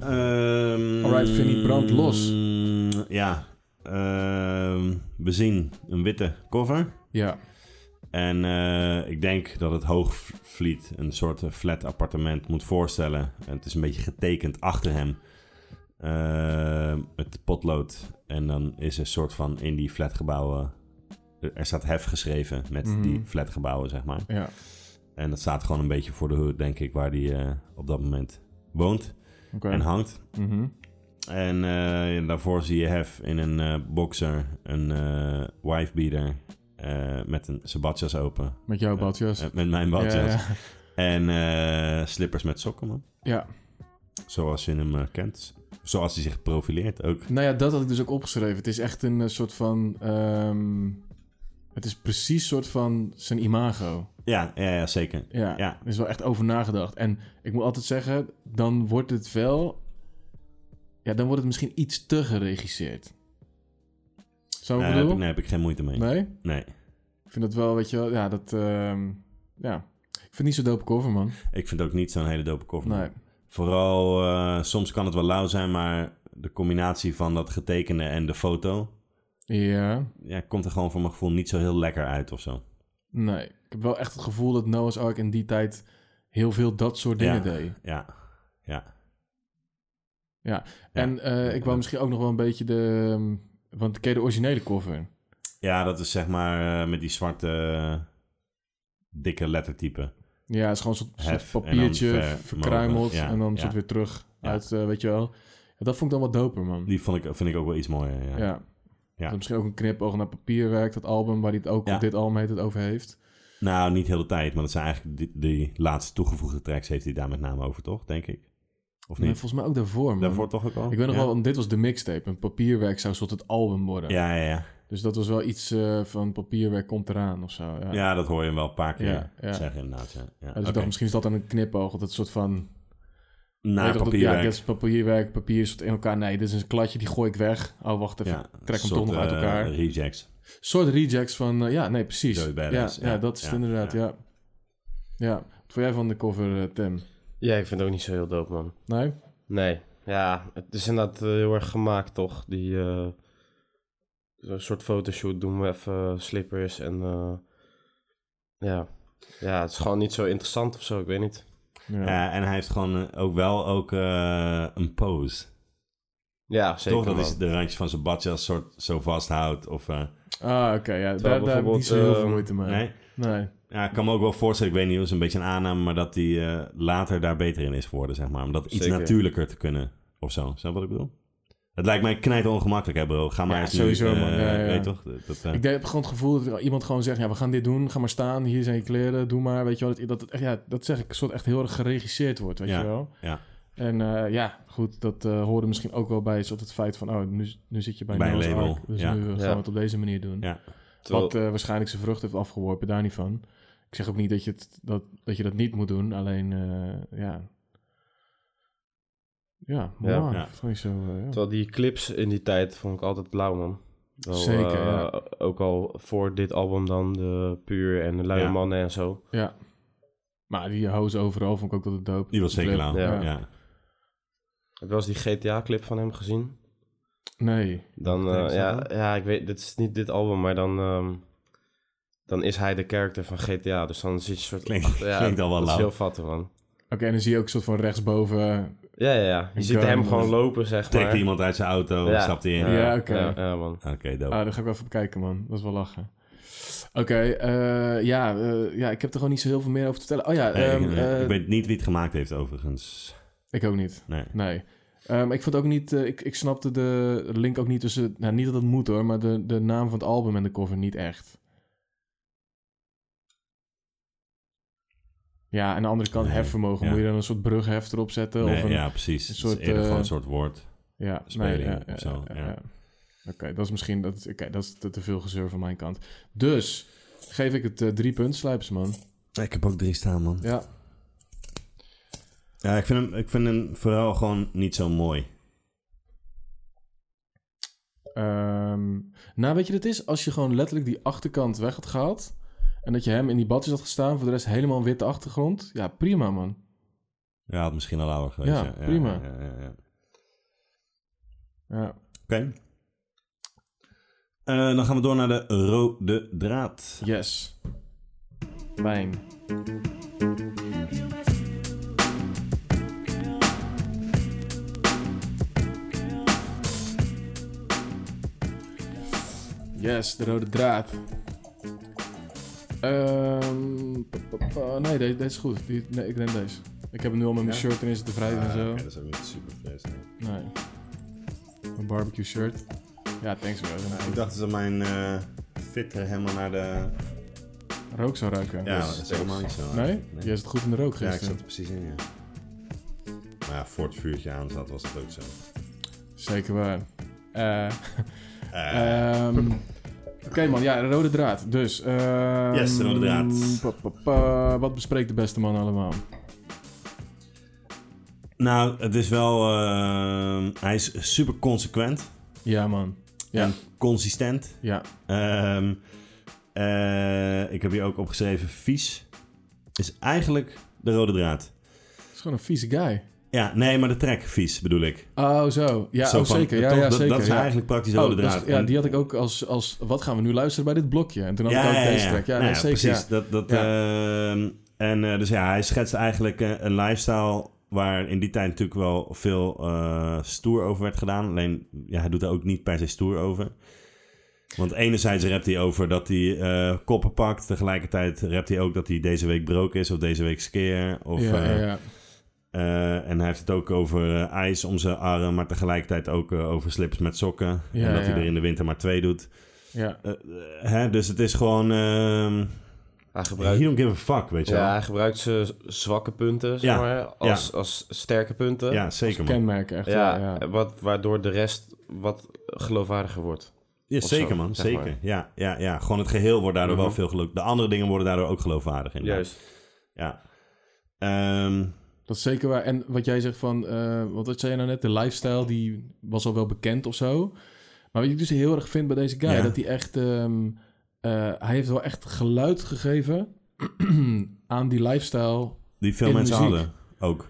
[SPEAKER 1] Ehm,
[SPEAKER 2] Alright, Vinnie, brand los.
[SPEAKER 1] Ja. Ehm, we zien een witte cover.
[SPEAKER 2] Ja.
[SPEAKER 1] En eh, ik denk dat het Hoogvliet een soort eh, flat appartement moet voorstellen. En het is een beetje getekend achter hem. eh, met potlood. En dan is een soort van in die flatgebouwen. eh, Er staat hef geschreven met
[SPEAKER 2] Mhm.
[SPEAKER 1] die flatgebouwen, zeg maar.
[SPEAKER 2] Ja.
[SPEAKER 1] En dat staat gewoon een beetje voor de hood, denk ik, waar die eh, op dat moment woont
[SPEAKER 2] Oké.
[SPEAKER 1] en hangt.
[SPEAKER 2] Mhm.
[SPEAKER 1] En eh, daarvoor zie je hef in een eh, boxer, een eh wifebeater eh, met een sabatjas open.
[SPEAKER 2] Met jouw
[SPEAKER 1] Eh,
[SPEAKER 2] badjas.
[SPEAKER 1] Eh, Met mijn badjas.
[SPEAKER 2] Ja, ja.
[SPEAKER 1] En eh, slippers met sokken, man.
[SPEAKER 2] Ja.
[SPEAKER 1] Zoals je hem eh, kent. Zoals hij zich profileert ook.
[SPEAKER 2] Nou ja, dat had ik dus ook opgeschreven. Het is echt een eh, soort van... ehm, het is precies soort van zijn imago.
[SPEAKER 1] Ja, ja, ja zeker.
[SPEAKER 2] Ja,
[SPEAKER 1] Ja.
[SPEAKER 2] er is wel echt over nagedacht. En ik moet altijd zeggen, dan wordt het wel... Ja, dan wordt het misschien iets te geregisseerd. Zo
[SPEAKER 1] Daar heb,
[SPEAKER 2] bedoel?
[SPEAKER 1] ik- Eh, nee, heb ik geen moeite mee. Nee.
[SPEAKER 2] nee? Ik vind dat wel, weet je wel... Ja, dat... ehm, ja. Ik vind het niet zo dope cover, man.
[SPEAKER 1] Ik vind het ook niet zo'n hele dope cover.
[SPEAKER 2] Nee.
[SPEAKER 1] Vooral, eh, soms kan het wel lauw zijn, maar de combinatie van dat getekende en de foto...
[SPEAKER 2] Ja.
[SPEAKER 1] Ja, komt er gewoon voor mijn gevoel niet zo heel lekker uit of zo.
[SPEAKER 2] Nee. Ik heb wel echt het gevoel dat Noah's Ark in die tijd heel veel dat soort dingen
[SPEAKER 1] Ja.
[SPEAKER 2] deed.
[SPEAKER 1] Ja,
[SPEAKER 2] En eh, ik wou misschien ook nog wel een beetje de... ehm, Want ik ken je de originele cover.
[SPEAKER 1] ja dat is zeg maar eh, met die zwarte, eh, dikke lettertype.
[SPEAKER 2] Ja, het is gewoon een soort,
[SPEAKER 1] Hef
[SPEAKER 2] soort
[SPEAKER 1] en dan
[SPEAKER 2] papiertje
[SPEAKER 1] ver-
[SPEAKER 2] verkruimeld
[SPEAKER 1] mogen. Ja,
[SPEAKER 2] en dan
[SPEAKER 1] ja.
[SPEAKER 2] soort weer terug
[SPEAKER 1] Ja.
[SPEAKER 2] uit, eh, weet je wel. Ja, dat vond ik dan wat doper, man.
[SPEAKER 1] Die vond ik, vind ik ook wel iets mooier, ja.
[SPEAKER 2] ja. Dat is misschien ook een knipoog naar papierwerk, dat album waar hij het ook
[SPEAKER 1] Ja.
[SPEAKER 2] op dit album heet het over heeft.
[SPEAKER 1] Nou, niet heel de tijd, maar dat zijn eigenlijk die, die laatste toegevoegde tracks heeft hij daar met name over, toch? Denk ik. Of
[SPEAKER 2] Nee,
[SPEAKER 1] niet?
[SPEAKER 2] volgens mij ook daarvoor, man.
[SPEAKER 1] Daarvoor toch ook al?
[SPEAKER 2] Ik weet nog
[SPEAKER 1] ja?
[SPEAKER 2] wel, want dit was de mixtape. Een papierwerk zou een soort het album worden.
[SPEAKER 1] Ja, ja, ja.
[SPEAKER 2] Dus dat was wel iets eh, van papierwerk komt eraan of zo. Ja.
[SPEAKER 1] Ja, dat hoor je hem wel een paar keer
[SPEAKER 2] Ja, ja.
[SPEAKER 1] zeggen inderdaad. Ja. Ja.
[SPEAKER 2] Ja, dus ik
[SPEAKER 1] Oké.
[SPEAKER 2] dacht, misschien is dat dan een knipoog. Dat het soort van...
[SPEAKER 1] Na
[SPEAKER 2] weet je toch, dat- Ja,
[SPEAKER 1] papierwerk.
[SPEAKER 2] dit is papierwerk. Papier is wat in elkaar. Nee, dit is een kladje, die gooi ik weg. Oh, wacht even.
[SPEAKER 1] Ja,
[SPEAKER 2] trek hem
[SPEAKER 1] soort,
[SPEAKER 2] toch nog uit
[SPEAKER 1] eh,
[SPEAKER 2] elkaar.
[SPEAKER 1] rejects.
[SPEAKER 2] soort rejects van... eh, ja, nee, precies.
[SPEAKER 1] Joey
[SPEAKER 2] Ja,
[SPEAKER 1] Badass,
[SPEAKER 2] ja,
[SPEAKER 1] ja,
[SPEAKER 2] dat is het
[SPEAKER 1] ja,
[SPEAKER 2] inderdaad, ja. ja. Wat vond jij van de cover, eh, Tim?
[SPEAKER 3] Ja, ik vind het ook niet zo heel dope, man.
[SPEAKER 2] Nee?
[SPEAKER 3] Nee, ja, het is inderdaad eh, heel erg gemaakt, toch? Die eh, zo'n soort fotoshoot doen we even slippers en eh, ja. ja, het is gewoon niet zo interessant of zo, ik weet niet.
[SPEAKER 2] Ja.
[SPEAKER 1] Ja, en hij heeft gewoon eh, ook wel ook, eh, een pose.
[SPEAKER 3] Ja, zeker.
[SPEAKER 1] Toch? Dat
[SPEAKER 3] man.
[SPEAKER 1] is de randje van zijn badjas soort zo vasthoudt. Of, eh,
[SPEAKER 2] Ah, oké. ja, daar, daar heb ik niet
[SPEAKER 3] bijvoorbeeld,
[SPEAKER 2] zo heel veel
[SPEAKER 3] eh,
[SPEAKER 2] moeite mee.
[SPEAKER 1] Nee?
[SPEAKER 2] Nee.
[SPEAKER 1] Ja, ik kan me ook wel voorstellen, ik weet niet, het is een beetje een aanname, maar dat hij eh, later daar beter in is geworden, zeg maar. Om dat iets
[SPEAKER 3] Zeker.
[SPEAKER 1] natuurlijker te kunnen, of zo. Snap je wat ik bedoel? Het lijkt mij knijt ongemakkelijk, hè bro. Ga maar
[SPEAKER 2] Ja,
[SPEAKER 1] eens
[SPEAKER 2] sowieso,
[SPEAKER 1] nu, eh,
[SPEAKER 2] man. Ja, ja.
[SPEAKER 1] Weet je toch? Dat, dat, eh,
[SPEAKER 2] Ik heb gewoon het gevoel dat iemand gewoon zegt... Ja, we gaan dit doen. Ga maar staan. Hier zijn je kleren. Doe maar. Weet je wel. Dat, dat, het echt- ja, dat zeg ik. een soort echt heel erg geregisseerd wordt. Weet
[SPEAKER 1] Ja,
[SPEAKER 2] je wel.
[SPEAKER 1] ja.
[SPEAKER 2] En eh, ja, goed. Dat eh hoorde misschien ook wel bij op het feit van... Oh, nu, nu zit je bij,
[SPEAKER 1] Bij een
[SPEAKER 2] Noah's
[SPEAKER 1] label,
[SPEAKER 2] Ark, dus
[SPEAKER 1] ja.
[SPEAKER 2] nu eh, gaan
[SPEAKER 3] Ja.
[SPEAKER 2] we het op deze manier doen.
[SPEAKER 1] Ja.
[SPEAKER 3] Terwijl-
[SPEAKER 2] Wat eh, waarschijnlijk zijn vrucht heeft afgeworpen. Daar niet van. Ik zeg ook niet dat je, het, dat, dat, je dat niet moet doen. Alleen, eh, ja... Ja, mooi.
[SPEAKER 3] Ja.
[SPEAKER 1] Ja.
[SPEAKER 2] Vond ik zo, eh, ja.
[SPEAKER 3] Terwijl die clips in die tijd vond ik altijd blauw, man. Wel,
[SPEAKER 2] Zeker,
[SPEAKER 3] eh,
[SPEAKER 2] ja.
[SPEAKER 3] Ook al voor dit album dan, de Puur en de Luie
[SPEAKER 1] Ja.
[SPEAKER 3] Mannen en zo.
[SPEAKER 2] Ja. Maar die hoes overal vond ik ook altijd dope.
[SPEAKER 1] Die was zeker
[SPEAKER 2] Flip,
[SPEAKER 1] lauw. Ja.
[SPEAKER 3] ja. Heb je wel eens die GTA-clip van hem gezien?
[SPEAKER 2] Nee.
[SPEAKER 3] Dan,
[SPEAKER 2] Wat
[SPEAKER 3] eh,
[SPEAKER 2] is dat
[SPEAKER 3] ja,
[SPEAKER 2] dan?
[SPEAKER 3] ja, ik weet, dit is niet dit album, maar dan, ehm, dan is hij de character van GTA. Dus dan zit je een soort...
[SPEAKER 1] Klinkt-
[SPEAKER 3] achter- ja,
[SPEAKER 1] klinkt al wel
[SPEAKER 3] Dat is
[SPEAKER 1] lauw.
[SPEAKER 3] heel vattig, man.
[SPEAKER 2] Oké, en dan zie je ook een soort van rechtsboven.
[SPEAKER 3] Ja, ja, ja. Je
[SPEAKER 2] Een
[SPEAKER 3] ziet hem
[SPEAKER 2] gun.
[SPEAKER 3] gewoon lopen, zeg
[SPEAKER 1] Trekt
[SPEAKER 3] maar.
[SPEAKER 1] iemand uit zijn auto,
[SPEAKER 3] Ja.
[SPEAKER 1] stapt hij in.
[SPEAKER 2] Ja, oké.
[SPEAKER 3] Ja, ja, man.
[SPEAKER 1] Oké, dope.
[SPEAKER 2] Ah, daar ga ik wel even bekijken, man. Dat is wel lachen. Oké, eh, ja, eh, ja, ik heb er gewoon niet zo heel veel meer over te vertellen. Oh ja,
[SPEAKER 1] Nee,
[SPEAKER 2] ehm,
[SPEAKER 1] ik, eh,
[SPEAKER 2] eh,
[SPEAKER 1] ik weet niet wie het gemaakt heeft, overigens.
[SPEAKER 2] ik ook niet.
[SPEAKER 1] Nee.
[SPEAKER 2] Nee. Ehm, ik vond ook niet, eh, ik, ik snapte de link ook niet tussen, nou niet dat het moet hoor, maar de, de naam van het album en de cover niet echt. Ja, aan de andere kant
[SPEAKER 1] Nee,
[SPEAKER 2] hefvermogen.
[SPEAKER 1] ja.
[SPEAKER 2] Moet je dan een soort brugheft erop zetten?
[SPEAKER 1] Nee,
[SPEAKER 2] of een,
[SPEAKER 1] ja, precies.
[SPEAKER 2] een
[SPEAKER 1] Het
[SPEAKER 2] soort,
[SPEAKER 1] is eerder
[SPEAKER 2] eh,
[SPEAKER 1] gewoon een soort woord.
[SPEAKER 2] Ja,
[SPEAKER 1] speling
[SPEAKER 2] ja,
[SPEAKER 1] of zo, ja.
[SPEAKER 2] Oké, dat is misschien dat, oké, dat is te, te veel gezeur van mijn kant. Dus geef ik het eh, drie puntslijpers, man.
[SPEAKER 1] Ik heb ook drie staan, man.
[SPEAKER 2] Ja,
[SPEAKER 1] Ja, ik vind hem, ik vind hem vooral gewoon niet zo mooi.
[SPEAKER 2] ehm, nou weet je, dat is als je gewoon letterlijk die achterkant weg had gehaald en dat je hem in die badjes had gestaan, voor de rest helemaal witte achtergrond. Ja, prima, man.
[SPEAKER 1] Ja, had misschien al ouder geweest.
[SPEAKER 2] Ja, prima.
[SPEAKER 1] ja, ja, ja.
[SPEAKER 2] Ja,
[SPEAKER 1] Oké. Eh, dan gaan we door naar de rode draad.
[SPEAKER 2] yes. Wijn. Yes, de rode draad. Ehm, pa- pa- pa- nee, deze, deze is goed. Die, nee, ik neem deze. Ik heb hem nu al met mijn
[SPEAKER 1] Ja? Ah,
[SPEAKER 2] shirt erin zitten wrijven en zo.
[SPEAKER 1] dat is ook niet super fris.
[SPEAKER 2] Nee. Mijn barbecue shirt. Ja, thanks bro.
[SPEAKER 1] Ik dacht dat mijn eh fit er helemaal naar de...
[SPEAKER 2] Rook zou ruiken.
[SPEAKER 1] Ja,
[SPEAKER 2] Dus-
[SPEAKER 1] dat is helemaal niet zo.
[SPEAKER 2] Nee?
[SPEAKER 1] eigenlijk.
[SPEAKER 2] Jij zit goed in de rook
[SPEAKER 1] Ja, ik
[SPEAKER 2] gisteren.
[SPEAKER 1] zat er precies in, ja. Maar ja, voor het vuurtje aan zat was het ook zo.
[SPEAKER 2] Zeker waar. Eh,
[SPEAKER 1] Eh,
[SPEAKER 2] ehm, Oké man, ja, de rode draad. Dus... ehm,
[SPEAKER 1] Yes, de rode draad.
[SPEAKER 2] pa, pa, pa, wat bespreekt de beste man allemaal?
[SPEAKER 1] Nou, het is wel... eh, hij is super consequent.
[SPEAKER 2] Ja man. Ja.
[SPEAKER 1] En consistent.
[SPEAKER 2] Ja.
[SPEAKER 1] Ehm, eh, ik heb hier ook opgeschreven: vies is eigenlijk de rode draad.
[SPEAKER 2] Het is gewoon een vieze guy.
[SPEAKER 1] Ja, nee, maar de track vies bedoel ik.
[SPEAKER 2] Oh zo. Ja,
[SPEAKER 1] Zo
[SPEAKER 2] oh,
[SPEAKER 1] van, eh,
[SPEAKER 2] zeker. Ja,
[SPEAKER 1] toch,
[SPEAKER 2] ja,
[SPEAKER 1] dat,
[SPEAKER 2] zeker.
[SPEAKER 1] dat is
[SPEAKER 2] ja.
[SPEAKER 1] eigenlijk praktisch de
[SPEAKER 2] Oh,
[SPEAKER 1] rode
[SPEAKER 2] dat is-
[SPEAKER 1] draad.
[SPEAKER 2] ja,
[SPEAKER 1] En-
[SPEAKER 2] die had ik ook als, als... Wat gaan we nu luisteren bij dit blokje? En toen had ik ook deze track. Ja,
[SPEAKER 1] Nou
[SPEAKER 2] nee, zeker.
[SPEAKER 1] precies.
[SPEAKER 2] ja.
[SPEAKER 1] Dat, dat, ehm, en eh, dus ja, hij schetst eigenlijk eh, een lifestyle waar in die tijd natuurlijk wel veel eh, stoer over werd gedaan. Alleen, ja, hij doet er ook niet per se stoer over. Want enerzijds rapt hij over dat hij eh, koppen pakt. Tegelijkertijd rapt hij ook dat hij deze week broke is of deze week skeer. Of,
[SPEAKER 2] ja,
[SPEAKER 1] eh,
[SPEAKER 2] ja, ja.
[SPEAKER 1] eh, en hij heeft het ook over eh, ijs om zijn arm, maar tegelijkertijd ook eh, over slips met sokken.
[SPEAKER 2] Ja,
[SPEAKER 1] en dat hij
[SPEAKER 2] ja.
[SPEAKER 1] er in de winter maar twee doet.
[SPEAKER 2] Ja.
[SPEAKER 1] Eh, eh, hè? Dus het is gewoon... ehm,
[SPEAKER 3] Hij
[SPEAKER 1] He
[SPEAKER 3] gebruikt,
[SPEAKER 1] don't give a fuck, weet je
[SPEAKER 3] ja,
[SPEAKER 1] wel.
[SPEAKER 3] hij gebruikt zijn z- zwakke punten, zeg
[SPEAKER 1] Ja,
[SPEAKER 3] maar, als, als sterke punten.
[SPEAKER 1] Ja, zeker man.
[SPEAKER 2] Kenmerk echt.
[SPEAKER 3] Ja,
[SPEAKER 2] Ja, ja.
[SPEAKER 3] Wat, waardoor de rest wat geloofwaardiger wordt.
[SPEAKER 1] Ja,
[SPEAKER 3] Of zo,
[SPEAKER 1] zeker man,
[SPEAKER 3] zeg
[SPEAKER 1] zeker.
[SPEAKER 3] maar.
[SPEAKER 1] Ja, ja, ja, gewoon het geheel wordt daardoor wel
[SPEAKER 3] Mhm.
[SPEAKER 1] veel geluk. De andere dingen worden daardoor ook geloofwaardig. Inderdaad.
[SPEAKER 3] Juist.
[SPEAKER 1] Ja. Ehm,
[SPEAKER 2] Dat is zeker waar. En wat jij zegt van, eh, wat wat zei je nou net, de lifestyle, die was al wel bekend of zo. Maar wat ik dus heel erg vind bij deze guy,
[SPEAKER 1] Ja.
[SPEAKER 2] dat hij echt, ehm, eh, hij heeft wel echt geluid gegeven aan die lifestyle.
[SPEAKER 1] die veel
[SPEAKER 2] In
[SPEAKER 1] mensen
[SPEAKER 2] muziek.
[SPEAKER 1] hadden ook.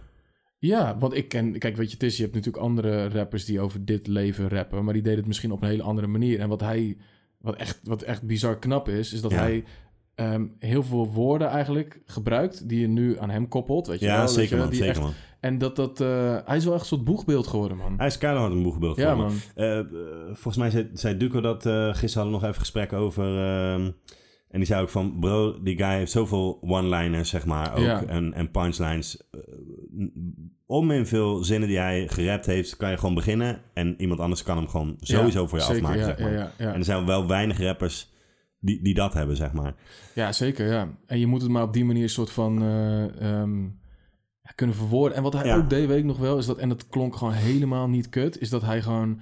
[SPEAKER 2] Ja, want ik ken, kijk, weet je, het is, je hebt natuurlijk andere rappers die over dit leven rappen, maar die deden het misschien op een hele andere manier. En wat hij, wat echt, wat echt bizar knap is, is dat
[SPEAKER 1] Ja.
[SPEAKER 2] hij ehm, heel veel woorden eigenlijk gebruikt die je nu aan hem koppelt. Weet je
[SPEAKER 1] Ja,
[SPEAKER 2] wel, weet je
[SPEAKER 1] zeker
[SPEAKER 2] wel,
[SPEAKER 1] man,
[SPEAKER 2] die
[SPEAKER 1] zeker
[SPEAKER 2] echt
[SPEAKER 1] man.
[SPEAKER 2] En dat dat... eh, hij is wel echt een soort boegbeeld geworden, man.
[SPEAKER 1] Hij is keihard een boegbeeld
[SPEAKER 2] ja,
[SPEAKER 1] geworden.
[SPEAKER 2] man.
[SPEAKER 1] Eh, eh, volgens mij zei, zei Duco dat eh, gisteren hadden we nog even gesprek over. ehm, en die zei ook van, bro, die guy heeft zoveel one-liners, zeg maar, ook.
[SPEAKER 2] Ja.
[SPEAKER 1] En, en punchlines. Eh, n- om in veel zinnen die hij gerapt heeft, kan je gewoon beginnen. En iemand anders kan hem gewoon sowieso
[SPEAKER 2] Ja,
[SPEAKER 1] voor je
[SPEAKER 2] zeker,
[SPEAKER 1] afmaken,
[SPEAKER 2] ja,
[SPEAKER 1] zeg maar.
[SPEAKER 2] Ja, ja, ja.
[SPEAKER 1] En er zijn wel weinig rappers die, die dat hebben, zeg maar.
[SPEAKER 2] Ja, zeker, ja. En je moet het maar op die manier soort van... eh, ehm, ja, kunnen verwoorden. En wat hij
[SPEAKER 1] Ja.
[SPEAKER 2] ook deed, weet ik nog wel, is dat... En dat klonk gewoon helemaal niet kut. Is dat hij gewoon een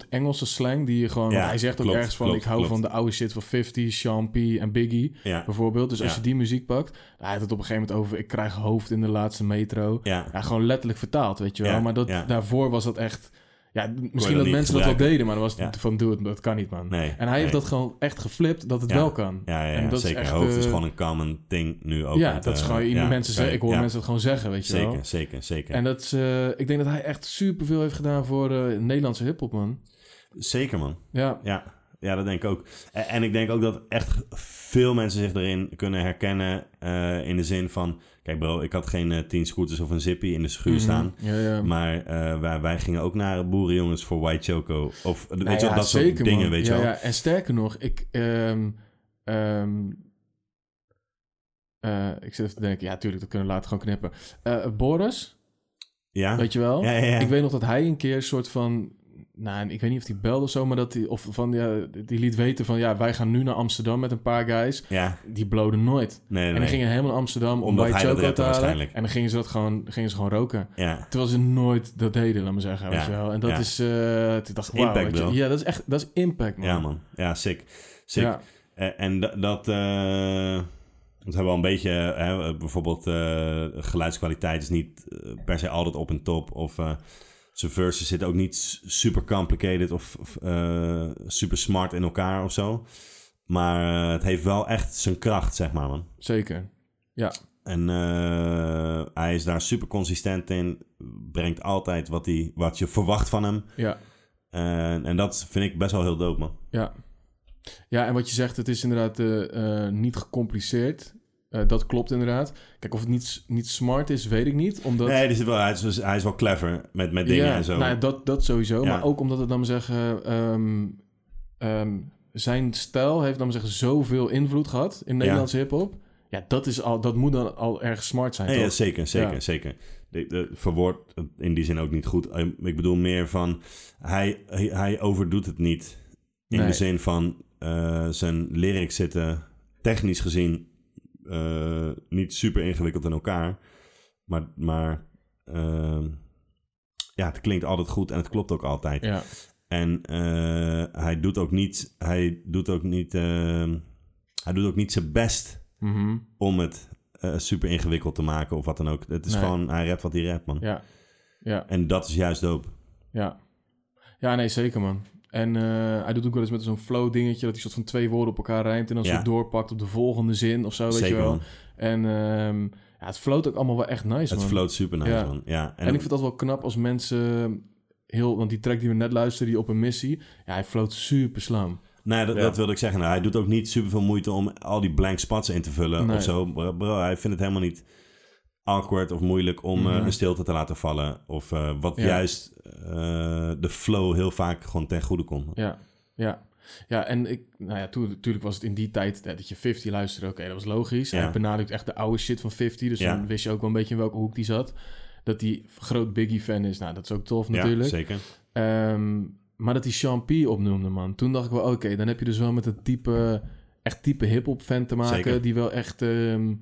[SPEAKER 2] soort Engelse slang die je gewoon...
[SPEAKER 1] Ja,
[SPEAKER 2] want hij zegt ook
[SPEAKER 1] klopt,
[SPEAKER 2] ergens van...
[SPEAKER 1] klopt,
[SPEAKER 2] ik hou
[SPEAKER 1] klopt.
[SPEAKER 2] van de oude shit van 50, Sean P en Biggie
[SPEAKER 1] Ja,
[SPEAKER 2] bijvoorbeeld. Dus als
[SPEAKER 1] Ja.
[SPEAKER 2] je die muziek pakt... Hij had het op een gegeven moment over... Ik krijg hoofd in de laatste metro.
[SPEAKER 1] ja.
[SPEAKER 2] Ja, gewoon letterlijk vertaald, weet je wel.
[SPEAKER 1] Ja,
[SPEAKER 2] maar dat,
[SPEAKER 1] ja.
[SPEAKER 2] daarvoor was dat echt... Ja, d-
[SPEAKER 1] dat
[SPEAKER 2] misschien dat
[SPEAKER 1] niet
[SPEAKER 2] mensen dat wel
[SPEAKER 1] gebruiken.
[SPEAKER 2] deden, maar dan was het
[SPEAKER 1] Ja.
[SPEAKER 2] van doe het, dat kan niet, man.
[SPEAKER 1] Nee,
[SPEAKER 2] en hij heeft
[SPEAKER 1] nee.
[SPEAKER 2] dat gewoon echt geflipt dat het
[SPEAKER 1] Ja,
[SPEAKER 2] wel kan.
[SPEAKER 1] Ja, ja,
[SPEAKER 2] en
[SPEAKER 1] ja,
[SPEAKER 2] dat is
[SPEAKER 1] zeker.
[SPEAKER 2] echt,
[SPEAKER 1] Hoofd is
[SPEAKER 2] eh,
[SPEAKER 1] gewoon een common thing nu ook.
[SPEAKER 2] ja,
[SPEAKER 1] met,
[SPEAKER 2] dat is
[SPEAKER 1] eh,
[SPEAKER 2] gewoon,
[SPEAKER 1] ja,
[SPEAKER 2] iemand mensen
[SPEAKER 1] kan je-
[SPEAKER 2] zeggen, ik hoor
[SPEAKER 1] ja,
[SPEAKER 2] mensen het gewoon zeggen, weet je
[SPEAKER 1] Zeker,
[SPEAKER 2] wel.
[SPEAKER 1] zeker, zeker.
[SPEAKER 2] En dat is, eh, ik denk dat hij echt superveel heeft gedaan voor eh, Nederlandse hip-hop, man.
[SPEAKER 1] Zeker, man.
[SPEAKER 2] Ja,
[SPEAKER 1] Ja, ja, dat denk ik ook. En, en ik denk ook dat echt veel mensen zich erin kunnen herkennen. eh, in de zin van: kijk, bro, ik had geen eh, tien scooters of een zippy in de schuur
[SPEAKER 2] Mhm.
[SPEAKER 1] staan.
[SPEAKER 2] Ja, ja.
[SPEAKER 1] Maar eh, wij, wij gingen ook naar boerenjongens voor White Choco. Of eh, weet
[SPEAKER 2] Nou
[SPEAKER 1] je wel,
[SPEAKER 2] ja,
[SPEAKER 1] dat
[SPEAKER 2] zeker,
[SPEAKER 1] soort dingen,
[SPEAKER 2] man.
[SPEAKER 1] weet
[SPEAKER 2] ja,
[SPEAKER 1] je wel.
[SPEAKER 2] Ja. En sterker nog, ik... ehm, ehm, eh, ik zit even te denken, ja, tuurlijk, dat kunnen we later gewoon knippen. Eh, Boris,
[SPEAKER 1] Ja,
[SPEAKER 2] weet je wel?
[SPEAKER 1] ja, ja, ja.
[SPEAKER 2] Ik weet nog dat hij een keer een soort van... Nou, ik weet niet of hij belde of zo, maar dat hij... Of van, ja, die liet weten van... Ja, wij gaan nu naar Amsterdam met een paar guys.
[SPEAKER 1] ja,
[SPEAKER 2] Die bloden nooit.
[SPEAKER 1] nee, nee.
[SPEAKER 2] En die
[SPEAKER 1] nee.
[SPEAKER 2] gingen helemaal naar Amsterdam om
[SPEAKER 1] Omdat
[SPEAKER 2] bij
[SPEAKER 1] hij dat
[SPEAKER 2] Choco te
[SPEAKER 1] repte
[SPEAKER 2] halen.
[SPEAKER 1] waarschijnlijk.
[SPEAKER 2] En dan gingen ze dat gewoon, gingen ze gewoon roken.
[SPEAKER 1] Ja,
[SPEAKER 2] Terwijl ze nooit dat deden, laat maar zeggen.
[SPEAKER 1] Ja,
[SPEAKER 2] Weet je wel. En dat
[SPEAKER 1] ja.
[SPEAKER 2] is... eh toen dacht ik, wauw.
[SPEAKER 1] Impact
[SPEAKER 2] weet je-
[SPEAKER 1] wel.
[SPEAKER 2] Ja, dat is echt... Dat is impact, man.
[SPEAKER 1] ja, man. Ja, sick. Sick.
[SPEAKER 2] Ja,
[SPEAKER 1] Eh, En da- dat. eh want we hebben wel een beetje. Hè, eh, bijvoorbeeld. eh, geluidskwaliteit is niet eh, per se altijd op en top. Of. eh zijn verses zitten ook niet s- super complicated. Of. of, eh, super smart in elkaar of zo. Maar eh, het heeft wel echt zijn kracht, zeg maar, man.
[SPEAKER 2] zeker.
[SPEAKER 1] En eh, hij is daar super consistent in. Brengt altijd wat, hij, wat je verwacht van hem.
[SPEAKER 2] Ja,
[SPEAKER 1] En- en dat vind ik best wel heel dope, man.
[SPEAKER 2] ja. Ja, en wat je zegt, het is inderdaad eh, eh, niet gecompliceerd. Eh, dat klopt inderdaad. Kijk, of het niet, niet smart is, weet ik niet. Omdat...
[SPEAKER 1] Nee, er zit wel, hij, is, hij is wel clever met, met dingen
[SPEAKER 2] ja,
[SPEAKER 1] en zo.
[SPEAKER 2] Nou, ja, dat, dat sowieso.
[SPEAKER 1] Ja.
[SPEAKER 2] Maar ook omdat het, dan maar zeggen... ehm, ehm, zijn stijl heeft, dan maar zeggen, zoveel invloed gehad in Nederlandse hiphop. Ja, dat, is al, dat moet dan al erg smart zijn,
[SPEAKER 1] Ja, ja,
[SPEAKER 2] toch?
[SPEAKER 1] zeker, zeker,
[SPEAKER 2] Ja.
[SPEAKER 1] zeker. De, de, verwoord het in die zin ook niet goed. Eh, Ik bedoel meer van, hij, hij, hij overdoet het niet. In
[SPEAKER 2] Nee.
[SPEAKER 1] de zin van, eh, zijn lyrics zitten technisch gezien eh, niet super ingewikkeld in elkaar. Maar, maar ehm, ja, het klinkt altijd goed en het klopt ook altijd.
[SPEAKER 2] Ja,
[SPEAKER 1] En eh, hij doet ook niet, hij doet ook niet, ehm, hij doet ook niet zijn best
[SPEAKER 2] Mhm.
[SPEAKER 1] om het eh, super ingewikkeld te maken of wat dan ook. Het is
[SPEAKER 2] Nee.
[SPEAKER 1] gewoon, hij rapt wat hij rapt, man.
[SPEAKER 2] ja, ja,
[SPEAKER 1] En dat is juist dope.
[SPEAKER 2] ja. Ja, nee, zeker, man. En eh, hij doet ook wel eens met zo'n flow dingetje... dat hij soort van twee woorden op elkaar rijmt... en dan
[SPEAKER 1] Ja.
[SPEAKER 2] zo doorpakt op de volgende zin of zo, weet
[SPEAKER 1] Zeker,
[SPEAKER 2] je wel.
[SPEAKER 1] man.
[SPEAKER 2] En ehm, ja, het floot ook allemaal wel echt nice,
[SPEAKER 1] Het
[SPEAKER 2] man.
[SPEAKER 1] float super nice,
[SPEAKER 2] Ja.
[SPEAKER 1] man. Ja,
[SPEAKER 2] En, ik vind dat wel knap als mensen heel... Want die track die we net luisterden, die op een missie... Ja, hij floot super slam.
[SPEAKER 1] nee, dat,
[SPEAKER 3] Ja.
[SPEAKER 1] dat wilde ik zeggen. Nou, hij doet ook niet super veel moeite om al die blank spots in te vullen
[SPEAKER 2] Nee.
[SPEAKER 1] of zo. Bro, bro, hij vindt het helemaal niet awkward of moeilijk om
[SPEAKER 2] Mhm.
[SPEAKER 1] eh, een stilte te laten vallen. Of eh, wat
[SPEAKER 2] Ja.
[SPEAKER 1] juist eh, de flow heel vaak gewoon ten goede komt.
[SPEAKER 2] Ja, ja. Ja, en ik, nou ja, toen, natuurlijk was het in die tijd hè, dat je 50 luisterde. Oké, dat was logisch.
[SPEAKER 1] Ja.
[SPEAKER 2] Hij benadrukt echt de oude shit van 50. Dus
[SPEAKER 1] Ja.
[SPEAKER 2] dan wist je ook wel een beetje in welke hoek die zat. Dat hij groot Biggie-fan is. Nou, dat is ook tof
[SPEAKER 1] Ja,
[SPEAKER 2] natuurlijk.
[SPEAKER 1] zeker.
[SPEAKER 2] Ehm, maar dat hij Sean P opnoemde, man. Toen dacht ik wel, oké, dan heb je dus wel met een type, echt type hip-hop fan te maken.
[SPEAKER 1] Zeker.
[SPEAKER 2] Die wel echt ehm,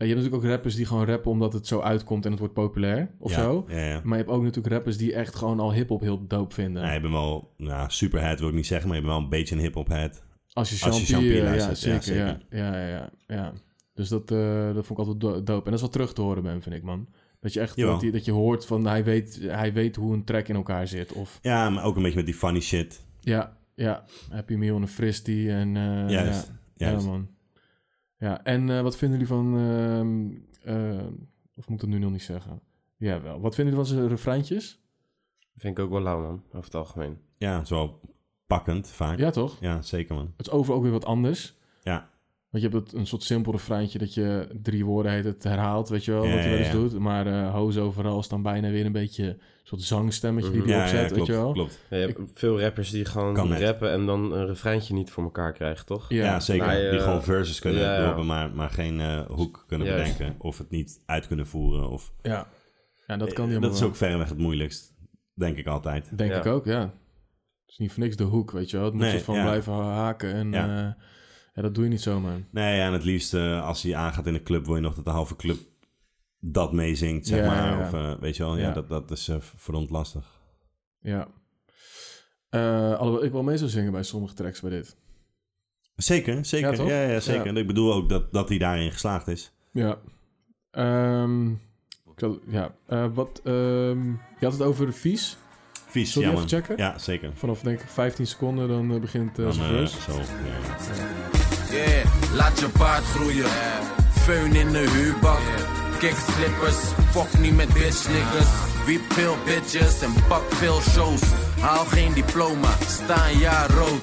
[SPEAKER 2] je hebt natuurlijk ook rappers die gewoon rappen omdat het zo uitkomt en het wordt populair of
[SPEAKER 1] ja,
[SPEAKER 2] zo.
[SPEAKER 1] Ja, ja.
[SPEAKER 2] Maar je hebt ook natuurlijk rappers die echt gewoon al hip-hop heel dope vinden.
[SPEAKER 1] Ja, je bent wel, ja, superhead wil ik niet zeggen, maar je bent wel een beetje een hip-hop head.
[SPEAKER 2] Als je
[SPEAKER 1] Als je
[SPEAKER 2] champion,
[SPEAKER 1] Champy
[SPEAKER 2] ja,
[SPEAKER 1] luistert,
[SPEAKER 2] zeker,
[SPEAKER 1] ja,
[SPEAKER 2] ja, zeker. Ja, ja, ja, ja. Dus dat, eh, dat vond ik altijd do- dope. En dat is wel terug te horen bij hem, vind ik, man. Dat je echt
[SPEAKER 1] Jawel.
[SPEAKER 2] dat, je- dat je hoort van hij weet, hij weet hoe een track in elkaar zit. Of
[SPEAKER 1] Ja, maar ook een beetje met die funny shit.
[SPEAKER 2] ja, ja, Happy Meal en een Fristie en... eh,
[SPEAKER 1] Juist,
[SPEAKER 2] Ja,
[SPEAKER 1] Juist.
[SPEAKER 2] ja, man. Ja, en eh, wat vinden jullie van... ehm, ehm, of moet ik dat nu nog niet zeggen? Jawel. Wat vinden jullie van zijn refreintjes?
[SPEAKER 3] Vind ik ook wel lauw, man. Over het algemeen.
[SPEAKER 1] Ja, het is wel pakkend vaak. Ja,
[SPEAKER 2] Ja, toch?
[SPEAKER 1] zeker man.
[SPEAKER 2] Het is over ook weer wat anders.
[SPEAKER 1] Ja.
[SPEAKER 2] Want je hebt dat, een soort simpel refreintje dat je drie woorden heet het herhaalt, weet je wel,
[SPEAKER 1] Ja,
[SPEAKER 2] wat je wel eens
[SPEAKER 1] ja, ja.
[SPEAKER 2] doet. Maar eh hoes overal is dan bijna weer een beetje een soort zangstemmetje die
[SPEAKER 3] Mhm.
[SPEAKER 2] erop
[SPEAKER 1] Ja, ja,
[SPEAKER 2] zet, weet
[SPEAKER 1] klopt,
[SPEAKER 2] je wel.
[SPEAKER 1] klopt.
[SPEAKER 3] Ja, je hebt veel rappers die gewoon
[SPEAKER 1] Kan net.
[SPEAKER 3] rappen en dan een refreintje niet voor elkaar krijgen, toch?
[SPEAKER 1] Ja,
[SPEAKER 2] Ja,
[SPEAKER 1] zeker.
[SPEAKER 3] Maar, eh,
[SPEAKER 1] die gewoon verses kunnen
[SPEAKER 3] ja, ja.
[SPEAKER 1] droppen, maar, maar geen eh, hoek kunnen
[SPEAKER 3] Juist.
[SPEAKER 1] bedenken. Of het niet uit kunnen voeren. Of...
[SPEAKER 2] ja. ja, dat kan
[SPEAKER 1] Eh,
[SPEAKER 2] helemaal
[SPEAKER 1] dat is ook verreweg het moeilijkst, denk ik altijd.
[SPEAKER 2] Denk
[SPEAKER 3] Ja.
[SPEAKER 2] ik ook, ja. Het is niet voor niks de hoek, weet je wel. Het moet
[SPEAKER 1] Nee,
[SPEAKER 2] soort van
[SPEAKER 1] ja.
[SPEAKER 2] blijven haken en
[SPEAKER 1] Ja.
[SPEAKER 2] ja. ja, dat doe je niet zomaar.
[SPEAKER 1] Nee, ja, en het liefst eh, als hij aangaat in de club, wil je nog dat de halve club dat meezingt, zeg
[SPEAKER 2] Ja,
[SPEAKER 1] maar.
[SPEAKER 2] ja, ja.
[SPEAKER 1] Of eh, weet je wel, ja,
[SPEAKER 2] Ja.
[SPEAKER 1] dat, dat is eh, verdomd lastig.
[SPEAKER 2] Ja. Eh, alhoewel ik wel mee zou zingen bij sommige tracks bij dit.
[SPEAKER 1] Zeker, zeker.
[SPEAKER 2] Ja,
[SPEAKER 1] Ja,
[SPEAKER 2] toch?
[SPEAKER 1] ja, zeker.
[SPEAKER 2] Ja.
[SPEAKER 1] En Ik bedoel ook dat, dat hij daarin geslaagd is.
[SPEAKER 2] Ja. Ehm, ik zal- ja. eh, wat, ehm, je had het over vies.
[SPEAKER 1] Vies,
[SPEAKER 2] Zal je
[SPEAKER 1] ja
[SPEAKER 2] even
[SPEAKER 1] man.
[SPEAKER 2] checken?
[SPEAKER 1] Ja, zeker.
[SPEAKER 2] Vanaf denk ik 15 seconden dan eh, begint eh,
[SPEAKER 1] Dan,
[SPEAKER 2] zijn
[SPEAKER 1] eh,
[SPEAKER 2] verse.
[SPEAKER 1] zo, ja.
[SPEAKER 4] Yeah, laat je baard groeien. Feun in de huurbak. Kickslippers, fuck niet met bitch niggas. Wiep veel bitches en pak veel shows. Haal geen diploma, sta een jaar rood.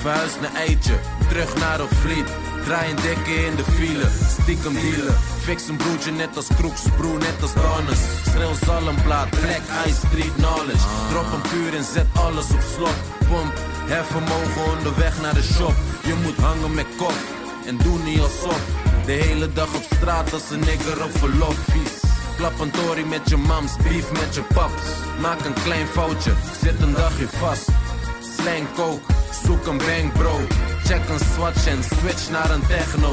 [SPEAKER 4] Verhuis naar Eitje, terug naar de vliet. Draai een dikke in de file, stiekem dealen. Fix een broertje net als Kroeks, broer net als Donus. Schreeuw zalmplaat, black eye street knowledge. Drop een puur en zet alles op slot. Pomp, hervermogen onderweg naar de shop. Je moet hangen met kop en doe niet alsof. De hele dag op straat als een nigger op verlof. Vies. Klap een tory met je mams, beef met je paps. Maak een klein foutje, zit een dagje vast. Slang coke, zoek een bank bro Check een swatch en switch naar een techno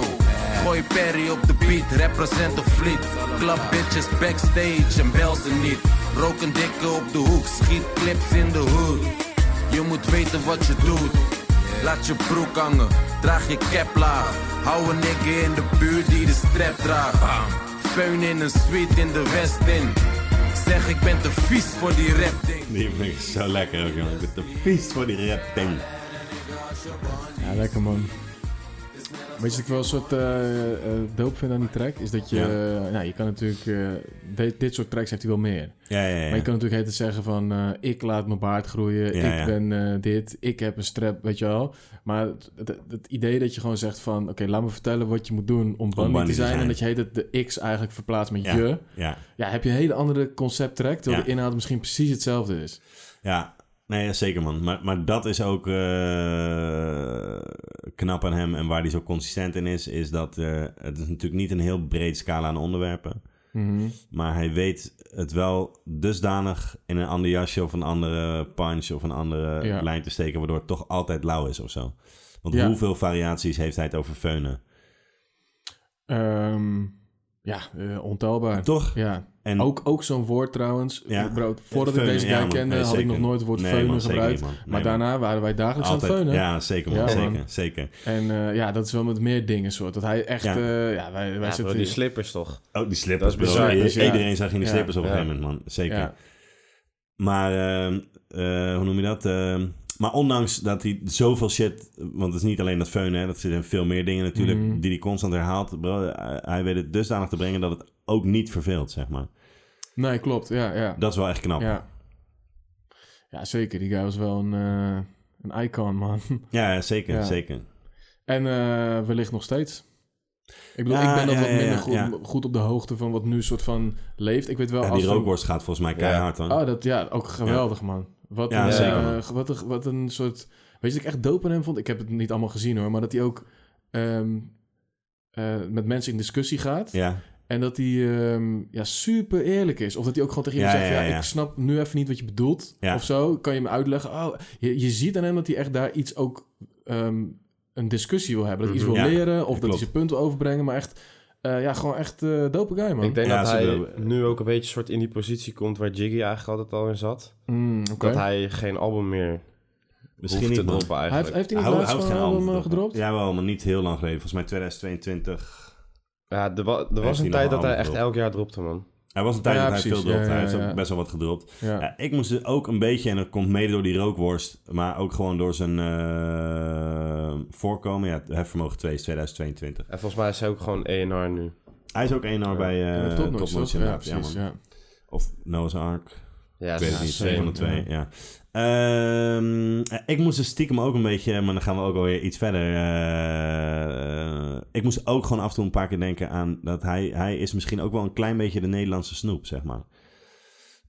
[SPEAKER 4] Gooi Perry op de beat, represent de fleet Club bitches backstage en bel ze niet Rook een dikke op de hoek, schiet clips in de hood Je moet weten wat je doet Laat je broek hangen, draag je cap laag Hou een nigger in de buurt die de strap draagt Feun in een suite in de West in Zeg ik ben te vies voor die rap ding
[SPEAKER 1] Die vind ik zo lekker ook, jongen. Ik ben te vies voor die rap ding.
[SPEAKER 2] Ja, lekker man. Weet je wat ik wel een soort eh, eh, dope vind aan die track? Is dat je... eh, nou, je kan natuurlijk... eh, dit, dit soort tracks heeft hij wel meer.
[SPEAKER 1] Ja, ja, ja.
[SPEAKER 2] Maar je kan natuurlijk het zeggen van... eh, ik laat mijn baard groeien.
[SPEAKER 1] Ja,
[SPEAKER 2] ik
[SPEAKER 1] ja.
[SPEAKER 2] ben eh, dit. Ik heb een strap, weet je wel. Maar het, het- het idee dat je gewoon zegt van... Oké, laat me vertellen wat je moet doen om
[SPEAKER 1] Bundy
[SPEAKER 2] bunny
[SPEAKER 1] te
[SPEAKER 2] te zijn.
[SPEAKER 1] zijn.
[SPEAKER 2] En dat je heet het de X eigenlijk verplaatst met
[SPEAKER 1] Ja.
[SPEAKER 2] je.
[SPEAKER 1] Ja,
[SPEAKER 2] Ja, heb je een hele andere concept track. Terwijl
[SPEAKER 1] Ja.
[SPEAKER 2] de inhoud misschien precies hetzelfde is.
[SPEAKER 1] ja. Nee, ja, zeker man. Maar, maar dat is ook eh, knap aan hem en waar hij zo consistent in is, is dat eh, het is natuurlijk niet een heel breed scala aan onderwerpen.
[SPEAKER 2] Mhm.
[SPEAKER 1] Maar hij weet het wel dusdanig in een ander jasje of een andere punch of een andere
[SPEAKER 2] Ja.
[SPEAKER 1] lijn te steken, waardoor het toch altijd lauw is of zo. Want
[SPEAKER 2] Ja.
[SPEAKER 1] hoeveel variaties heeft hij het over feunen?
[SPEAKER 2] Ehm, ja, eh, ontelbaar.
[SPEAKER 1] Toch?
[SPEAKER 2] Ja,
[SPEAKER 1] En
[SPEAKER 2] ook, ook zo'n woord trouwens. Eh,
[SPEAKER 1] Ja.
[SPEAKER 2] Bro, voordat
[SPEAKER 1] Feunen,
[SPEAKER 2] ik deze
[SPEAKER 1] ja,
[SPEAKER 2] guy
[SPEAKER 1] man.
[SPEAKER 2] kende,
[SPEAKER 1] Nee,
[SPEAKER 2] had
[SPEAKER 1] zeker.
[SPEAKER 2] ik nog nooit het woord
[SPEAKER 1] Nee,
[SPEAKER 2] feunen
[SPEAKER 1] man, zeker
[SPEAKER 2] gebruikt.
[SPEAKER 1] niet, man. Nee,
[SPEAKER 2] maar
[SPEAKER 1] man.
[SPEAKER 2] daarna waren wij dagelijks aan het feunen.
[SPEAKER 1] Ja, zeker man.
[SPEAKER 2] Ja,
[SPEAKER 1] zeker,
[SPEAKER 2] man.
[SPEAKER 1] zeker.
[SPEAKER 2] En eh, ja, dat is wel met meer dingen soort. Dat hij echt...
[SPEAKER 1] Ja.
[SPEAKER 2] Ja, ja wij, wij
[SPEAKER 3] Ja, bro,
[SPEAKER 2] zitten...
[SPEAKER 3] die slippers toch?
[SPEAKER 1] Oh, die
[SPEAKER 3] Dat
[SPEAKER 1] slippers,
[SPEAKER 3] is
[SPEAKER 1] bro.
[SPEAKER 3] bizar,
[SPEAKER 1] I-
[SPEAKER 2] dus ja.
[SPEAKER 1] Iedereen zag in die
[SPEAKER 2] Ja.
[SPEAKER 1] slippers op een
[SPEAKER 3] Ja.
[SPEAKER 1] gegeven moment, man. Zeker.
[SPEAKER 2] ja,
[SPEAKER 1] Maar, ehm, eh, hoe noem je dat? Ehm, maar ondanks dat hij zoveel shit... Want het is niet alleen dat feunen, hè. Dat zit in veel meer dingen natuurlijk
[SPEAKER 2] Mhm.
[SPEAKER 1] die hij constant herhaalt. Bro, eh, hij weet het dusdanig te brengen dat het ook niet verveelt, zeg maar.
[SPEAKER 2] nee, klopt. Ja, ja.
[SPEAKER 1] Dat is wel echt knap. Ja,
[SPEAKER 2] ja. ja, zeker. Die guy was wel een, eh, een icon, man.
[SPEAKER 1] ja, zeker,
[SPEAKER 2] Ja.
[SPEAKER 1] zeker.
[SPEAKER 2] En eh, wellicht nog steeds. Ik bedoel,
[SPEAKER 1] Ja,
[SPEAKER 2] ik ben nog
[SPEAKER 1] ja,
[SPEAKER 2] wat
[SPEAKER 1] ja,
[SPEAKER 2] minder
[SPEAKER 1] ja,
[SPEAKER 2] goed,
[SPEAKER 1] ja.
[SPEAKER 2] goed op de hoogte van wat nu soort van leeft. Ik weet wel
[SPEAKER 1] Ja,
[SPEAKER 2] als
[SPEAKER 1] die
[SPEAKER 2] er-
[SPEAKER 1] rookworst gaat volgens mij keihard, dan.
[SPEAKER 2] Oh, dat, ja, ook geweldig, man. Wat,
[SPEAKER 1] Ja,
[SPEAKER 2] een,
[SPEAKER 3] zeker,
[SPEAKER 2] eh,
[SPEAKER 1] man.
[SPEAKER 2] ge- wat, een, wat een soort... Weet je wat ik echt dope aan hem vond? Ik heb het niet allemaal gezien, hoor. Maar dat hij ook ehm, eh, met mensen in discussie gaat.
[SPEAKER 1] Ja,
[SPEAKER 2] En dat hij ehm, ja, super eerlijk is. Of dat hij ook gewoon tegen iemand
[SPEAKER 1] Ja,
[SPEAKER 2] zegt...
[SPEAKER 1] ja,
[SPEAKER 2] Ja,
[SPEAKER 1] ja.
[SPEAKER 2] ik snap nu even niet wat je bedoelt.
[SPEAKER 1] Ja.
[SPEAKER 2] Of zo. Kan je me uitleggen? Oh, je, je ziet aan hem dat hij echt daar iets ook... ehm, een discussie wil hebben. Dat hij iets
[SPEAKER 3] Mhm.
[SPEAKER 2] wil
[SPEAKER 1] Ja,
[SPEAKER 2] leren. Of dat
[SPEAKER 1] klopt.
[SPEAKER 2] hij zijn punt wil overbrengen. Maar echt... Eh, ja, gewoon echt eh dope guy, man.
[SPEAKER 3] Ik denk
[SPEAKER 1] Ja,
[SPEAKER 3] dat
[SPEAKER 1] ze
[SPEAKER 3] hij
[SPEAKER 1] hebben-
[SPEAKER 3] nu ook een beetje soort in die positie komt waar Jiggy eigenlijk altijd al in zat.
[SPEAKER 2] Mm, oké.
[SPEAKER 3] Dat hij geen album meer
[SPEAKER 1] Misschien
[SPEAKER 3] hoeft
[SPEAKER 1] niet,
[SPEAKER 3] te
[SPEAKER 1] man.
[SPEAKER 3] droppen
[SPEAKER 2] Hij heeft,
[SPEAKER 3] eigenlijk.
[SPEAKER 2] heeft hij niet
[SPEAKER 1] Hou-
[SPEAKER 2] laatst
[SPEAKER 1] houdt
[SPEAKER 2] gewoon
[SPEAKER 1] geen
[SPEAKER 2] een album eh,
[SPEAKER 1] album erop.
[SPEAKER 2] gedropt?
[SPEAKER 1] Jawel, maar niet heel lang geleden. Volgens mij 2022.
[SPEAKER 3] Ja, er, wa- er
[SPEAKER 1] heeft
[SPEAKER 3] was
[SPEAKER 1] hij
[SPEAKER 3] een tijd
[SPEAKER 1] nog
[SPEAKER 3] dat hij
[SPEAKER 1] een
[SPEAKER 3] echt
[SPEAKER 1] album
[SPEAKER 3] elk jaar dropte, man.
[SPEAKER 1] Hij was een tijd
[SPEAKER 2] Ja,
[SPEAKER 1] dat hij veel
[SPEAKER 2] precies.
[SPEAKER 1] dropte.
[SPEAKER 2] Ja,
[SPEAKER 1] hij
[SPEAKER 2] ja,
[SPEAKER 1] heeft
[SPEAKER 2] ja.
[SPEAKER 1] ook best wel wat gedropt.
[SPEAKER 2] Ja.
[SPEAKER 1] Ja, ik moest er ook een beetje, en dat komt mede door die rookworst, maar ook gewoon door zijn eh, voorkomen. Ja, Hefvermogen 2 is 2022.
[SPEAKER 3] En volgens mij is hij ook gewoon ENR nu.
[SPEAKER 1] Hij is ook één jaar bij
[SPEAKER 2] Ja,
[SPEAKER 1] eh
[SPEAKER 2] met
[SPEAKER 1] Top
[SPEAKER 2] Top Notch, toch?
[SPEAKER 1] Notch
[SPEAKER 2] Ja,
[SPEAKER 1] inderdaad. Ja,
[SPEAKER 2] precies,
[SPEAKER 1] man.
[SPEAKER 2] ja.
[SPEAKER 1] Of Noah's Ark.
[SPEAKER 3] Ja,
[SPEAKER 1] Ik weet het
[SPEAKER 3] dat
[SPEAKER 1] niet,
[SPEAKER 3] is
[SPEAKER 1] twee van de
[SPEAKER 3] insane.
[SPEAKER 1] twee, ja. Ehm, ik moest dus stiekem ook een beetje, maar dan gaan we ook alweer iets verder. eh, ik moest ook gewoon af en toe een paar keer denken aan dat hij, hij is misschien ook wel een klein beetje de Nederlandse snoep, zeg maar.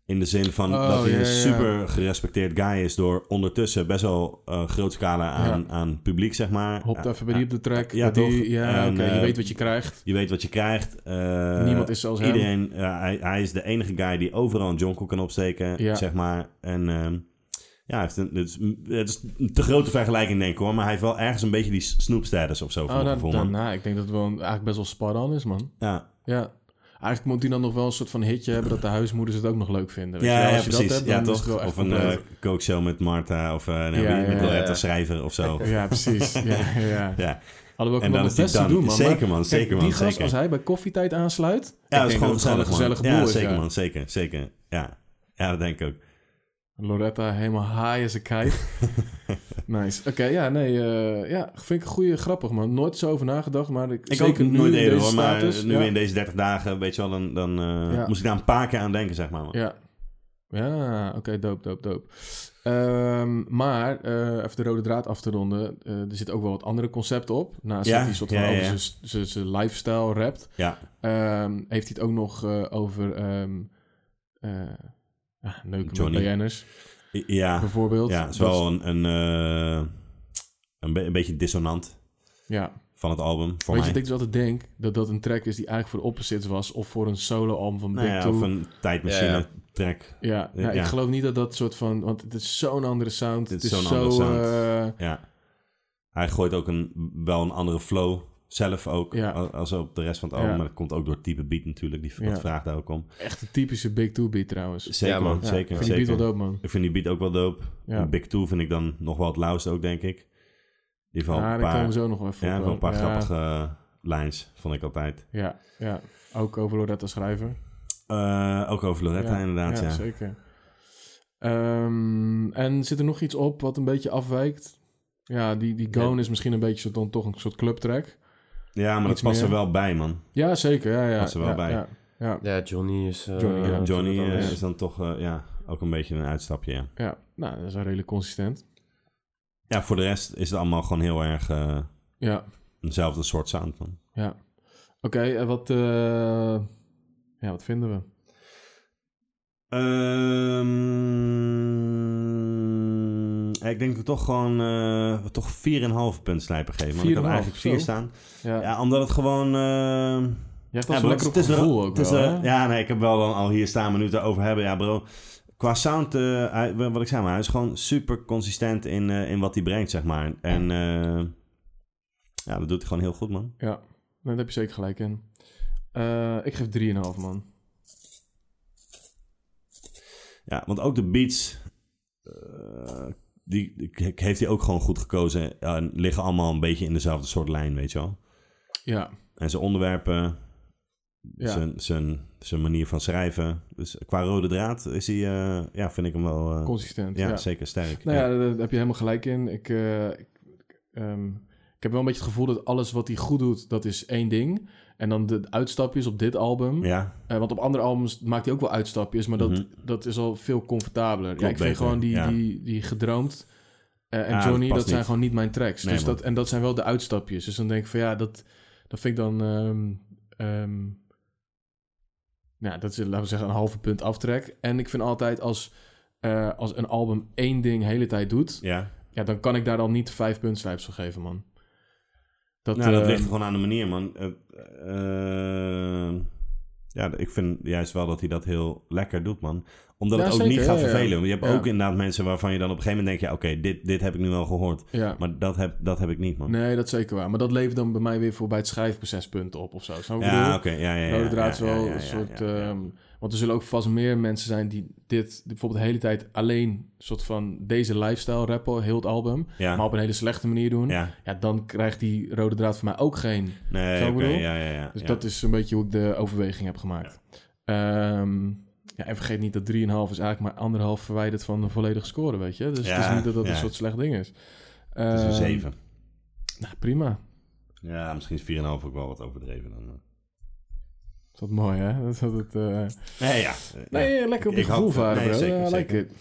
[SPEAKER 1] In de zin van
[SPEAKER 2] Oh,
[SPEAKER 1] dat hij
[SPEAKER 2] ja,
[SPEAKER 1] een
[SPEAKER 2] ja.
[SPEAKER 1] super gerespecteerd guy is door ondertussen best wel eh groot scala aan, aan publiek, zeg maar.
[SPEAKER 2] Hopt
[SPEAKER 1] Eh,
[SPEAKER 2] even bij die op de track.
[SPEAKER 1] ja,
[SPEAKER 2] Ja, die,
[SPEAKER 1] toch?
[SPEAKER 2] ja
[SPEAKER 1] En,
[SPEAKER 2] oké,
[SPEAKER 1] eh,
[SPEAKER 2] je weet wat je krijgt.
[SPEAKER 1] Je weet wat je krijgt. eh,
[SPEAKER 2] Niemand is zoals hem.
[SPEAKER 1] iedereen, ja, hij, hij is de enige guy die overal een jonkel kan opsteken,
[SPEAKER 2] Ja.
[SPEAKER 1] zeg maar. En ehm, ja, hij heeft een, het, is, het is een te grote vergelijking, denk ik hoor. Maar hij heeft wel ergens een beetje die snoepstatus of zo van
[SPEAKER 2] Oh,
[SPEAKER 1] mijn
[SPEAKER 2] nou,
[SPEAKER 1] gevoel,
[SPEAKER 2] dan-
[SPEAKER 1] man.
[SPEAKER 2] nou, ik denk dat het wel een- eigenlijk best wel spar-on is, man.
[SPEAKER 1] Ja,
[SPEAKER 2] Ja. Eigenlijk moet hij dan nog wel een soort van hitje hebben dat de huismoeders het ook nog leuk vinden. Weet je
[SPEAKER 1] ja,
[SPEAKER 2] wel?
[SPEAKER 1] ja,
[SPEAKER 2] Als je
[SPEAKER 1] precies.
[SPEAKER 2] Dat hebt,
[SPEAKER 1] ja,
[SPEAKER 2] dan is het
[SPEAKER 1] toch?
[SPEAKER 2] wel echt
[SPEAKER 1] Of een
[SPEAKER 2] compleet.
[SPEAKER 1] eh kookshow met Marta of eh, nee,
[SPEAKER 2] Ja,
[SPEAKER 1] met
[SPEAKER 2] ja,
[SPEAKER 1] Loretta
[SPEAKER 3] ja.
[SPEAKER 1] Schrijver of zo.
[SPEAKER 2] Ja, precies. Ja, ja.
[SPEAKER 1] eh, Ja.
[SPEAKER 2] Alhoewel ik
[SPEAKER 1] En dan is
[SPEAKER 2] hem nog het
[SPEAKER 1] die
[SPEAKER 2] best te
[SPEAKER 1] dan.
[SPEAKER 2] doen, man.
[SPEAKER 1] Zeker,
[SPEAKER 2] Maar
[SPEAKER 1] man,
[SPEAKER 2] kijk,
[SPEAKER 1] zeker, man,
[SPEAKER 2] Die gast,
[SPEAKER 1] zeker.
[SPEAKER 2] als hij bij koffietijd aansluit... ik
[SPEAKER 1] Ja,
[SPEAKER 2] denk
[SPEAKER 1] dat is gewoon
[SPEAKER 2] het gewoon een
[SPEAKER 1] gezellig,
[SPEAKER 2] gezellige
[SPEAKER 1] man.
[SPEAKER 2] boel
[SPEAKER 1] Ja,
[SPEAKER 2] is,
[SPEAKER 1] zeker
[SPEAKER 2] ja.
[SPEAKER 1] man, zeker, zeker. Ja. ja, dat denk ik ook.
[SPEAKER 2] Loretta helemaal high as a kite. nice. Oké, ja, nee. eh, ja, vind ik een goede, grappig, man. Nooit zo over nagedacht, maar ik,
[SPEAKER 1] Ik
[SPEAKER 2] zeker
[SPEAKER 1] ook
[SPEAKER 2] nu
[SPEAKER 1] nooit
[SPEAKER 2] in
[SPEAKER 1] eerder
[SPEAKER 2] deze
[SPEAKER 1] hoor, maar
[SPEAKER 2] status,
[SPEAKER 1] nu
[SPEAKER 2] ja.
[SPEAKER 1] in deze 30 dagen, weet je wel, dan, dan eh,
[SPEAKER 2] Ja.
[SPEAKER 1] moest ik daar een paar keer aan denken, zeg maar. man.
[SPEAKER 2] Ja. Ja, oké, doop, doop, doop. maar, eh, even de rode draad af te ronden. eh, er zit ook wel wat andere concepten op. Naast
[SPEAKER 1] Ja,
[SPEAKER 2] dat hij soort van
[SPEAKER 1] ja, ja,
[SPEAKER 2] over
[SPEAKER 1] ja.
[SPEAKER 2] zijn- zijn- zijn lifestyle rapt,
[SPEAKER 1] Ja.
[SPEAKER 2] ehm, heeft hij het ook nog eh, over ehm eh ja, neuken
[SPEAKER 1] Johnny. Ah,
[SPEAKER 2] met BN'ers,
[SPEAKER 1] ja.
[SPEAKER 2] bijvoorbeeld.
[SPEAKER 1] Ja, het is
[SPEAKER 2] Dat
[SPEAKER 1] wel een, een, eh, een, be- een beetje dissonant
[SPEAKER 2] ja.
[SPEAKER 1] van het album, voor
[SPEAKER 2] Weet
[SPEAKER 1] mij.
[SPEAKER 2] je, dat ik dus altijd denk dat dat een track is die eigenlijk voor de opposites was... of voor een solo-album van Big
[SPEAKER 1] nou ja,
[SPEAKER 2] Two.
[SPEAKER 1] of een tijdmachine
[SPEAKER 3] Ja, ja.
[SPEAKER 1] track.
[SPEAKER 2] Ja, nou,
[SPEAKER 1] Ja.
[SPEAKER 2] ik geloof niet dat dat soort van... want het is zo'n andere sound.
[SPEAKER 1] Dit
[SPEAKER 2] Het
[SPEAKER 1] is
[SPEAKER 2] is,
[SPEAKER 1] zo'n andere
[SPEAKER 2] zo...
[SPEAKER 1] sound.
[SPEAKER 2] eh,
[SPEAKER 1] Ja. Hij gooit ook een, wel een andere flow zelf ook,
[SPEAKER 2] Ja.
[SPEAKER 1] al- als op de rest van het album.
[SPEAKER 2] Ja.
[SPEAKER 1] Maar dat komt ook door het type beat natuurlijk, die dat
[SPEAKER 2] Ja.
[SPEAKER 1] vraagt daar ook om.
[SPEAKER 2] Echt een typische Big Two beat trouwens.
[SPEAKER 1] Zeker
[SPEAKER 3] Ja, man.
[SPEAKER 1] man,
[SPEAKER 2] Ja,
[SPEAKER 1] zeker.
[SPEAKER 2] ik vind
[SPEAKER 1] zeker.
[SPEAKER 2] die beat wel dope, man.
[SPEAKER 1] Ik vind die beat ook wel dope.
[SPEAKER 2] Ja.
[SPEAKER 1] En Big Two vind ik dan nog wel het lauwste ook, denk ik. Die heeft wel
[SPEAKER 2] Ja,
[SPEAKER 1] een
[SPEAKER 2] daar komen
[SPEAKER 1] paar,
[SPEAKER 2] we zo nog wel even
[SPEAKER 1] ja,
[SPEAKER 2] op.
[SPEAKER 1] wel een paar
[SPEAKER 2] ja,
[SPEAKER 1] grappige lines, vond ik altijd.
[SPEAKER 2] Ja, ja, ook over Loretta Schrijver.
[SPEAKER 1] Eh, ook over Loretta inderdaad, ja.
[SPEAKER 2] zeker. Ehm, en zit er nog iets op wat een beetje afwijkt? Ja, die, die Gone is misschien een beetje zo- dan toch een soort clubtrack.
[SPEAKER 1] Ja, maar dat
[SPEAKER 2] Iets
[SPEAKER 1] past er
[SPEAKER 2] meer.
[SPEAKER 1] wel bij, man.
[SPEAKER 2] Ja, zeker. Ja, ja,
[SPEAKER 1] Past er wel
[SPEAKER 2] ja,
[SPEAKER 1] bij.
[SPEAKER 2] Ja, ja,
[SPEAKER 3] Ja, Johnny is... eh,
[SPEAKER 2] Johnny, ja.
[SPEAKER 1] Johnny
[SPEAKER 3] wat
[SPEAKER 1] eh,
[SPEAKER 3] anders.
[SPEAKER 1] is dan toch eh, ja, ook een beetje een uitstapje. Ja.
[SPEAKER 2] ja. nou, dat is wel redelijk consistent.
[SPEAKER 1] ja, voor de rest is het allemaal gewoon heel erg eh,
[SPEAKER 2] Ja,
[SPEAKER 1] eenzelfde soort sound. Man.
[SPEAKER 2] ja. Oké, en wat, eh, ja, wat vinden we?
[SPEAKER 1] Ehm, ik denk dat we toch gewoon eh, we toch 4,5 punt slijpen geven. Want ik had
[SPEAKER 2] 4,5,
[SPEAKER 1] eigenlijk 4
[SPEAKER 2] zo.
[SPEAKER 1] staan.
[SPEAKER 2] Ja,
[SPEAKER 1] Ja, omdat het gewoon... eh,
[SPEAKER 2] Jij hebt
[SPEAKER 1] ja, bro,
[SPEAKER 2] dat zo lekker op
[SPEAKER 1] het is wel-
[SPEAKER 2] gevoel ook
[SPEAKER 1] het is
[SPEAKER 2] wel,
[SPEAKER 1] wel-
[SPEAKER 2] hè?
[SPEAKER 1] Dus, eh, Ja, nee, ik heb wel dan al hier staan minuten over hebben. Ja, bro. Qua sound, eh, hij- wat ik zei, maar hij is gewoon super consistent in, eh, in wat hij brengt, zeg maar. En eh, ja, dat doet hij gewoon heel goed, man.
[SPEAKER 2] Ja, daar heb je zeker gelijk in. Eh, ik geef 3,5 man.
[SPEAKER 1] Ja, want ook de beats, eh, die, die heeft hij ook gewoon goed gekozen. En liggen allemaal een beetje in dezelfde soort lijn, weet je wel.
[SPEAKER 2] Ja,
[SPEAKER 1] En zijn onderwerpen,
[SPEAKER 2] ja.
[SPEAKER 1] zijn, zijn, zijn manier van schrijven. Dus qua rode draad is hij, eh, ja, vind ik hem wel... eh,
[SPEAKER 2] consistent.
[SPEAKER 1] ja,
[SPEAKER 2] Ja,
[SPEAKER 1] zeker sterk.
[SPEAKER 2] Nou ja, daar- daar heb je helemaal gelijk in. Ik, eh, ik, ehm, ik heb wel een beetje het gevoel dat alles wat hij goed doet, dat is één ding. En dan de uitstapjes op dit album.
[SPEAKER 1] ja. Mhm.
[SPEAKER 2] Eh, want op andere albums maakt hij ook wel uitstapjes, maar dat, dat is al veel comfortabeler. ja, ik vind
[SPEAKER 1] beter,
[SPEAKER 2] gewoon die,
[SPEAKER 1] ja.
[SPEAKER 2] die, die gedroomd eh, en
[SPEAKER 1] Ja, dat
[SPEAKER 2] Johnny,
[SPEAKER 1] past
[SPEAKER 2] dat, zijn
[SPEAKER 1] niet.
[SPEAKER 2] gewoon niet mijn tracks.
[SPEAKER 1] Nee,
[SPEAKER 2] dus
[SPEAKER 1] man.
[SPEAKER 2] dat, en dat zijn wel de uitstapjes. Dus dan denk ik van ja, dat, dat vind ik dan... ehm, ehm, nou, dat is, laten we zeggen, een halve punt aftrek. En ik vind altijd als, eh, als een album één ding de hele tijd doet,
[SPEAKER 1] ja.
[SPEAKER 2] ja, dan kan ik daar dan niet vijf puntslijps van geven, man. Dat,
[SPEAKER 1] nou, dat
[SPEAKER 2] eh,
[SPEAKER 1] ligt er gewoon aan de manier, man. Eh, eh, Ja, ik vind juist wel dat hij dat heel lekker doet, man. Omdat
[SPEAKER 2] Ja,
[SPEAKER 1] het ook
[SPEAKER 2] zeker,
[SPEAKER 1] niet gaat
[SPEAKER 2] ja, ja.
[SPEAKER 1] vervelen. Je hebt
[SPEAKER 2] Ja.
[SPEAKER 1] ook inderdaad mensen waarvan je dan op een gegeven moment denkt... Ja, oké, dit, dit heb ik nu wel gehoord.
[SPEAKER 2] Ja.
[SPEAKER 1] Maar dat heb, dat heb ik niet, man.
[SPEAKER 2] Nee, dat is zeker waar. Maar dat levert dan bij mij weer voor bij het schrijfproces punten op of zo. Snap je wat ik
[SPEAKER 1] ja,
[SPEAKER 2] bedoel?
[SPEAKER 1] oké. ja, ja, ja,
[SPEAKER 2] Rode draad is
[SPEAKER 1] ja,
[SPEAKER 2] Nou, wel
[SPEAKER 1] ja, ja,
[SPEAKER 2] een
[SPEAKER 1] ja,
[SPEAKER 2] soort...
[SPEAKER 1] ja, ja.
[SPEAKER 2] ehm, want er zullen ook vast meer mensen zijn die dit bijvoorbeeld de hele tijd alleen soort van deze lifestyle rappen, heel het album,
[SPEAKER 1] Ja.
[SPEAKER 2] maar op een hele slechte manier doen. Ja.
[SPEAKER 1] Ja,
[SPEAKER 2] dan krijgt die rode draad voor mij ook geen.
[SPEAKER 1] nee,
[SPEAKER 2] Zo
[SPEAKER 1] oké,
[SPEAKER 2] bedoel?
[SPEAKER 1] ja, ja, ja.
[SPEAKER 2] Dus
[SPEAKER 1] ja.
[SPEAKER 2] dat is een beetje hoe ik de overweging heb gemaakt. Ja. ja, en vergeet niet dat 3,5 is eigenlijk maar anderhalf verwijderd van de volledige score, weet je. Dus het
[SPEAKER 1] Ja,
[SPEAKER 2] is niet dat dat
[SPEAKER 1] ja.
[SPEAKER 2] een soort slecht ding is.
[SPEAKER 1] Het is een
[SPEAKER 2] Ehm,
[SPEAKER 1] 7.
[SPEAKER 2] Nou, prima.
[SPEAKER 1] Ja, misschien is 4,5 ook wel wat overdreven dan. eh.
[SPEAKER 2] Dat is mooi, hè? Dat is altijd, eh,
[SPEAKER 1] Nee, ja. eh,
[SPEAKER 2] Nee,
[SPEAKER 1] ja.
[SPEAKER 2] lekker op
[SPEAKER 1] Ik-
[SPEAKER 2] je
[SPEAKER 1] ik
[SPEAKER 2] gevoel
[SPEAKER 1] hoop-
[SPEAKER 2] varen,
[SPEAKER 1] nee,
[SPEAKER 2] bro.
[SPEAKER 1] zeker,
[SPEAKER 2] Ja, I like
[SPEAKER 1] zeker.
[SPEAKER 2] it.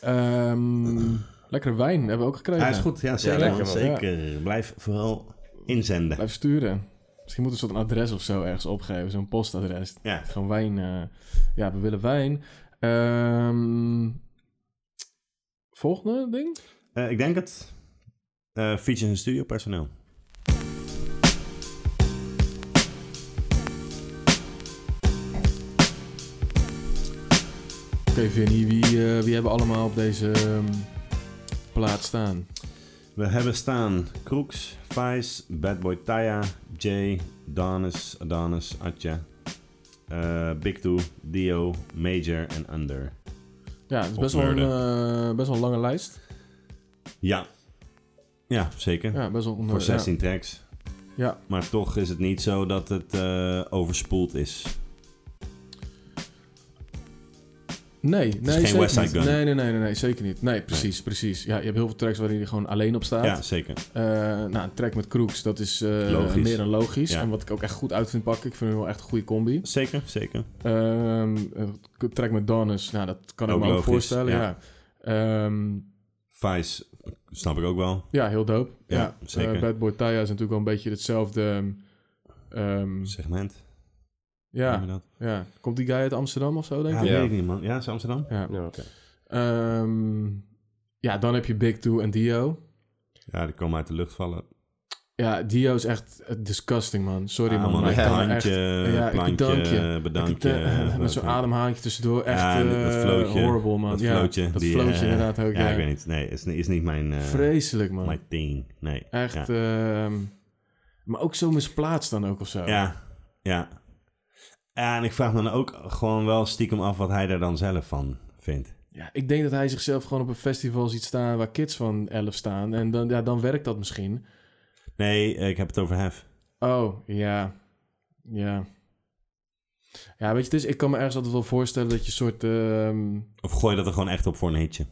[SPEAKER 2] Ehm, lekkere wijn hebben we ook gekregen.
[SPEAKER 1] Hij is goed. Ja, zeker.
[SPEAKER 3] lekker,
[SPEAKER 1] man,
[SPEAKER 3] man.
[SPEAKER 1] zeker. Blijf vooral inzenden.
[SPEAKER 2] Blijf sturen. Misschien moeten we zo'n adres of zo ergens opgeven. Zo'n postadres.
[SPEAKER 1] Ja.
[SPEAKER 2] Gewoon wijn. eh, ja, we willen wijn. Ehm, volgende ding?
[SPEAKER 1] Eh, ik denk het. Eh features en studio personeel.
[SPEAKER 2] Oké, Vinnie. Wie, eh, wie hebben allemaal op deze ehm, plaat staan?
[SPEAKER 1] We hebben staan Kroeks, Vice, Bad Boy Taya, Jay, Danis, Adonis, Atja, eh, Big Two, Dio, Major en Under.
[SPEAKER 2] Ja, het is
[SPEAKER 1] Of
[SPEAKER 2] best wel, een, eh, best wel een lange lijst.
[SPEAKER 1] Ja. Ja, zeker.
[SPEAKER 2] Ja, best wel een, eh,
[SPEAKER 1] Voor
[SPEAKER 2] ja.
[SPEAKER 1] 16 tracks.
[SPEAKER 2] Ja.
[SPEAKER 1] Maar toch is het niet zo dat het eh, overspoeld is.
[SPEAKER 2] Nee, nee,
[SPEAKER 1] geen
[SPEAKER 2] zeker
[SPEAKER 1] West Side
[SPEAKER 2] niet.
[SPEAKER 1] Gun.
[SPEAKER 2] Nee, nee, nee, nee, nee, zeker niet. Nee, precies, precies. Ja, je hebt heel veel tracks waarin hij gewoon alleen op staat.
[SPEAKER 1] Ja, zeker.
[SPEAKER 2] Eh, nou, een track met Crooks, dat is eh,
[SPEAKER 1] Logisch.
[SPEAKER 2] meer dan logisch.
[SPEAKER 1] Ja.
[SPEAKER 2] En wat ik ook echt goed uit vind pakken, ik vind hem wel echt een goede combi.
[SPEAKER 1] Zeker, zeker.
[SPEAKER 2] Ehm een track met Donis, nou, dat kan ik
[SPEAKER 1] Ook
[SPEAKER 2] me ook
[SPEAKER 1] logisch,
[SPEAKER 2] voorstellen. Ja.
[SPEAKER 1] ja.
[SPEAKER 2] Ja.
[SPEAKER 1] Vice, snap ik ook wel.
[SPEAKER 2] ja, heel dope. Ja,
[SPEAKER 1] Ja, zeker.
[SPEAKER 2] Eh, Bad Boy Taya is natuurlijk wel een beetje hetzelfde. ehm,
[SPEAKER 1] Segment. noem
[SPEAKER 2] ja,
[SPEAKER 1] je dat?
[SPEAKER 2] ja, komt die guy uit Amsterdam of zo, denk
[SPEAKER 1] Ja,
[SPEAKER 2] ik?
[SPEAKER 1] dat
[SPEAKER 3] Ja.
[SPEAKER 1] weet ik niet, man. Ja, is Amsterdam?
[SPEAKER 2] Ja.
[SPEAKER 3] Ja, oké.
[SPEAKER 2] Ehm, ja, dan heb je Big Two en Dio.
[SPEAKER 1] Ja, die komen uit de lucht vallen.
[SPEAKER 2] Ja, Dio is echt eh, disgusting, man. Sorry,
[SPEAKER 1] Ah,
[SPEAKER 2] man. maar
[SPEAKER 1] een
[SPEAKER 2] ik kan er echt...
[SPEAKER 1] plantje,
[SPEAKER 2] ja, ik
[SPEAKER 1] plantje,
[SPEAKER 2] bedank je.
[SPEAKER 1] bedank
[SPEAKER 2] Ik- eh,
[SPEAKER 1] je.
[SPEAKER 2] met zo'n ademhaantje tussendoor. Echt
[SPEAKER 1] Ja, en dat
[SPEAKER 2] eh,
[SPEAKER 1] flootje.
[SPEAKER 2] horrible, man.
[SPEAKER 1] Dat
[SPEAKER 2] ja,
[SPEAKER 1] flootje,
[SPEAKER 2] dat
[SPEAKER 1] die,
[SPEAKER 2] flootje
[SPEAKER 1] eh,
[SPEAKER 2] inderdaad ook. Ja,
[SPEAKER 1] Ja, ik weet niet. Nee, is, is niet mijn, eh
[SPEAKER 2] Vreselijk, man.
[SPEAKER 1] mijn ding. Nee.
[SPEAKER 2] Echt.
[SPEAKER 1] Ja.
[SPEAKER 2] ehm, maar ook zo misplaatst dan ook of zo.
[SPEAKER 1] ja, ja. Ja, En ik vraag me dan ook gewoon wel stiekem af wat hij daar dan zelf van vindt.
[SPEAKER 2] Ja, ik denk dat hij zichzelf gewoon op een festival ziet staan waar kids van 11 staan. En dan, ja, dan werkt dat misschien.
[SPEAKER 1] Nee, ik heb het over Hef.
[SPEAKER 2] Oh, ja. Ja. Ja, weet je, dus ik kan me ergens altijd wel voorstellen dat je een soort... ehm,
[SPEAKER 1] Of gooi dat er gewoon echt op voor een hitje.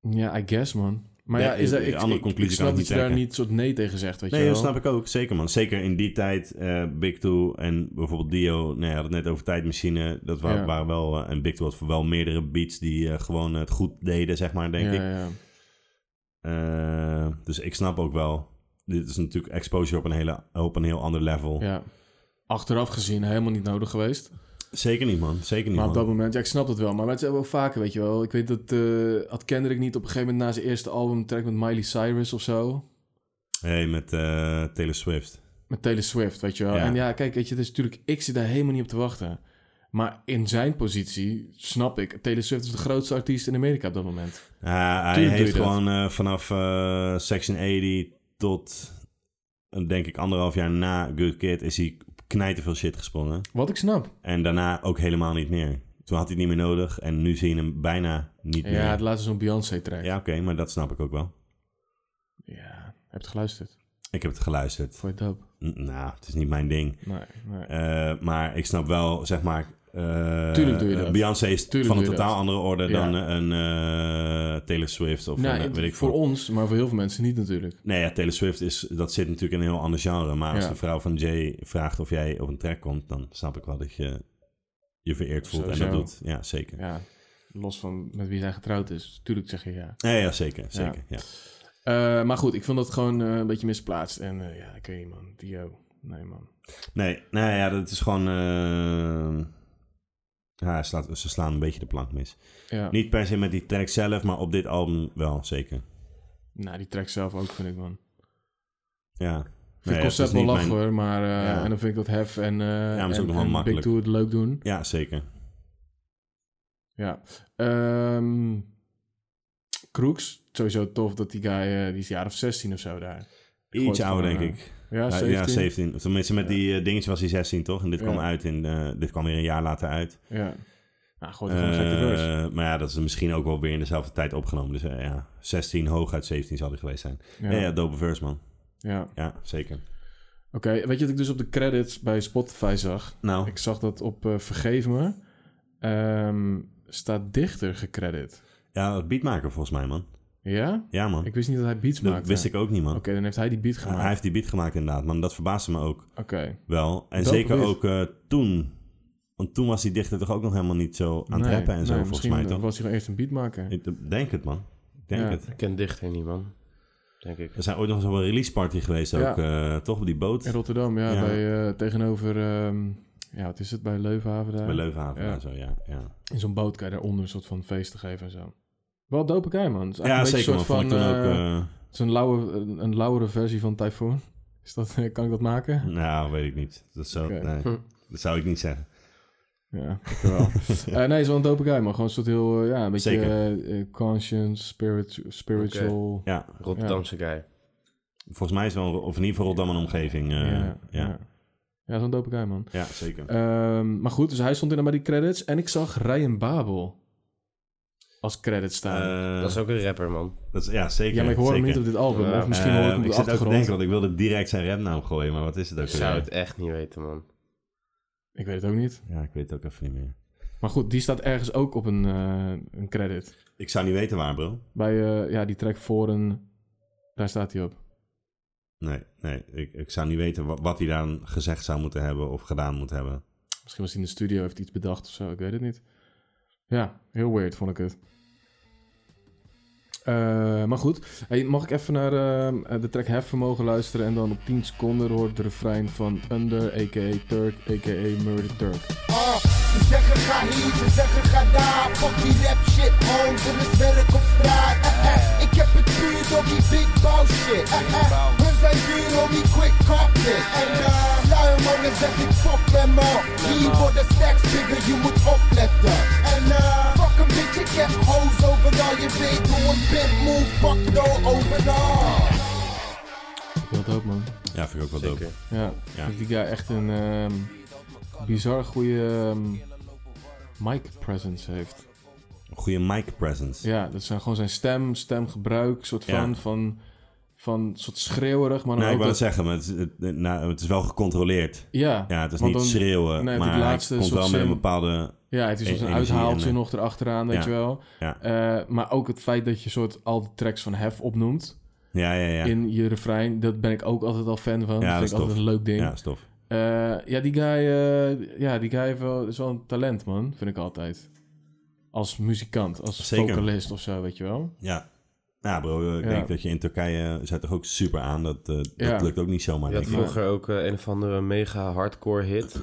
[SPEAKER 2] Ja, I guess, man. Maar
[SPEAKER 1] Ja,
[SPEAKER 2] ja, is
[SPEAKER 1] de-
[SPEAKER 2] dat,
[SPEAKER 1] de
[SPEAKER 2] ik,
[SPEAKER 1] andere
[SPEAKER 2] ik, ik
[SPEAKER 1] conclusie
[SPEAKER 2] snap
[SPEAKER 1] kan ik
[SPEAKER 2] dat je
[SPEAKER 1] niet
[SPEAKER 2] daar
[SPEAKER 1] trekken.
[SPEAKER 2] niet soort nee tegen zegt, weet
[SPEAKER 1] Nee,
[SPEAKER 2] je wel.
[SPEAKER 1] dat snap ik ook. Zeker, man. Zeker in die tijd, eh, Big Two en bijvoorbeeld Dio. Nou, ja, had het net over Tijdmachine. Dat wa-
[SPEAKER 2] Ja.
[SPEAKER 1] waren wel... eh, en Big Two had voor wel meerdere beats die eh, gewoon het goed deden, zeg maar, denk
[SPEAKER 2] ja,
[SPEAKER 1] ik.
[SPEAKER 2] Ja.
[SPEAKER 1] Eh, dus ik snap ook wel. Dit is natuurlijk exposure op een, hele, op een heel ander level.
[SPEAKER 2] ja. Achteraf gezien helemaal niet nodig geweest.
[SPEAKER 1] Zeker niet, man. Zeker niet,
[SPEAKER 2] maar op
[SPEAKER 1] man.
[SPEAKER 2] dat moment, ja, ik snap dat wel. Maar het is ook vaker, weet je wel. Ik weet dat eh had Kendrick niet op een gegeven moment na zijn eerste album een track met Miley Cyrus of zo.
[SPEAKER 1] hey, met eh, Taylor Swift.
[SPEAKER 2] Met Taylor Swift, weet je wel.
[SPEAKER 1] Ja.
[SPEAKER 2] En ja, kijk, weet je, het is natuurlijk, ik zit daar helemaal niet op te wachten. Maar in zijn positie snap ik. Taylor Swift is de grootste artiest in Amerika op dat moment.
[SPEAKER 1] Eh, hij
[SPEAKER 2] Tuurlijk doe
[SPEAKER 1] heeft
[SPEAKER 2] je dat.
[SPEAKER 1] gewoon eh, vanaf eh, Section 80 tot, eh, denk ik, anderhalf jaar na Good Kid... is hij knijten veel shit gesprongen.
[SPEAKER 2] Wat ik snap.
[SPEAKER 1] En daarna ook helemaal niet meer. Toen had hij het niet meer nodig en nu zie je hem bijna niet
[SPEAKER 2] Ja,
[SPEAKER 1] meer.
[SPEAKER 2] het laatste zo'n Beyoncé-track.
[SPEAKER 1] Ja, oké, maar dat snap ik ook wel.
[SPEAKER 2] ja, heb je geluisterd?
[SPEAKER 1] Ik heb het geluisterd.
[SPEAKER 2] Vond je het dope?
[SPEAKER 1] N- Nou, het is niet mijn ding.
[SPEAKER 2] Nee, nee.
[SPEAKER 1] Eh, maar ik snap wel, zeg maar. eh,
[SPEAKER 2] Tuurlijk doe je dat.
[SPEAKER 1] Beyoncé is
[SPEAKER 2] Tuurlijk
[SPEAKER 1] van een
[SPEAKER 2] doe je
[SPEAKER 1] totaal
[SPEAKER 2] dat.
[SPEAKER 1] andere orde
[SPEAKER 2] Ja.
[SPEAKER 1] dan een eh, Taylor Swift of
[SPEAKER 2] Nou,
[SPEAKER 1] een, eh,
[SPEAKER 2] het-
[SPEAKER 1] weet ik
[SPEAKER 2] voor
[SPEAKER 1] veel.
[SPEAKER 2] ons, maar voor heel veel mensen niet natuurlijk.
[SPEAKER 1] Nee, ja, Taylor Swift is, dat zit natuurlijk in een heel ander genre. Maar als
[SPEAKER 2] Ja.
[SPEAKER 1] de vrouw van Jay vraagt of jij op een track komt, dan snap ik wel dat je je vereerd voelt en
[SPEAKER 2] Sowieso.
[SPEAKER 1] dat doet. Ja, zeker. Ja,
[SPEAKER 2] Ja, los van met wie zij getrouwd is. Tuurlijk zeg je ja.
[SPEAKER 1] ja zeker, zeker. Ja.
[SPEAKER 2] Eh, maar goed, ik vond dat gewoon eh, een beetje misplaatst. En eh, ja, ik weet niet man, Dio. Nee man.
[SPEAKER 1] Nee, nou ja, dat is gewoon. eh, ja, hij slaat, ze slaan een beetje de plank mis.
[SPEAKER 2] Ja.
[SPEAKER 1] Niet per se met die track zelf, maar op dit album wel, zeker.
[SPEAKER 2] Nou, die track zelf ook vind ik man.
[SPEAKER 1] Ja.
[SPEAKER 2] vind
[SPEAKER 1] Nee,
[SPEAKER 2] het
[SPEAKER 1] het
[SPEAKER 2] concept
[SPEAKER 1] is
[SPEAKER 2] wel
[SPEAKER 1] niet
[SPEAKER 2] lach
[SPEAKER 1] mijn-
[SPEAKER 2] hoor, maar... eh,
[SPEAKER 1] Ja.
[SPEAKER 2] En dan vind ik dat Hef en, eh
[SPEAKER 1] maar het is
[SPEAKER 2] en,
[SPEAKER 1] ook nog wel
[SPEAKER 2] en Big
[SPEAKER 1] makkelijk.
[SPEAKER 2] Two het leuk doen.
[SPEAKER 1] Ja, zeker.
[SPEAKER 2] Ja. Ehm Kroeks, sowieso tof dat die guy... eh, die is een jaar of 16 of zo daar. Gooit
[SPEAKER 1] Ietsje
[SPEAKER 2] van,
[SPEAKER 1] ouder,
[SPEAKER 2] eh,
[SPEAKER 1] denk ik.
[SPEAKER 2] Ja,
[SPEAKER 1] Ja,
[SPEAKER 2] 17.
[SPEAKER 1] ja, 17. Of Tenminste, met
[SPEAKER 2] Ja.
[SPEAKER 1] die eh, dingetje was hij 16, toch? En dit
[SPEAKER 2] Ja.
[SPEAKER 1] kwam uit in... eh, dit kwam weer een jaar later uit.
[SPEAKER 2] Ja. Nou, gewoon een gekke
[SPEAKER 1] Eh,
[SPEAKER 2] verse.
[SPEAKER 1] maar ja, dat is misschien ook wel weer in dezelfde tijd opgenomen. Dus eh, ja, 16 hooguit 17 zal hij geweest zijn. Ja,
[SPEAKER 2] Ja,
[SPEAKER 1] ja, dope verse, man.
[SPEAKER 2] ja.
[SPEAKER 1] Ja, zeker.
[SPEAKER 2] Oké, weet je wat ik dus op de credits bij Spotify zag?
[SPEAKER 1] Nou,
[SPEAKER 2] Ik zag dat op eh, Vergeef Me ehm, staat dichter gecredit.
[SPEAKER 1] ja, dat beatmaker volgens mij, man.
[SPEAKER 2] Ja?
[SPEAKER 1] Ja, man.
[SPEAKER 2] Ik wist niet dat hij beats
[SPEAKER 1] Oh. dat
[SPEAKER 2] maakte.
[SPEAKER 1] wist ik ook niet, man.
[SPEAKER 2] Oké, dan heeft hij die beat
[SPEAKER 1] Hij
[SPEAKER 2] gemaakt.
[SPEAKER 1] heeft die beat gemaakt inderdaad, man. Dat verbaasde me ook
[SPEAKER 2] Oké.
[SPEAKER 1] wel. En
[SPEAKER 2] Dope
[SPEAKER 1] zeker
[SPEAKER 2] beat.
[SPEAKER 1] ook eh, toen. Want toen was die dichter toch ook nog helemaal niet zo aan het
[SPEAKER 2] Nee,
[SPEAKER 1] rappen en zo,
[SPEAKER 2] nee,
[SPEAKER 1] volgens
[SPEAKER 2] misschien
[SPEAKER 1] mij, toch?
[SPEAKER 2] was hij gewoon eerst een beatmaker.
[SPEAKER 1] Ik denk het, man. Ik denk
[SPEAKER 2] Ja.
[SPEAKER 1] het.
[SPEAKER 3] Ik ken dichter niet, man. Denk ik.
[SPEAKER 1] Er zijn ooit nog eens wel een release party geweest
[SPEAKER 2] Ja.
[SPEAKER 1] ook, eh, toch? Op die boot
[SPEAKER 2] In Rotterdam, ja.
[SPEAKER 1] Ja.
[SPEAKER 2] Bij, eh, tegenover, ehm, ja, wat is het? Bij Leuvenhaven daar.
[SPEAKER 1] bij Leuvenhaven
[SPEAKER 2] Ja.
[SPEAKER 1] en zo, ja. ja.
[SPEAKER 2] In zo'n boot kan je daaronder een soort van feest te geven en zo. Wel dope guy, man. Het
[SPEAKER 1] Ja,
[SPEAKER 2] is eigenlijk
[SPEAKER 1] zeker,
[SPEAKER 2] een
[SPEAKER 1] man.
[SPEAKER 2] beetje
[SPEAKER 1] Vond ik
[SPEAKER 2] een
[SPEAKER 1] toen ook...
[SPEAKER 2] soort van, eh,
[SPEAKER 1] eh,
[SPEAKER 2] het is een, lauwe, een, een lauwere versie van Typhoon. Is dat, kan ik dat maken?
[SPEAKER 1] Nou, weet ik niet. Dat zou,
[SPEAKER 2] Oké.
[SPEAKER 1] nee,
[SPEAKER 3] Hm.
[SPEAKER 1] dat zou ik niet zeggen.
[SPEAKER 2] Ja, ik wel. Eh, nee, is wel een dope guy, maar gewoon een soort heel, eh, ja, een beetje
[SPEAKER 1] Zeker.
[SPEAKER 2] eh, eh, conscience, spirit, spiritual.
[SPEAKER 1] Ja,
[SPEAKER 3] Rotterdamse guy.
[SPEAKER 1] volgens mij is wel, of in ieder geval Rotterdam een omgeving. eh, ja,
[SPEAKER 2] ja, ja.
[SPEAKER 1] ja.
[SPEAKER 2] ja. zo'n dope guy, man.
[SPEAKER 1] zeker.
[SPEAKER 2] Ehm, maar goed, dus hij stond in bij die credits en ik zag Ryan Babel als credit staan.
[SPEAKER 1] Eh,
[SPEAKER 3] Dat is ook een rapper, man.
[SPEAKER 1] dat is- ja, zeker.
[SPEAKER 2] ja, maar ik hoor hem
[SPEAKER 1] zeker.
[SPEAKER 2] niet op dit album,
[SPEAKER 3] Ja.
[SPEAKER 2] of misschien hoor ik
[SPEAKER 1] Eh,
[SPEAKER 2] hem op
[SPEAKER 1] ik
[SPEAKER 2] de
[SPEAKER 1] zit ook te denken,
[SPEAKER 2] achtergrond.
[SPEAKER 1] want ik wilde direct zijn rapnaam gooien, maar wat is het ook
[SPEAKER 3] Ik zou het
[SPEAKER 1] weer?
[SPEAKER 3] echt niet weten, man.
[SPEAKER 2] Ik weet het ook niet.
[SPEAKER 1] Ja, ik weet het ook even niet meer.
[SPEAKER 2] Maar goed, die staat ergens ook op een, eh, een credit.
[SPEAKER 1] Ik zou niet weten waar, bro.
[SPEAKER 2] Bij eh, ja, die track voor een... Daar staat hij op.
[SPEAKER 1] Nee, nee. Ik, ik zou niet weten wat, wat hij dan gezegd zou moeten hebben of gedaan moet hebben.
[SPEAKER 2] Misschien was hij in de studio, heeft hij iets bedacht of zo, ik weet het niet. Ja, heel weird vond ik het. Eh, maar goed, hey, mag ik even naar eh, de track Hefvermogen luisteren en dan op 10 seconden hoort de refrein van Under, a.k.a. Turk, a.k.a. Murder Turk.
[SPEAKER 5] Ah, ze zeggen ga hier, ze zeggen ga daar. Fuck die rap shit, homes, er is werk op straat. Eh, eh, Ik heb het puur door die big bow shit. Eh, eh, Hun zijn duur, homie, quick carpet. En eh, lui mannen zeg ik fuck them all. Hier worden stacks bigger, je moet opletten. En eh, fuck een beetje, ik heb hoes overal. Je weet hoe een pimp move, pak door overal.
[SPEAKER 2] Wat ook man.
[SPEAKER 1] Ja, vind ik ook wel dope.
[SPEAKER 3] Zeker.
[SPEAKER 2] Ja,
[SPEAKER 1] Ja.
[SPEAKER 2] vind die guy echt een ehm, bizar goede ehm, mic presence heeft.
[SPEAKER 1] Een goede mic presence.
[SPEAKER 2] Ja, dat zijn gewoon zijn stem, stemgebruik, soort van,
[SPEAKER 1] Ja.
[SPEAKER 2] van, van soort schreeuwerig, maar dan
[SPEAKER 1] nee, ik
[SPEAKER 2] ook
[SPEAKER 1] wil het
[SPEAKER 2] dat-
[SPEAKER 1] zeggen, maar het, is- het, nou, het is wel gecontroleerd.
[SPEAKER 2] Ja,
[SPEAKER 1] Ja, het is
[SPEAKER 2] want
[SPEAKER 1] niet
[SPEAKER 2] dan-
[SPEAKER 1] schreeuwen,
[SPEAKER 2] nee, op
[SPEAKER 1] maar
[SPEAKER 2] die laatste
[SPEAKER 1] hij komt
[SPEAKER 2] soort
[SPEAKER 1] wel met een
[SPEAKER 2] zin-
[SPEAKER 1] bepaalde...
[SPEAKER 2] Ja, het is
[SPEAKER 1] E-
[SPEAKER 2] als een
[SPEAKER 1] energie
[SPEAKER 2] uithaaltje
[SPEAKER 1] en, eh,
[SPEAKER 2] nog erachteraan, weet
[SPEAKER 1] ja,
[SPEAKER 2] je wel.
[SPEAKER 1] ja.
[SPEAKER 2] Eh, maar ook het feit dat je soort al de tracks van Hef opnoemt
[SPEAKER 1] Ja, ja, ja.
[SPEAKER 2] in je refrein, dat ben ik ook altijd al fan van. dat
[SPEAKER 1] dat
[SPEAKER 2] vind
[SPEAKER 1] is
[SPEAKER 2] ik altijd
[SPEAKER 1] tof.
[SPEAKER 2] een leuk ding.
[SPEAKER 1] Ja,
[SPEAKER 2] Ja,
[SPEAKER 1] is tof.
[SPEAKER 2] ja die guy, eh, ja, die guy heeft wel, is wel een talent, man, vind ik altijd. Als muzikant, als
[SPEAKER 1] Zeker.
[SPEAKER 2] vocalist of zo, weet je wel.
[SPEAKER 1] Ja. Ja, bro, ik
[SPEAKER 2] Ja.
[SPEAKER 1] denk dat je in Turkije eh, zet toch ook super aan. Dat, eh,
[SPEAKER 2] Ja.
[SPEAKER 1] dat lukt ook niet zomaar.
[SPEAKER 3] Je had
[SPEAKER 1] Denk ik.
[SPEAKER 3] vroeger ook eh, een of andere mega hardcore hit.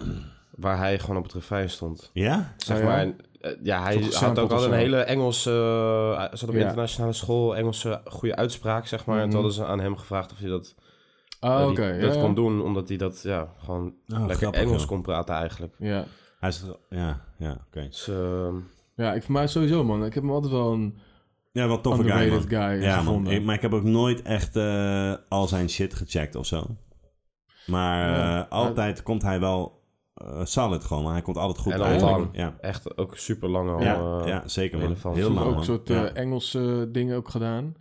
[SPEAKER 3] Waar hij gewoon op het refrein stond.
[SPEAKER 1] Ja?
[SPEAKER 3] Zeg
[SPEAKER 2] Oh ja?
[SPEAKER 3] maar. eh, Ja, hij
[SPEAKER 2] Zo'n
[SPEAKER 3] had
[SPEAKER 2] gesampled
[SPEAKER 3] ook
[SPEAKER 2] of
[SPEAKER 3] al een
[SPEAKER 2] zo.
[SPEAKER 3] hele Engelse. eh, Hij zat op
[SPEAKER 2] Ja.
[SPEAKER 3] internationale school, Engelse eh, goede uitspraak, zeg maar. En
[SPEAKER 2] Mhm.
[SPEAKER 3] toen hadden ze aan hem gevraagd of hij dat,
[SPEAKER 2] Oh,
[SPEAKER 3] dat
[SPEAKER 2] oké.
[SPEAKER 3] hij dat
[SPEAKER 2] ja.
[SPEAKER 3] kon doen, omdat hij dat ja, gewoon
[SPEAKER 1] Oh,
[SPEAKER 3] lekker
[SPEAKER 1] grappig,
[SPEAKER 3] Engels
[SPEAKER 1] joh.
[SPEAKER 3] kon praten eigenlijk.
[SPEAKER 2] Ja.
[SPEAKER 1] Hij is, ja, ja oké.
[SPEAKER 3] Dus, eh,
[SPEAKER 2] ja, ik voor mij sowieso, man. Ik heb hem altijd wel een
[SPEAKER 1] Ja, wat toffe guy,
[SPEAKER 2] underrated
[SPEAKER 1] man.
[SPEAKER 2] guy
[SPEAKER 1] Ja,
[SPEAKER 2] gevonden.
[SPEAKER 1] man. Ik- maar ik heb ook nooit echt eh, al zijn shit gecheckt of zo. Maar
[SPEAKER 2] Ja.
[SPEAKER 1] eh, altijd komt hij wel eh, solid gewoon. Maar hij komt altijd goed
[SPEAKER 3] En al
[SPEAKER 1] uit.
[SPEAKER 3] lang.
[SPEAKER 1] Ja.
[SPEAKER 3] echt ook super lang al.
[SPEAKER 1] Ja,
[SPEAKER 3] eh,
[SPEAKER 1] ja, zeker
[SPEAKER 3] in
[SPEAKER 1] man.
[SPEAKER 3] ieder geval.
[SPEAKER 1] Heel
[SPEAKER 3] Vroeger
[SPEAKER 1] lang,
[SPEAKER 2] ook
[SPEAKER 1] man.
[SPEAKER 2] een soort
[SPEAKER 1] Ja.
[SPEAKER 2] eh, Engelse dingen ook gedaan.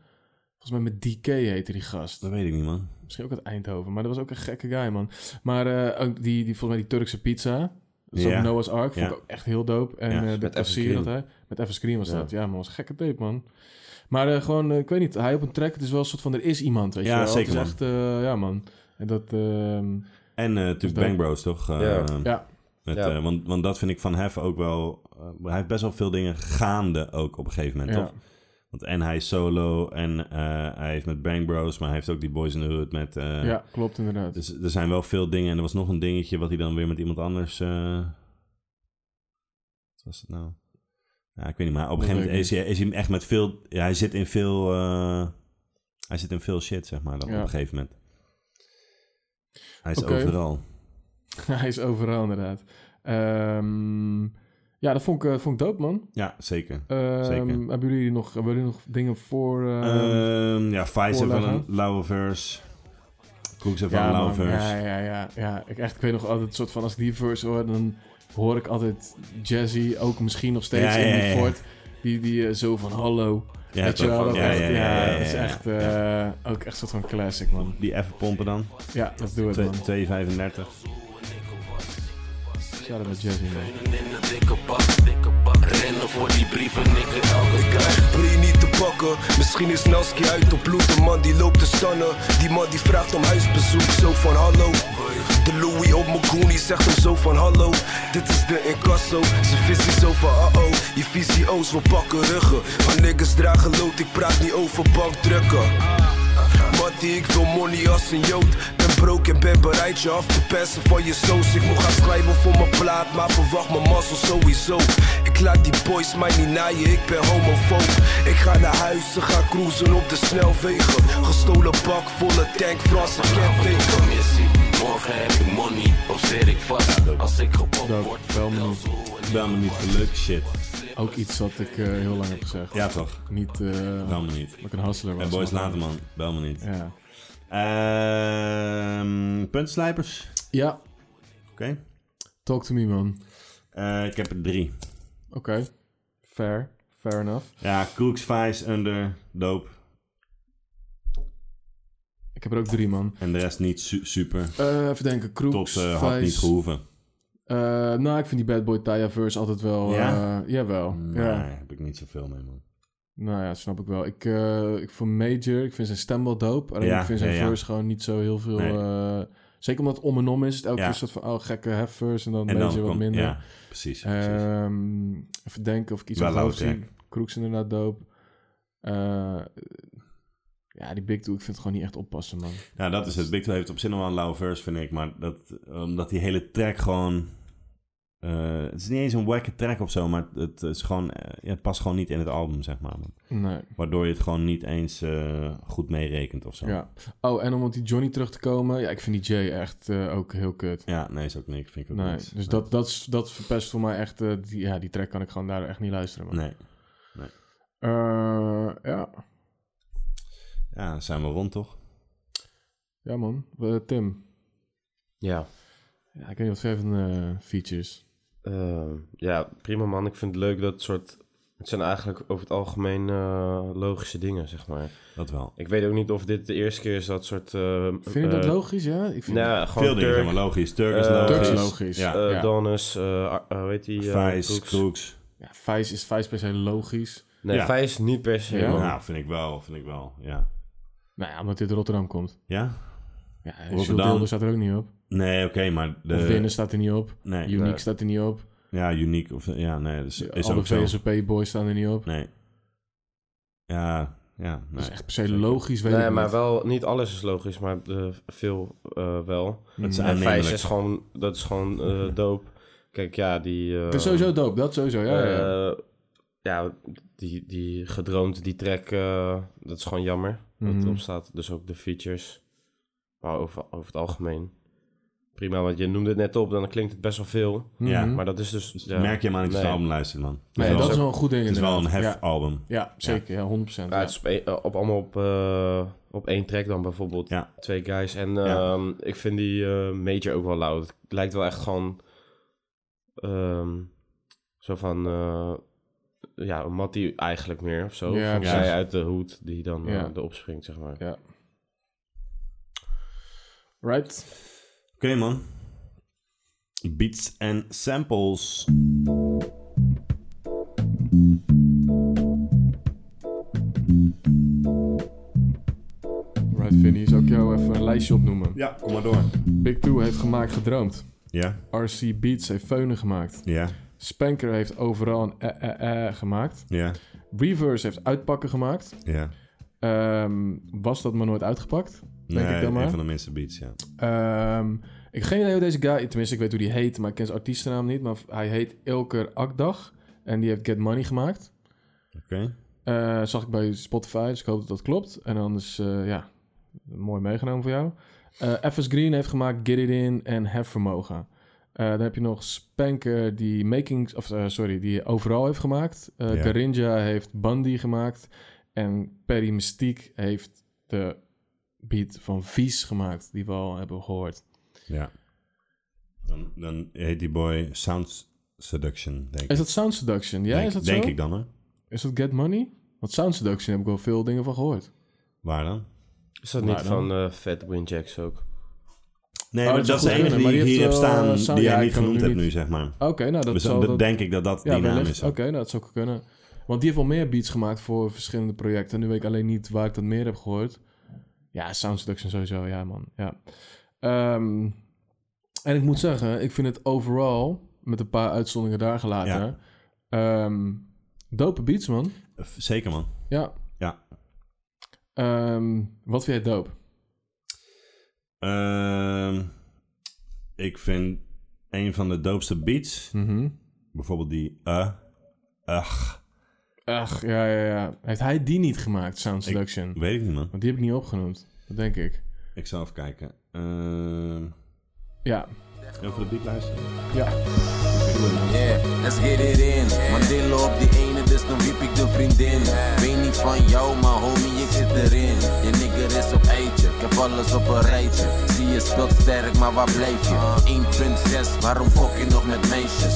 [SPEAKER 2] Volgens mij met DK heette die gast.
[SPEAKER 1] Dat weet ik niet, man.
[SPEAKER 2] Misschien ook uit Eindhoven, maar dat was ook een gekke guy, man. Maar eh, ook die, die, volgens mij die Turkse pizza. Dat is
[SPEAKER 1] Ja.
[SPEAKER 2] ook Noah's Ark, vond
[SPEAKER 1] Ja.
[SPEAKER 2] ik ook echt heel dope. En
[SPEAKER 1] Ja,
[SPEAKER 2] eh, de
[SPEAKER 3] met
[SPEAKER 2] kassier
[SPEAKER 3] Evans
[SPEAKER 2] dat hij... Met Evans Cream was
[SPEAKER 3] Ja.
[SPEAKER 2] dat. Ja, man, was een gekke tape, man. Maar eh, gewoon, eh, ik weet niet, hij op een track, het is wel een soort van, er is iemand, weet
[SPEAKER 1] Ja,
[SPEAKER 2] je wel.
[SPEAKER 1] zeker,
[SPEAKER 2] het
[SPEAKER 1] man.
[SPEAKER 2] is echt, eh, ja, man. En dat, ehm,
[SPEAKER 1] En eh, natuurlijk
[SPEAKER 2] dat-
[SPEAKER 1] Bang Bros, toch? Eh,
[SPEAKER 3] Ja.
[SPEAKER 2] ja,
[SPEAKER 1] met,
[SPEAKER 3] Ja.
[SPEAKER 1] eh, want, want dat vind ik van Hef ook wel... eh, hij heeft best wel veel dingen gaande ook op een gegeven moment,
[SPEAKER 2] ja.
[SPEAKER 1] toch? Want en hij is solo en eh, hij heeft met Bang Bros, maar hij heeft ook die Boys in the Hood met... eh,
[SPEAKER 2] ja, klopt inderdaad.
[SPEAKER 1] Dus er zijn wel veel dingen. En er was nog een dingetje wat hij dan weer met iemand anders... eh, Wat was het nou? Ja, ik weet niet, maar op een
[SPEAKER 2] Dat
[SPEAKER 1] gegeven moment
[SPEAKER 2] weet
[SPEAKER 1] is hij, is hij echt met veel... Ja, hij zit in veel... eh, hij zit in veel shit, zeg maar, dan
[SPEAKER 2] Ja.
[SPEAKER 1] op een gegeven moment. Hij is
[SPEAKER 2] Oké.
[SPEAKER 1] overal.
[SPEAKER 2] Hij is overal inderdaad. Ehm, ja, dat vond ik, eh, vond ik dope, man.
[SPEAKER 1] Ja, zeker.
[SPEAKER 2] Ehm,
[SPEAKER 1] Zeker.
[SPEAKER 2] Hebben jullie nog, hebben jullie nog dingen voor... eh,
[SPEAKER 1] Ehm, ja, Vice heeft wel een
[SPEAKER 2] voorleggen.
[SPEAKER 1] lauwe verse. Cooks heeft wel
[SPEAKER 2] ja,
[SPEAKER 1] een lauwe
[SPEAKER 2] man.
[SPEAKER 1] verse.
[SPEAKER 2] ja, ja, ja, ja. Ik, echt, ik weet nog altijd, soort van, als ik die verse hoor, dan hoor ik altijd Jazzy, ook misschien nog steeds
[SPEAKER 1] Ja, ja,
[SPEAKER 2] in die
[SPEAKER 1] ja, ja.
[SPEAKER 2] fort, die, die eh, zo van hallo.
[SPEAKER 1] Ja,
[SPEAKER 2] weet je
[SPEAKER 1] toch?
[SPEAKER 2] wel, dat
[SPEAKER 1] Ja,
[SPEAKER 2] echt-
[SPEAKER 1] ja,
[SPEAKER 2] ja,
[SPEAKER 1] ja, ja,
[SPEAKER 2] dat is
[SPEAKER 1] ja,
[SPEAKER 2] echt
[SPEAKER 1] ja.
[SPEAKER 2] eh, ook echt een soort van classic, man.
[SPEAKER 1] Die even pompen dan.
[SPEAKER 2] Ja, dat doen we
[SPEAKER 1] Twee-
[SPEAKER 2] man.
[SPEAKER 1] 2,35.
[SPEAKER 2] Shout out naar Jazzy, man.
[SPEAKER 6] in de dikke bak, dikke bak. Rennen voor die brieven, nigga, elke dag.
[SPEAKER 7] Bree niet te pakken, misschien is Nelski uit op bloed. De man die loopt te stannen, die man die vraagt om huisbezoek. Zo van hallo. De Louis op mijn goonie zegt hem zo van hallo. Dit is de incasso, zijn visie zo van uh-oh. Je visio's wil pakken ruggen. Maar niggas dragen lood, ik praat niet over bankdrukken. Mattie, ik wil money als een jood. Ben broke en ben bereid je af te persen van je soos. Ik moet gaan schrijven voor mijn plaat, maar verwacht mijn mazzel sowieso. Ik laat die boys mij niet naaien, ik ben homofoob. Ik ga naar huis en ga cruisen op de snelwegen. Gestolen bak, volle tank, Franse kenteken.
[SPEAKER 6] Kom je ziet, morgen heb ik money, of zit ik vast. Als ik gepopt
[SPEAKER 2] Dope,
[SPEAKER 6] word,
[SPEAKER 2] wel man.
[SPEAKER 1] Bel me niet voor leuke shit.
[SPEAKER 2] Ook iets wat ik eh, heel lang heb gezegd.
[SPEAKER 1] Ja, toch?
[SPEAKER 2] Niet eh
[SPEAKER 1] Bel
[SPEAKER 2] dat
[SPEAKER 1] me niet.
[SPEAKER 2] ik een hustler was.
[SPEAKER 1] En boys
[SPEAKER 2] maar-
[SPEAKER 1] later, man. Bel me niet.
[SPEAKER 2] Ja.
[SPEAKER 1] Ehm puntslijpers.
[SPEAKER 2] ja,
[SPEAKER 1] Oké.
[SPEAKER 2] talk to me, man.
[SPEAKER 1] Eh, ik heb er drie.
[SPEAKER 2] Oké, fair. Fair enough.
[SPEAKER 1] Ja, Cooks, Vice, Under, Dope.
[SPEAKER 2] Ik heb er ook drie, man.
[SPEAKER 1] En de rest niet su- super.
[SPEAKER 2] Eh, even
[SPEAKER 1] Tot
[SPEAKER 2] denken, Kroeks,
[SPEAKER 1] eh, had niet
[SPEAKER 2] Vice.
[SPEAKER 1] gehoeven.
[SPEAKER 2] Eh, nou, ik vind die Bad Boy Taya verse altijd wel...
[SPEAKER 1] Ja?
[SPEAKER 2] Ja? jawel.
[SPEAKER 1] Nee,
[SPEAKER 2] Ja.
[SPEAKER 1] heb ik niet zoveel mee, man.
[SPEAKER 2] Nou ja, snap ik wel. Ik, eh, ik voor Major, ik vind zijn stem wel dope. Alleen
[SPEAKER 1] Ja,
[SPEAKER 2] ik vind zijn
[SPEAKER 1] ja, ja.
[SPEAKER 2] verse gewoon niet zo heel veel...
[SPEAKER 1] Nee.
[SPEAKER 2] eh, zeker omdat het om en om is. Het elke
[SPEAKER 1] Ja.
[SPEAKER 2] keer een soort van, oh, gekke hefverse en dan
[SPEAKER 1] En
[SPEAKER 2] Major
[SPEAKER 1] dan
[SPEAKER 2] wat
[SPEAKER 1] komt...
[SPEAKER 2] minder.
[SPEAKER 1] Ja, precies. precies.
[SPEAKER 2] Ehm, even denken of ik iets
[SPEAKER 1] Wel
[SPEAKER 2] aan het hoofd
[SPEAKER 1] loud,
[SPEAKER 2] zie. Kroeks inderdaad dope. Eh, ja, die Big Two, ik vind het gewoon niet echt oppassen, man.
[SPEAKER 1] Ja, dat is het. Big Toe heeft op zich nog wel een lauwe verse, vind ik. Maar dat, omdat die hele track gewoon... eh, het is niet eens een wacke track of zo, maar het, is gewoon, eh, ja, het past gewoon niet in het album, zeg maar. man.
[SPEAKER 2] Nee,
[SPEAKER 1] Waardoor je het gewoon niet eens eh, goed meerekent of zo.
[SPEAKER 2] ja. Oh, en om op die Johnny terug te komen. Ja, ik vind die Jay echt eh, ook heel kut.
[SPEAKER 1] Ja, nee, is ook niks. Vind ik ook
[SPEAKER 2] Nee,
[SPEAKER 1] niks.
[SPEAKER 2] dus Dat, dat, is- dat verpest voor mij echt... eh, die, ja, die track kan ik gewoon daardoor echt niet luisteren, man.
[SPEAKER 1] Nee.
[SPEAKER 2] Eh, ja.
[SPEAKER 1] Ja, dan zijn we rond, toch?
[SPEAKER 2] ja, man. Eh, Tim,
[SPEAKER 3] Ja.
[SPEAKER 2] ja, ik weet niet of Seven eh features.
[SPEAKER 3] Eh, ja, prima man. Ik vind het leuk dat soort... Het zijn eigenlijk over het algemeen eh, logische dingen, zeg maar.
[SPEAKER 1] Dat wel.
[SPEAKER 3] Ik weet ook niet of dit de eerste keer is dat soort... eh,
[SPEAKER 2] Vind je dat
[SPEAKER 3] eh,
[SPEAKER 2] logisch, ja? Ik vind
[SPEAKER 3] Nou, ja, gewoon
[SPEAKER 1] Veel dingen
[SPEAKER 3] Turk,
[SPEAKER 1] zijn maar logisch. Turk is
[SPEAKER 3] Eh,
[SPEAKER 1] logisch.
[SPEAKER 2] Turks
[SPEAKER 3] logisch.
[SPEAKER 2] logisch.
[SPEAKER 1] Ja.
[SPEAKER 3] eh,
[SPEAKER 2] ja.
[SPEAKER 3] Donus, eh, ah, eh, hoe heet die? eh,
[SPEAKER 1] Vice,
[SPEAKER 3] Brooks?
[SPEAKER 1] Crooks.
[SPEAKER 2] Ja, Vijs is Vijs per se logisch.
[SPEAKER 3] Nee,
[SPEAKER 1] Ja.
[SPEAKER 3] Vijs niet per se,
[SPEAKER 2] Ja?
[SPEAKER 3] man.
[SPEAKER 1] Nou, vind ik wel. Vind ik wel, ja.
[SPEAKER 2] Nou ja, omdat dit uit Rotterdam komt.
[SPEAKER 1] Ja?
[SPEAKER 2] Ja, en
[SPEAKER 1] Rotterdam.
[SPEAKER 2] Jules Deelder staat er ook niet op.
[SPEAKER 1] Nee, oké, maar... De,
[SPEAKER 2] Of Winnen staat er niet op.
[SPEAKER 1] Nee.
[SPEAKER 2] Unique
[SPEAKER 3] nee.
[SPEAKER 2] staat er niet op.
[SPEAKER 1] Ja, uniek. Of, ja, nee, dat is, is
[SPEAKER 2] Alle
[SPEAKER 1] ook zo.
[SPEAKER 2] VSOP-boys staan er niet op.
[SPEAKER 1] Nee. Ja, ja,
[SPEAKER 2] Dat is
[SPEAKER 1] nee.
[SPEAKER 2] echt per se logisch, weet
[SPEAKER 3] Nee,
[SPEAKER 2] ik
[SPEAKER 3] maar
[SPEAKER 2] niet.
[SPEAKER 3] wel, niet alles is logisch, maar eh, veel eh, wel.
[SPEAKER 1] Het is
[SPEAKER 3] En Vijs
[SPEAKER 1] aannemelijk.
[SPEAKER 3] is gewoon, dat is gewoon eh doop. Kijk, ja, die... eh,
[SPEAKER 2] Het is sowieso dope, dat sowieso. Ja, ja, ja.
[SPEAKER 3] eh, ja, die, die gedroomd, die track, eh, dat is gewoon jammer. Dat
[SPEAKER 2] Mhm.
[SPEAKER 3] erop staat, dus ook de features. Maar over, over het algemeen. Prima, want je noemde het net op, dan klinkt het best wel veel.
[SPEAKER 1] ja,
[SPEAKER 2] Mhm.
[SPEAKER 3] Maar dat is dus... ja,
[SPEAKER 1] Merk je maar niet als je het
[SPEAKER 3] nee.
[SPEAKER 1] album luistert, man. Het
[SPEAKER 2] Nee,
[SPEAKER 1] is wel,
[SPEAKER 2] dat is wel een goed ding
[SPEAKER 1] het is wel een
[SPEAKER 2] inderdaad. Ja,
[SPEAKER 1] hef-album.
[SPEAKER 2] ja, zeker. Ja, 100%.
[SPEAKER 3] Ja,
[SPEAKER 2] ja.
[SPEAKER 3] het is op, één- eh, op allemaal op, eh, op één track dan bijvoorbeeld.
[SPEAKER 1] Ja.
[SPEAKER 3] Twee guys. En
[SPEAKER 1] Ja.
[SPEAKER 3] ehm, ik vind die eh, Major ook wel loud. Het lijkt wel echt gewoon... ehm, zo van... eh, ja, een mattie eigenlijk meer of zo.
[SPEAKER 2] Ja,
[SPEAKER 3] Van
[SPEAKER 2] precies.
[SPEAKER 3] zij uit de hoed die dan
[SPEAKER 2] Ja.
[SPEAKER 3] eh, erop springt, zeg maar.
[SPEAKER 2] Ja. Right?
[SPEAKER 1] Oké, man. Beats en samples.
[SPEAKER 2] Right, Vinny. Zou ik jou even een lijstje opnoemen?
[SPEAKER 1] Ja, kom maar door.
[SPEAKER 2] Big Two heeft gemaakt Gedroomd.
[SPEAKER 1] Ja,
[SPEAKER 2] RC Beats heeft Feunen gemaakt.
[SPEAKER 1] ja,
[SPEAKER 2] Spanker heeft overal een eh, eh, eh gemaakt.
[SPEAKER 1] ja,
[SPEAKER 2] Reverse heeft uitpakken gemaakt.
[SPEAKER 1] ja.
[SPEAKER 2] Ehm, was dat maar nooit uitgepakt? Denk
[SPEAKER 1] nee,
[SPEAKER 2] ik dan maar.
[SPEAKER 1] een van de minste beats, ja.
[SPEAKER 2] Ehm, ik heb geen idee hoe deze guy... Tenminste, ik weet hoe die heet, maar ik ken zijn artiestennaam niet. Maar hij heet Ilker Akdag. En die heeft Get Money gemaakt.
[SPEAKER 1] Oké.
[SPEAKER 2] Eh, zag ik bij Spotify, dus ik hoop dat dat klopt. En anders, eh ja, mooi meegenomen voor jou. Eh FS Green heeft gemaakt Get It In en Hefvermogen. Eh dan heb je nog Spanker die making, of eh, sorry, die overal heeft gemaakt. Eh
[SPEAKER 1] Ja.
[SPEAKER 2] Garinja heeft Bundy gemaakt. En Perry Mystique heeft de beat van Vies gemaakt, die we al hebben gehoord.
[SPEAKER 1] Ja. Dan, dan heet die boy Sound Seduction, denk ik.
[SPEAKER 2] Is dat Sound Seduction? Ja,
[SPEAKER 1] denk
[SPEAKER 2] is dat
[SPEAKER 1] denk
[SPEAKER 2] zo?
[SPEAKER 1] ik dan, hè?
[SPEAKER 2] Is dat Get Money? Want Sound Seduction heb ik wel veel dingen van gehoord.
[SPEAKER 1] Waar dan?
[SPEAKER 3] Is dat
[SPEAKER 2] Nou,
[SPEAKER 3] niet
[SPEAKER 2] dan-
[SPEAKER 3] van eh Fat Winjacks ook?
[SPEAKER 1] Nee,
[SPEAKER 2] Oh,
[SPEAKER 1] maar
[SPEAKER 2] dat
[SPEAKER 1] dat is
[SPEAKER 2] zou
[SPEAKER 1] de
[SPEAKER 2] goed
[SPEAKER 1] enige die
[SPEAKER 2] kunnen,
[SPEAKER 1] ik
[SPEAKER 2] maar die
[SPEAKER 1] hier heb
[SPEAKER 2] heeft, eh,
[SPEAKER 1] staan
[SPEAKER 2] Sound-
[SPEAKER 1] die
[SPEAKER 2] ja,
[SPEAKER 1] jij
[SPEAKER 2] ik
[SPEAKER 1] niet
[SPEAKER 2] kan hem
[SPEAKER 1] genoemd
[SPEAKER 2] nu
[SPEAKER 1] hebt nu,
[SPEAKER 2] niet-
[SPEAKER 1] zeg maar.
[SPEAKER 2] Oké, nou dat
[SPEAKER 1] Dus
[SPEAKER 2] zal...
[SPEAKER 1] dan
[SPEAKER 2] dat-
[SPEAKER 1] denk ik dat dat
[SPEAKER 2] Ja,
[SPEAKER 1] die naam
[SPEAKER 2] wellicht.
[SPEAKER 1] is.
[SPEAKER 2] Oké, nou, dat zou ook kunnen. Want die heeft wel meer beats gemaakt voor verschillende projecten. Nu weet ik alleen niet waar ik dat meer heb gehoord. Ja, Sound Seduction sowieso, ja man. Ja. Ehm, en ik moet zeggen, ik vind het overal, met een paar uitzonderingen daar gelaten, ehm, dope beats man.
[SPEAKER 1] F- Zeker, man.
[SPEAKER 2] Ja.
[SPEAKER 1] Ja.
[SPEAKER 2] Ehm, wat vind jij dope?
[SPEAKER 1] Ehm, ik vind een van de doopste beats,
[SPEAKER 2] Mhm.
[SPEAKER 1] bijvoorbeeld die eh, ach,
[SPEAKER 2] Ach, ja, ja, ja. Heeft hij die niet gemaakt, Sound Seduction?
[SPEAKER 1] weet ik niet, man.
[SPEAKER 2] Want die heb ik niet opgenoemd. Dat denk ik.
[SPEAKER 1] Ik zal even kijken. Ehm
[SPEAKER 2] Ja.
[SPEAKER 1] even de beat luisteren.
[SPEAKER 2] Ja.
[SPEAKER 4] Yeah, let's get it in. Mandela op die ene, dus dan wiep ik de vriendin. Weet niet van jou, maar homie, ik zit erin. Je nigger is op eitje, ik heb alles op een rijtje. Zie je speelt sterk, maar waar blijf je? Eén prinses, waarom fok je nog met meisjes?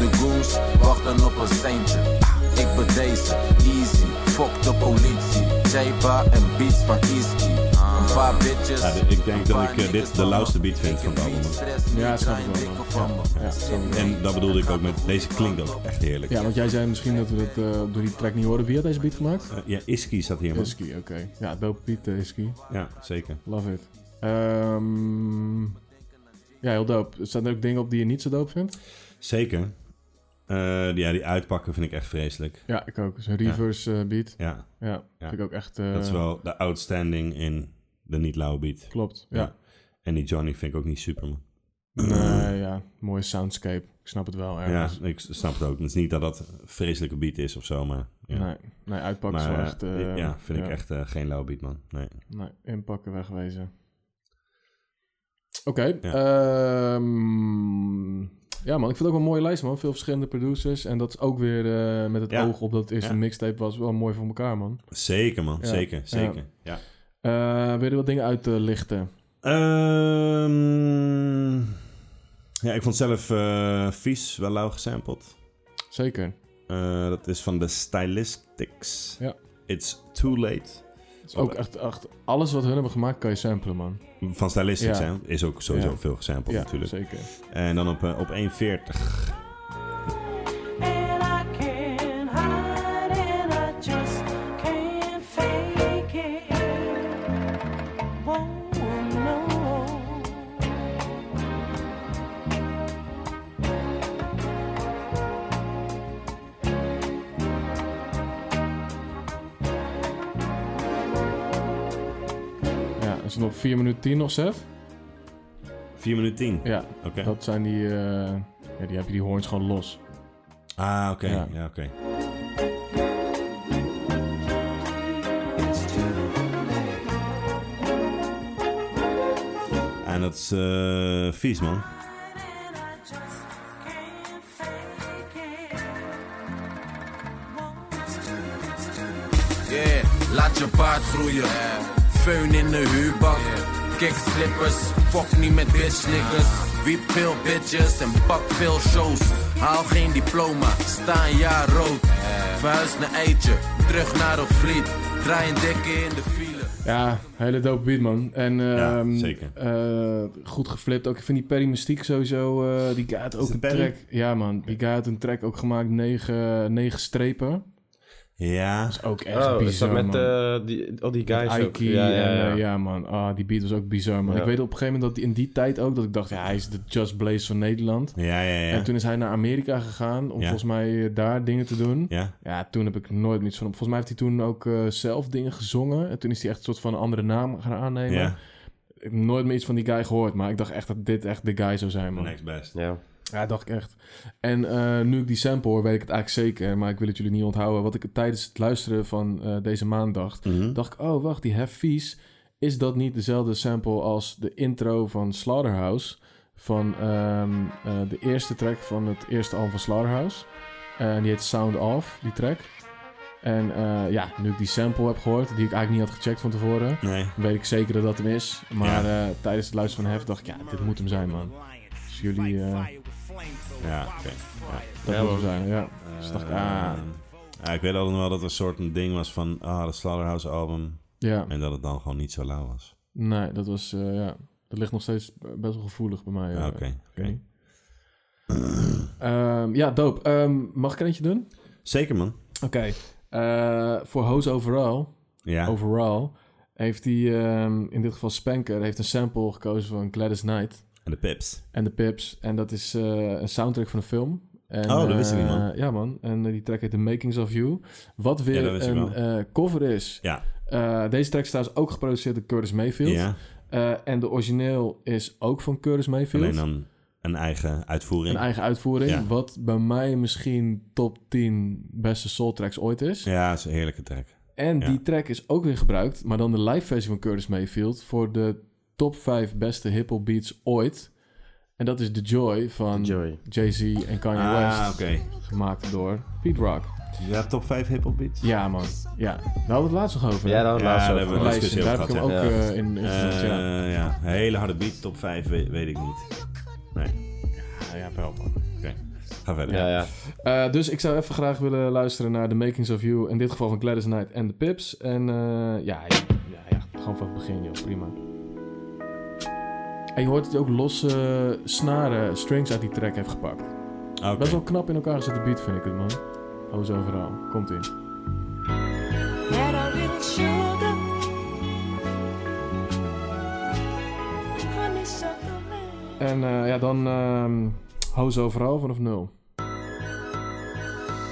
[SPEAKER 4] De goons wachten op een seintje. Ah, Ik bedees easy, fuck de politie. Jaiba en beats van Iski. Een paar bitches.
[SPEAKER 1] Ja, ik denk dat
[SPEAKER 4] een
[SPEAKER 1] ik,
[SPEAKER 4] paar
[SPEAKER 1] eh, dit
[SPEAKER 4] niggas
[SPEAKER 1] de
[SPEAKER 4] van me.
[SPEAKER 1] lauwste beat vind
[SPEAKER 4] Ik
[SPEAKER 1] van het
[SPEAKER 4] heb
[SPEAKER 1] album, hoor.
[SPEAKER 4] beats, stress,
[SPEAKER 2] Ja,
[SPEAKER 4] niet
[SPEAKER 2] snap ik
[SPEAKER 4] klein,
[SPEAKER 2] wel, man.
[SPEAKER 4] dikke van me.
[SPEAKER 2] Ja, ja, snap ik wel.
[SPEAKER 1] En dat bedoelde ik ook met deze klinkt ook echt heerlijk.
[SPEAKER 2] Ja, want jij zei misschien dat we dat eh, door die track niet horen. Wie had deze beat gemaakt?
[SPEAKER 1] Eh, ja Iski zat hier, man.
[SPEAKER 2] Husky, oké. Ja, dope beat eh, Husky.
[SPEAKER 1] Ja, zeker.
[SPEAKER 2] Love it. Ehm, ja, heel dope. Staan er ook dingen op die je niet zo dope vindt?
[SPEAKER 1] Zeker. Eh, ja, die uitpakken vind ik echt vreselijk.
[SPEAKER 2] Ja, ik ook. Zo'n reverse eh, beat.
[SPEAKER 1] Ja,
[SPEAKER 2] Ja,
[SPEAKER 1] Ja.
[SPEAKER 2] vind ik ook echt... eh,
[SPEAKER 1] dat is wel de outstanding in de niet-lauwe beat.
[SPEAKER 2] Klopt, ja.
[SPEAKER 1] En die Johnny vind ik ook niet super, man.
[SPEAKER 2] Nee, ja. Mooie soundscape. Ik snap het wel
[SPEAKER 1] Ja,
[SPEAKER 2] ergens.
[SPEAKER 1] ik snap het ook. Het is niet dat dat een vreselijke beat is of zo, maar... Ja.
[SPEAKER 2] Nee, nee, uitpakken
[SPEAKER 1] maar
[SPEAKER 2] is wel
[SPEAKER 1] eh,
[SPEAKER 2] echt... eh,
[SPEAKER 1] ja, vind ik echt eh, geen lauwe beat, man. Nee.
[SPEAKER 2] Nee, inpakken, wegwezen. Oké.
[SPEAKER 1] Ja.
[SPEAKER 2] Ja. ja, man. Ik vind het ook wel een mooie lijst, man. Veel verschillende producers. En dat is ook weer eh, met het
[SPEAKER 1] Ja.
[SPEAKER 2] oog op dat het eerste
[SPEAKER 1] Ja.
[SPEAKER 2] mixtape was wel mooi voor elkaar, man.
[SPEAKER 1] Zeker, man.
[SPEAKER 2] Ja.
[SPEAKER 1] Zeker, zeker. Ja.
[SPEAKER 2] Eh wil je er wat dingen uit te lichten?
[SPEAKER 1] Ehm, ja, ik vond zelf eh, vies wel lauw gesampled.
[SPEAKER 2] Zeker.
[SPEAKER 1] Eh, dat is van de Stylistics.
[SPEAKER 2] Ja.
[SPEAKER 1] It's Too Late.
[SPEAKER 2] Het is ook echt, echt... Alles wat hun hebben gemaakt kan je samplen, man.
[SPEAKER 1] Van Stylistics,
[SPEAKER 2] Ja.
[SPEAKER 1] hè? Is ook sowieso
[SPEAKER 2] Ja.
[SPEAKER 1] veel gesampled
[SPEAKER 2] ja,
[SPEAKER 1] natuurlijk.
[SPEAKER 2] zeker.
[SPEAKER 1] En dan op, eh, op 1.40.
[SPEAKER 8] And I can't hide and I just can't fake it. Whoa, no.
[SPEAKER 2] Ja, als je nog 4 minuten 10 nog zet.
[SPEAKER 1] 4 minuten 10.
[SPEAKER 2] Ja,
[SPEAKER 1] Oké.
[SPEAKER 2] dat zijn die... eh, ja, die heb je die horns gewoon los.
[SPEAKER 1] Ah, oké.
[SPEAKER 2] Ja.
[SPEAKER 1] Ja, oké. En dat is eh, vies, man.
[SPEAKER 8] And I just can't fake it.
[SPEAKER 4] Yeah, laat je baard groeien. Feun in de huurbak. Kick slippers, fuck niet met bitch niggas. Wiep veel bitches en pak veel shows. Haal geen diploma, sta een jaar rood. Verhuis naar Eitje, terug naar een vliet. Draai een dikke in de file.
[SPEAKER 2] Ja, hele dope beat, man. En,
[SPEAKER 1] Ja,
[SPEAKER 2] ehm,
[SPEAKER 1] zeker.
[SPEAKER 2] eh, goed geflipt ook. Ik vind die Perry Mystique sowieso... eh, die guy had ook
[SPEAKER 1] het
[SPEAKER 2] een
[SPEAKER 1] Perry?
[SPEAKER 2] track... Ja, man. Die guy had een track ook gemaakt. Negen, negen strepen.
[SPEAKER 1] Ja.
[SPEAKER 2] Dat is ook echt
[SPEAKER 3] Oh,
[SPEAKER 2] bizar,
[SPEAKER 3] is dat met
[SPEAKER 2] man.
[SPEAKER 3] eh, die, al die guys ook?
[SPEAKER 2] Aiki
[SPEAKER 3] Ja,
[SPEAKER 2] en,
[SPEAKER 3] ja,
[SPEAKER 2] eh,
[SPEAKER 3] ja.
[SPEAKER 2] ja, man. Ah, die beat was ook bizar, man.
[SPEAKER 3] Ja.
[SPEAKER 2] Ik weet op een gegeven moment dat in die tijd ook... dat ik dacht, ja, hij is de Just Blaze van Nederland.
[SPEAKER 1] Ja, ja, ja.
[SPEAKER 2] En toen is hij naar Amerika gegaan... om
[SPEAKER 1] Ja.
[SPEAKER 2] volgens mij eh, daar dingen te doen.
[SPEAKER 1] Ja?
[SPEAKER 2] Ja, toen heb ik nooit meer iets van hem. Volgens mij heeft hij toen ook eh, zelf dingen gezongen. En toen is hij echt een soort van een andere naam gaan aannemen.
[SPEAKER 1] Ja.
[SPEAKER 2] Ik heb nooit meer iets van die guy gehoord, maar ik dacht echt dat dit echt de guy zou zijn, man.
[SPEAKER 1] Next best.
[SPEAKER 3] Ja.
[SPEAKER 2] Ja, dacht ik echt. En eh, nu ik die sample hoor, weet ik het eigenlijk zeker, maar ik wil het jullie niet onthouden. Wat ik tijdens het luisteren van eh, deze maand dacht, dacht ik, oh wacht, die Heffies is dat niet dezelfde sample als de intro van Slaughterhouse? Van ehm, eh, de eerste track van het eerste album van Slaughterhouse. En die heet Sound Off, die track. En eh, ja, nu ik die sample heb gehoord, die ik eigenlijk niet had gecheckt van tevoren,
[SPEAKER 1] Nee.
[SPEAKER 2] weet ik zeker dat dat hem is. Maar eh, tijdens het luisteren van Hef dacht ik, ja, dit moet hem zijn, man. Dus jullie, eh,
[SPEAKER 1] Ja, oké. Ja.
[SPEAKER 2] dat moet
[SPEAKER 3] Ja,
[SPEAKER 2] hem
[SPEAKER 3] man.
[SPEAKER 2] zijn, ja. Dus dacht ik, ah,
[SPEAKER 1] Eh, ja, ik weet altijd nog wel dat er een soort een ding was van, ah, dat Slaughterhouse album.
[SPEAKER 2] ja.
[SPEAKER 1] En dat het dan gewoon niet zo lauw was.
[SPEAKER 2] Nee, dat was, eh, ja, dat ligt nog steeds best wel gevoelig bij mij.
[SPEAKER 1] Ja,
[SPEAKER 2] eh,
[SPEAKER 1] oké.
[SPEAKER 2] ik weet niet. Ehm, ja, doop. Ehm, mag ik er eentje doen?
[SPEAKER 1] Zeker, man.
[SPEAKER 2] Oké. Eh, voor Hoos Overall,
[SPEAKER 1] Ja.
[SPEAKER 2] overall heeft hij, ehm, in dit geval Spanker, heeft een sample gekozen van Gladys Knight
[SPEAKER 1] En de pips.
[SPEAKER 2] en de Pips. En dat is eh, een soundtrack van een film. En,
[SPEAKER 1] Oh, dat wist ik niet,
[SPEAKER 2] eh,
[SPEAKER 1] man.
[SPEAKER 2] Ja, man. En eh, die track heet The Makings of You. Wat
[SPEAKER 1] Ja,
[SPEAKER 2] weer
[SPEAKER 1] dat wist ik
[SPEAKER 2] een
[SPEAKER 1] wel.
[SPEAKER 2] eh, cover is.
[SPEAKER 1] Ja.
[SPEAKER 2] Eh, deze track is trouwens ook geproduceerd door Curtis Mayfield.
[SPEAKER 1] Ja.
[SPEAKER 2] Eh, en de origineel is ook van Curtis Mayfield.
[SPEAKER 1] Alleen dan een eigen uitvoering.
[SPEAKER 2] Een eigen uitvoering.
[SPEAKER 1] Ja.
[SPEAKER 2] Wat bij mij misschien top 10 beste soul tracks ooit is.
[SPEAKER 1] Ja, dat is een heerlijke track.
[SPEAKER 2] En
[SPEAKER 1] Ja.
[SPEAKER 2] die track is ook weer gebruikt. Maar dan de live versie van Curtis Mayfield. Voor de top 5 beste hiphop beats ooit. En dat is The Joy van
[SPEAKER 3] Joy.
[SPEAKER 2] Jay-Z en Kanye
[SPEAKER 1] Ah,
[SPEAKER 2] West.
[SPEAKER 1] oké.
[SPEAKER 2] Gemaakt door Pete Rock.
[SPEAKER 1] Ja, top 5 hip-hop beats.
[SPEAKER 2] Ja man, ja. Daar hadden we het laatst nog over. hè?
[SPEAKER 3] Ja, dat was
[SPEAKER 1] Ja,
[SPEAKER 3] laatst
[SPEAKER 1] daar
[SPEAKER 3] over.
[SPEAKER 1] hebben we
[SPEAKER 2] Lijst.
[SPEAKER 1] discussie
[SPEAKER 2] Daar
[SPEAKER 1] over
[SPEAKER 2] heb ik hem ook
[SPEAKER 1] gehad,
[SPEAKER 3] ja.
[SPEAKER 2] eh, in, in
[SPEAKER 1] Eh,
[SPEAKER 2] gezet, ja.
[SPEAKER 1] ja. Een hele harde beat, top 5, weet, weet ik niet. Nee.
[SPEAKER 2] Ja, wel man.
[SPEAKER 1] Oké, ga verder.
[SPEAKER 3] Ja, ja.
[SPEAKER 2] Eh, dus ik zou even graag willen luisteren naar de Makings of You. In dit geval van Gladys Knight en de Pips. En eh, ja, ja, ja, ja, gewoon van het begin, joh. Prima. En je hoort dat hij ook losse snaren, strings uit die track heeft gepakt.
[SPEAKER 1] Oké.
[SPEAKER 2] Best wel knap in elkaar gezette beat, vind ik het, man. Hoos overal. Komt in.
[SPEAKER 8] Add a little sugar. Honeysuckle man.
[SPEAKER 2] En eh, ja, dan ehm Hoos overal vanaf nul.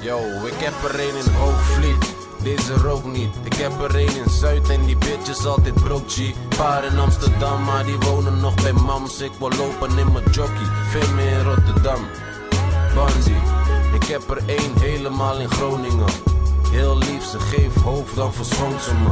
[SPEAKER 4] Yo, ik heb er een in Hoogvliet. Deze rook niet. Ik heb er een in Zuid en die bitches altijd brood G. Paar in Amsterdam, maar die wonen nog bij mams. Ik wil lopen in mijn jockey. Veel meer in Rotterdam. Bandy. Ik heb er één helemaal in Groningen. Heel lief, ze geeft hoofd, dan verschoont ze me.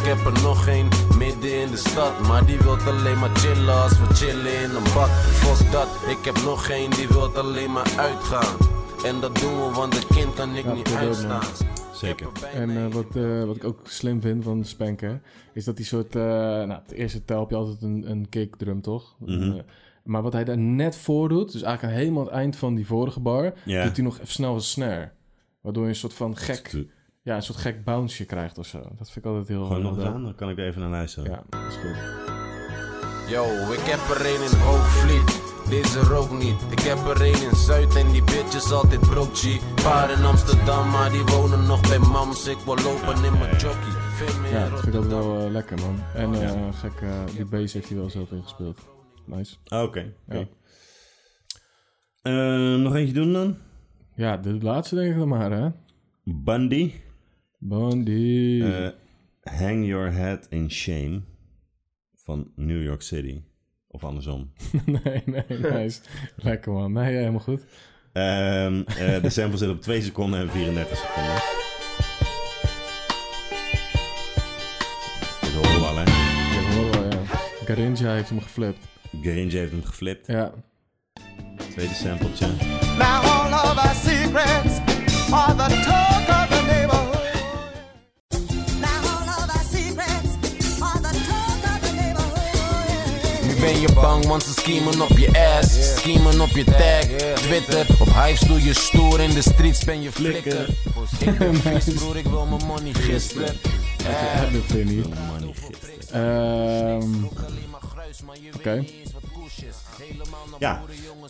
[SPEAKER 4] Ik heb er nog één midden in de stad. Maar die wilt alleen maar chillen als we chillen in een bad. Fuck dat, ik heb nog één die wilt alleen maar uitgaan. En dat doen we, want het kind kan ik
[SPEAKER 2] Ja,
[SPEAKER 4] niet
[SPEAKER 2] dat ook, man.
[SPEAKER 4] uitstaan.
[SPEAKER 1] Zeker.
[SPEAKER 2] En eh, wat, eh, wat ik ook slim vind van Spanker, is dat die soort... eh, nou, op de eerste tel heb je altijd een, een kickdrum, toch?
[SPEAKER 1] Mhm.
[SPEAKER 2] Eh, maar wat hij daar net voor doet, dus eigenlijk aan helemaal het eind van die vorige bar...
[SPEAKER 1] Ja.
[SPEAKER 2] doet hij nog even snel een snare. Waardoor je een soort van gek,
[SPEAKER 1] Gewoon
[SPEAKER 2] ja, een soort gek bounce krijgt of zo. Dat vind ik altijd heel...
[SPEAKER 1] nog
[SPEAKER 2] heel-
[SPEAKER 1] gedaan, dan kan ik er even naar luisteren.
[SPEAKER 2] Ja, dat is goed.
[SPEAKER 4] Yo, ik heb er een in Hoogvliet. Deze rook niet. Ik heb er een in Zuid en die bitches altijd brood G. Paar in Amsterdam, maar die wonen nog bij mams. Ik wil lopen in mijn jockey. Veel meer
[SPEAKER 2] Ja, dat vind ik
[SPEAKER 4] Rotterdam.
[SPEAKER 2] altijd wel eh, lekker, man. En eh, gek, eh, die bass heeft hij wel zelf ingespeeld. Nice.
[SPEAKER 1] Ah, Oké. oké.
[SPEAKER 2] Ja.
[SPEAKER 1] Ehm, nog eentje doen dan?
[SPEAKER 2] Ja, de laatste denk ik dan maar, hè?
[SPEAKER 1] Bundy.
[SPEAKER 2] Bandy.
[SPEAKER 1] Eh, hang Your Head in Shame van New York City. Of andersom.
[SPEAKER 2] nee, nee, nice. lekker, man. Nee, ja, helemaal goed.
[SPEAKER 1] Ehm, eh, de sample zit op 2 seconden en 34 seconden. Dit horen we al, hè?
[SPEAKER 2] Ik hoor wel, ja. Garinja heeft hem geflipt.
[SPEAKER 1] Gringe heeft hem geflipt.
[SPEAKER 2] Ja.
[SPEAKER 1] Tweede sampletje.
[SPEAKER 9] Now all of our secrets are the talk of the neighborhood.
[SPEAKER 8] Now all of our secrets are the talk of the neighborhood.
[SPEAKER 4] Nu ben je bang, want ze schiemen op je ass. Schiemen op je tag. Twitter, op hypes doe je stoer. In de streets ben je flikker. Ik ben vies, broer, ik wil mijn money gisteren.
[SPEAKER 2] Ja, dat vind ik niet.
[SPEAKER 1] Money gisteren.
[SPEAKER 2] Ehm,
[SPEAKER 4] Oké.
[SPEAKER 2] Oké.
[SPEAKER 1] Ja.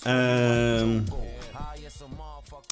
[SPEAKER 1] Ehm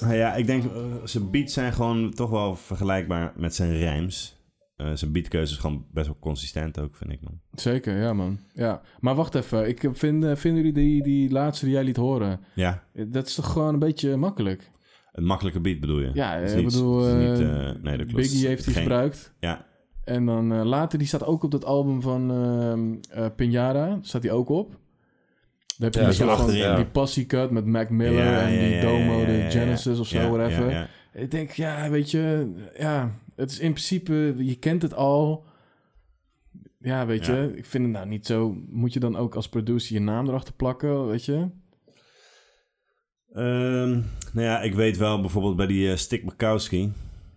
[SPEAKER 1] nou ja, ik denk, eh, zijn beats zijn gewoon toch wel vergelijkbaar met zijn rijms. Eh, zijn beatkeuze is gewoon best wel consistent ook, vind ik, man.
[SPEAKER 2] zeker, ja, man. Ja. Maar wacht even. Ik vind, eh, vinden jullie die, die laatste die jij liet horen?
[SPEAKER 1] Ja,
[SPEAKER 2] eh, Dat is toch gewoon een beetje makkelijk?
[SPEAKER 1] een makkelijke beat bedoel je?
[SPEAKER 2] Ja,
[SPEAKER 1] Het is
[SPEAKER 2] ik
[SPEAKER 1] niet-
[SPEAKER 2] bedoel...
[SPEAKER 1] het is
[SPEAKER 2] eh,
[SPEAKER 1] niet, eh, nee, dat klopt.
[SPEAKER 2] Biggie heeft die
[SPEAKER 1] Geen-
[SPEAKER 2] gebruikt.
[SPEAKER 1] Ja,
[SPEAKER 2] En dan eh, later, die staat ook op dat album van ehm eh, Pinjara. Staat die ook op. Daar heb je
[SPEAKER 3] Ja,
[SPEAKER 2] die,
[SPEAKER 3] zo
[SPEAKER 2] soort van,
[SPEAKER 1] achterin.
[SPEAKER 2] die passiecut met Mac Miller
[SPEAKER 1] Ja,
[SPEAKER 2] en
[SPEAKER 1] ja,
[SPEAKER 2] die
[SPEAKER 1] ja,
[SPEAKER 2] Domo,
[SPEAKER 1] ja, ja, ja,
[SPEAKER 2] de Genesis
[SPEAKER 1] ja.
[SPEAKER 2] of zo,
[SPEAKER 1] Ja,
[SPEAKER 2] whatever.
[SPEAKER 1] ja, ja.
[SPEAKER 2] Ik denk, ja, weet je, ja, het is in principe, je kent het al. Ja, weet
[SPEAKER 1] Ja.
[SPEAKER 2] je, ik vind het nou niet zo. Moet je dan ook als producer je naam erachter plakken, weet je?
[SPEAKER 1] Ehm, nou ja, ik weet wel bijvoorbeeld bij die eh, Stick Bukowski.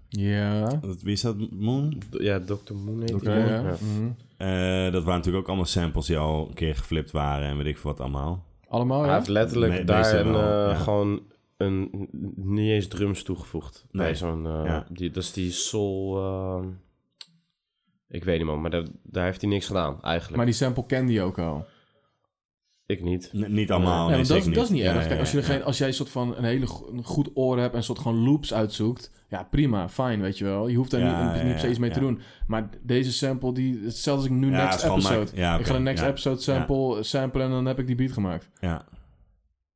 [SPEAKER 2] Ja.
[SPEAKER 1] Dat, wie is dat? Moon?
[SPEAKER 3] D- Ja, Dr. Moon heet
[SPEAKER 2] Oké,
[SPEAKER 3] die.
[SPEAKER 2] ja.
[SPEAKER 3] man. Ja.
[SPEAKER 2] Mhm.
[SPEAKER 1] Eh, dat waren natuurlijk ook allemaal samples die al een keer geflipt waren en weet ik veel wat allemaal.
[SPEAKER 2] Allemaal,
[SPEAKER 3] Hij
[SPEAKER 2] Oh, ja?
[SPEAKER 3] heeft letterlijk
[SPEAKER 1] Me-
[SPEAKER 3] daar
[SPEAKER 1] meestal
[SPEAKER 3] een,
[SPEAKER 1] wel,
[SPEAKER 3] eh,
[SPEAKER 1] ja.
[SPEAKER 3] gewoon een, n- niet eens drums toegevoegd.
[SPEAKER 1] Nee.
[SPEAKER 3] Bij zo'n, eh,
[SPEAKER 1] Ja.
[SPEAKER 3] die, dat is die soul... ehm, ik weet niet man, maar daar, daar heeft hij niks gedaan eigenlijk.
[SPEAKER 2] Maar die sample kende je ook al.
[SPEAKER 3] Ik niet.
[SPEAKER 1] N- niet allemaal,
[SPEAKER 2] ja,
[SPEAKER 1] nee,
[SPEAKER 2] maar dat,
[SPEAKER 1] zeker
[SPEAKER 2] is- dat is niet
[SPEAKER 1] Ja,
[SPEAKER 2] erg.
[SPEAKER 1] ja,
[SPEAKER 2] Kijk, als, je
[SPEAKER 1] ja,
[SPEAKER 2] er geen, als jij een soort van een hele go- een goed oor hebt en een soort gewoon loops uitzoekt, ja prima, fijn, weet je wel. Je hoeft daar
[SPEAKER 1] Ja,
[SPEAKER 2] niet,
[SPEAKER 1] ja,
[SPEAKER 2] niet per se
[SPEAKER 1] ja,
[SPEAKER 2] iets mee te
[SPEAKER 1] ja.
[SPEAKER 2] doen. Maar deze sample, die, hetzelfde als ik nu
[SPEAKER 1] Ja, het
[SPEAKER 2] next
[SPEAKER 1] is gewoon
[SPEAKER 2] episode.
[SPEAKER 1] maakt- ja,
[SPEAKER 2] Ik
[SPEAKER 1] oké,
[SPEAKER 2] ga de next
[SPEAKER 1] ja.
[SPEAKER 2] episode sample, sample en dan heb ik die beat gemaakt.
[SPEAKER 1] Ja.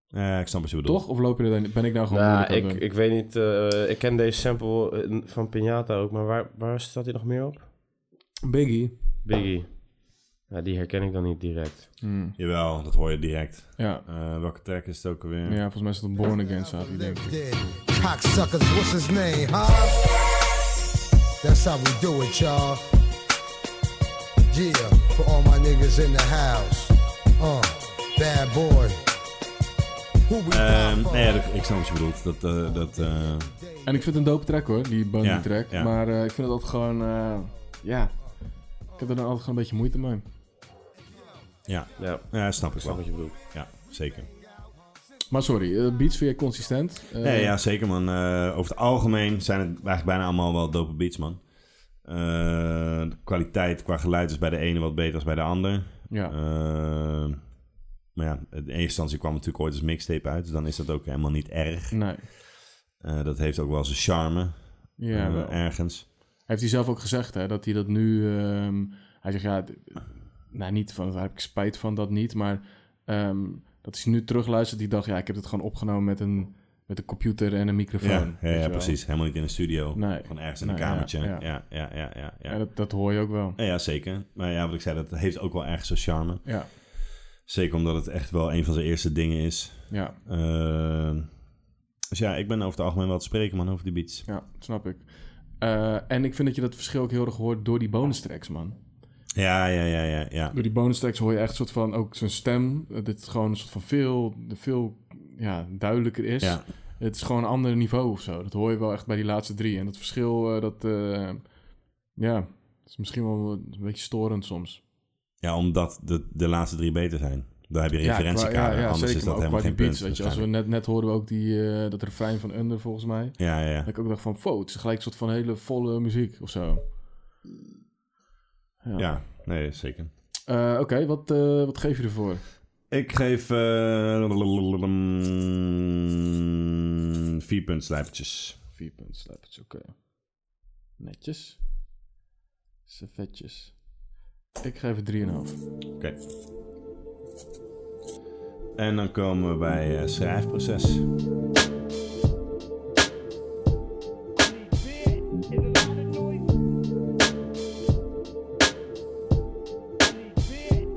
[SPEAKER 1] Ja, ik snap wat je bedoelt.
[SPEAKER 2] Toch? Of loop je er, ben ik nou gewoon
[SPEAKER 3] Nou,
[SPEAKER 2] moeilijk aan
[SPEAKER 3] ik,
[SPEAKER 2] het doen?
[SPEAKER 3] ik weet niet. eh, ik ken deze sample eh, van Pinata ook, maar waar, waar staat hij nog meer op?
[SPEAKER 2] Biggie.
[SPEAKER 3] Biggie. Ja, die herken ik dan niet direct.
[SPEAKER 2] Hmm,
[SPEAKER 1] Jawel, dat hoor je direct.
[SPEAKER 2] Ja.
[SPEAKER 1] Eh, welke track is het ook alweer?
[SPEAKER 2] ja, volgens mij is het een Born Again staat hier, denk ik.
[SPEAKER 5] Cocksuckers, what's his name, huh? That's how we do it, y'all. Yeah, for all my niggas in the house. Uh, bad boy. Who we
[SPEAKER 1] Ehm,
[SPEAKER 5] die for?
[SPEAKER 1] nee, ja, dat- ik snap wat je bedoelt. Dat, eh, dat, eh,
[SPEAKER 2] En ik vind het een dope track hoor, die Bunny
[SPEAKER 1] Ja,
[SPEAKER 2] track.
[SPEAKER 1] ja.
[SPEAKER 2] Maar eh, ik vind het altijd gewoon, eh, ja, ik heb er dan altijd gewoon een beetje moeite mee.
[SPEAKER 1] ja.
[SPEAKER 3] Ja,
[SPEAKER 1] ja, snap ik wel.
[SPEAKER 3] snap wat je bedoelt.
[SPEAKER 1] Ja, zeker.
[SPEAKER 2] Maar sorry, eh, beats vind je consistent? Eh,
[SPEAKER 1] Nee, ja, zeker man. Eh, over het algemeen zijn het eigenlijk bijna allemaal wel dope beats, man. Eh, de kwaliteit qua geluid is bij de ene wat beter dan bij de ander.
[SPEAKER 2] ja.
[SPEAKER 1] Eh, maar ja, in eerste instantie kwam het natuurlijk ooit als mixtape uit. Dus dan is dat ook helemaal niet erg.
[SPEAKER 2] Nee.
[SPEAKER 1] Eh, dat heeft ook wel zijn charme
[SPEAKER 2] Ja,
[SPEAKER 1] eh,
[SPEAKER 2] wel.
[SPEAKER 1] ergens.
[SPEAKER 2] Heeft hij zelf ook gezegd, hè, dat hij dat nu... ehm, hij zegt, ja, d- nou niet van, daar heb ik spijt van, dat niet. Maar ehm, dat hij nu terugluistert, die dacht, ja, ik heb het gewoon opgenomen met een, met een computer en een microfoon.
[SPEAKER 1] Ja,
[SPEAKER 2] weet
[SPEAKER 1] ja,
[SPEAKER 2] je
[SPEAKER 1] ja,
[SPEAKER 2] wel.
[SPEAKER 1] precies. Helemaal niet in een studio.
[SPEAKER 2] Nee.
[SPEAKER 1] Gewoon ergens in een
[SPEAKER 2] Nee, ja,
[SPEAKER 1] kamertje.
[SPEAKER 2] ja.
[SPEAKER 1] Ja, ja, ja, ja. ja,
[SPEAKER 2] Ja, dat, dat hoor je ook wel.
[SPEAKER 1] Ja, ja, zeker. Maar ja, wat ik zei, dat heeft ook wel ergens zijn charme.
[SPEAKER 2] Ja,
[SPEAKER 1] Zeker omdat het echt wel een van zijn eerste dingen is.
[SPEAKER 2] ja,
[SPEAKER 1] Eh, dus ja, ik ben over het algemeen wel te spreken, man, over die beats.
[SPEAKER 2] ja snap ik. Eh, en ik vind dat je dat verschil ook heel erg hoort door die bonus tracks, man.
[SPEAKER 1] Ja, ja, ja, ja, ja.
[SPEAKER 2] Door die bonus tracks hoor je echt soort van ook zijn stem. eh, dit gewoon een soort van veel, veel ja, duidelijker is.
[SPEAKER 1] Ja,
[SPEAKER 2] Het is gewoon een ander niveau of zo. Dat hoor je wel echt bij die laatste drie. En dat verschil, eh, dat... eh, ja, is misschien wel een beetje storend soms.
[SPEAKER 1] ja omdat de, de laatste drie beter zijn. Daar heb je
[SPEAKER 2] Ja, qua-
[SPEAKER 1] referentiekader,
[SPEAKER 2] ja, ja,
[SPEAKER 1] anders
[SPEAKER 2] zeker,
[SPEAKER 1] is
[SPEAKER 2] maar
[SPEAKER 1] dat
[SPEAKER 2] ook
[SPEAKER 1] helemaal
[SPEAKER 2] qua
[SPEAKER 1] geen
[SPEAKER 2] die beats,
[SPEAKER 1] punt.
[SPEAKER 2] Weet je, als we net, net hoorden we ook die, eh, dat refrein van Under volgens mij.
[SPEAKER 1] waarschijnlijk. Ja, ja, ja.
[SPEAKER 2] Dat ik ook dacht van, wow, het is gelijk een soort van hele volle muziek of zo. Ja.
[SPEAKER 1] Ja, nee, zeker.
[SPEAKER 2] Eh, Oké, wat, eh, wat geef je ervoor?
[SPEAKER 1] Ik geef eh, mm, vier puntslijpertjes.
[SPEAKER 2] Vier punten slijpertjes, oké. Netjes. Servetjes. Ik geef het 3,5.
[SPEAKER 1] Oké. En dan komen we bij eh, schrijfproces.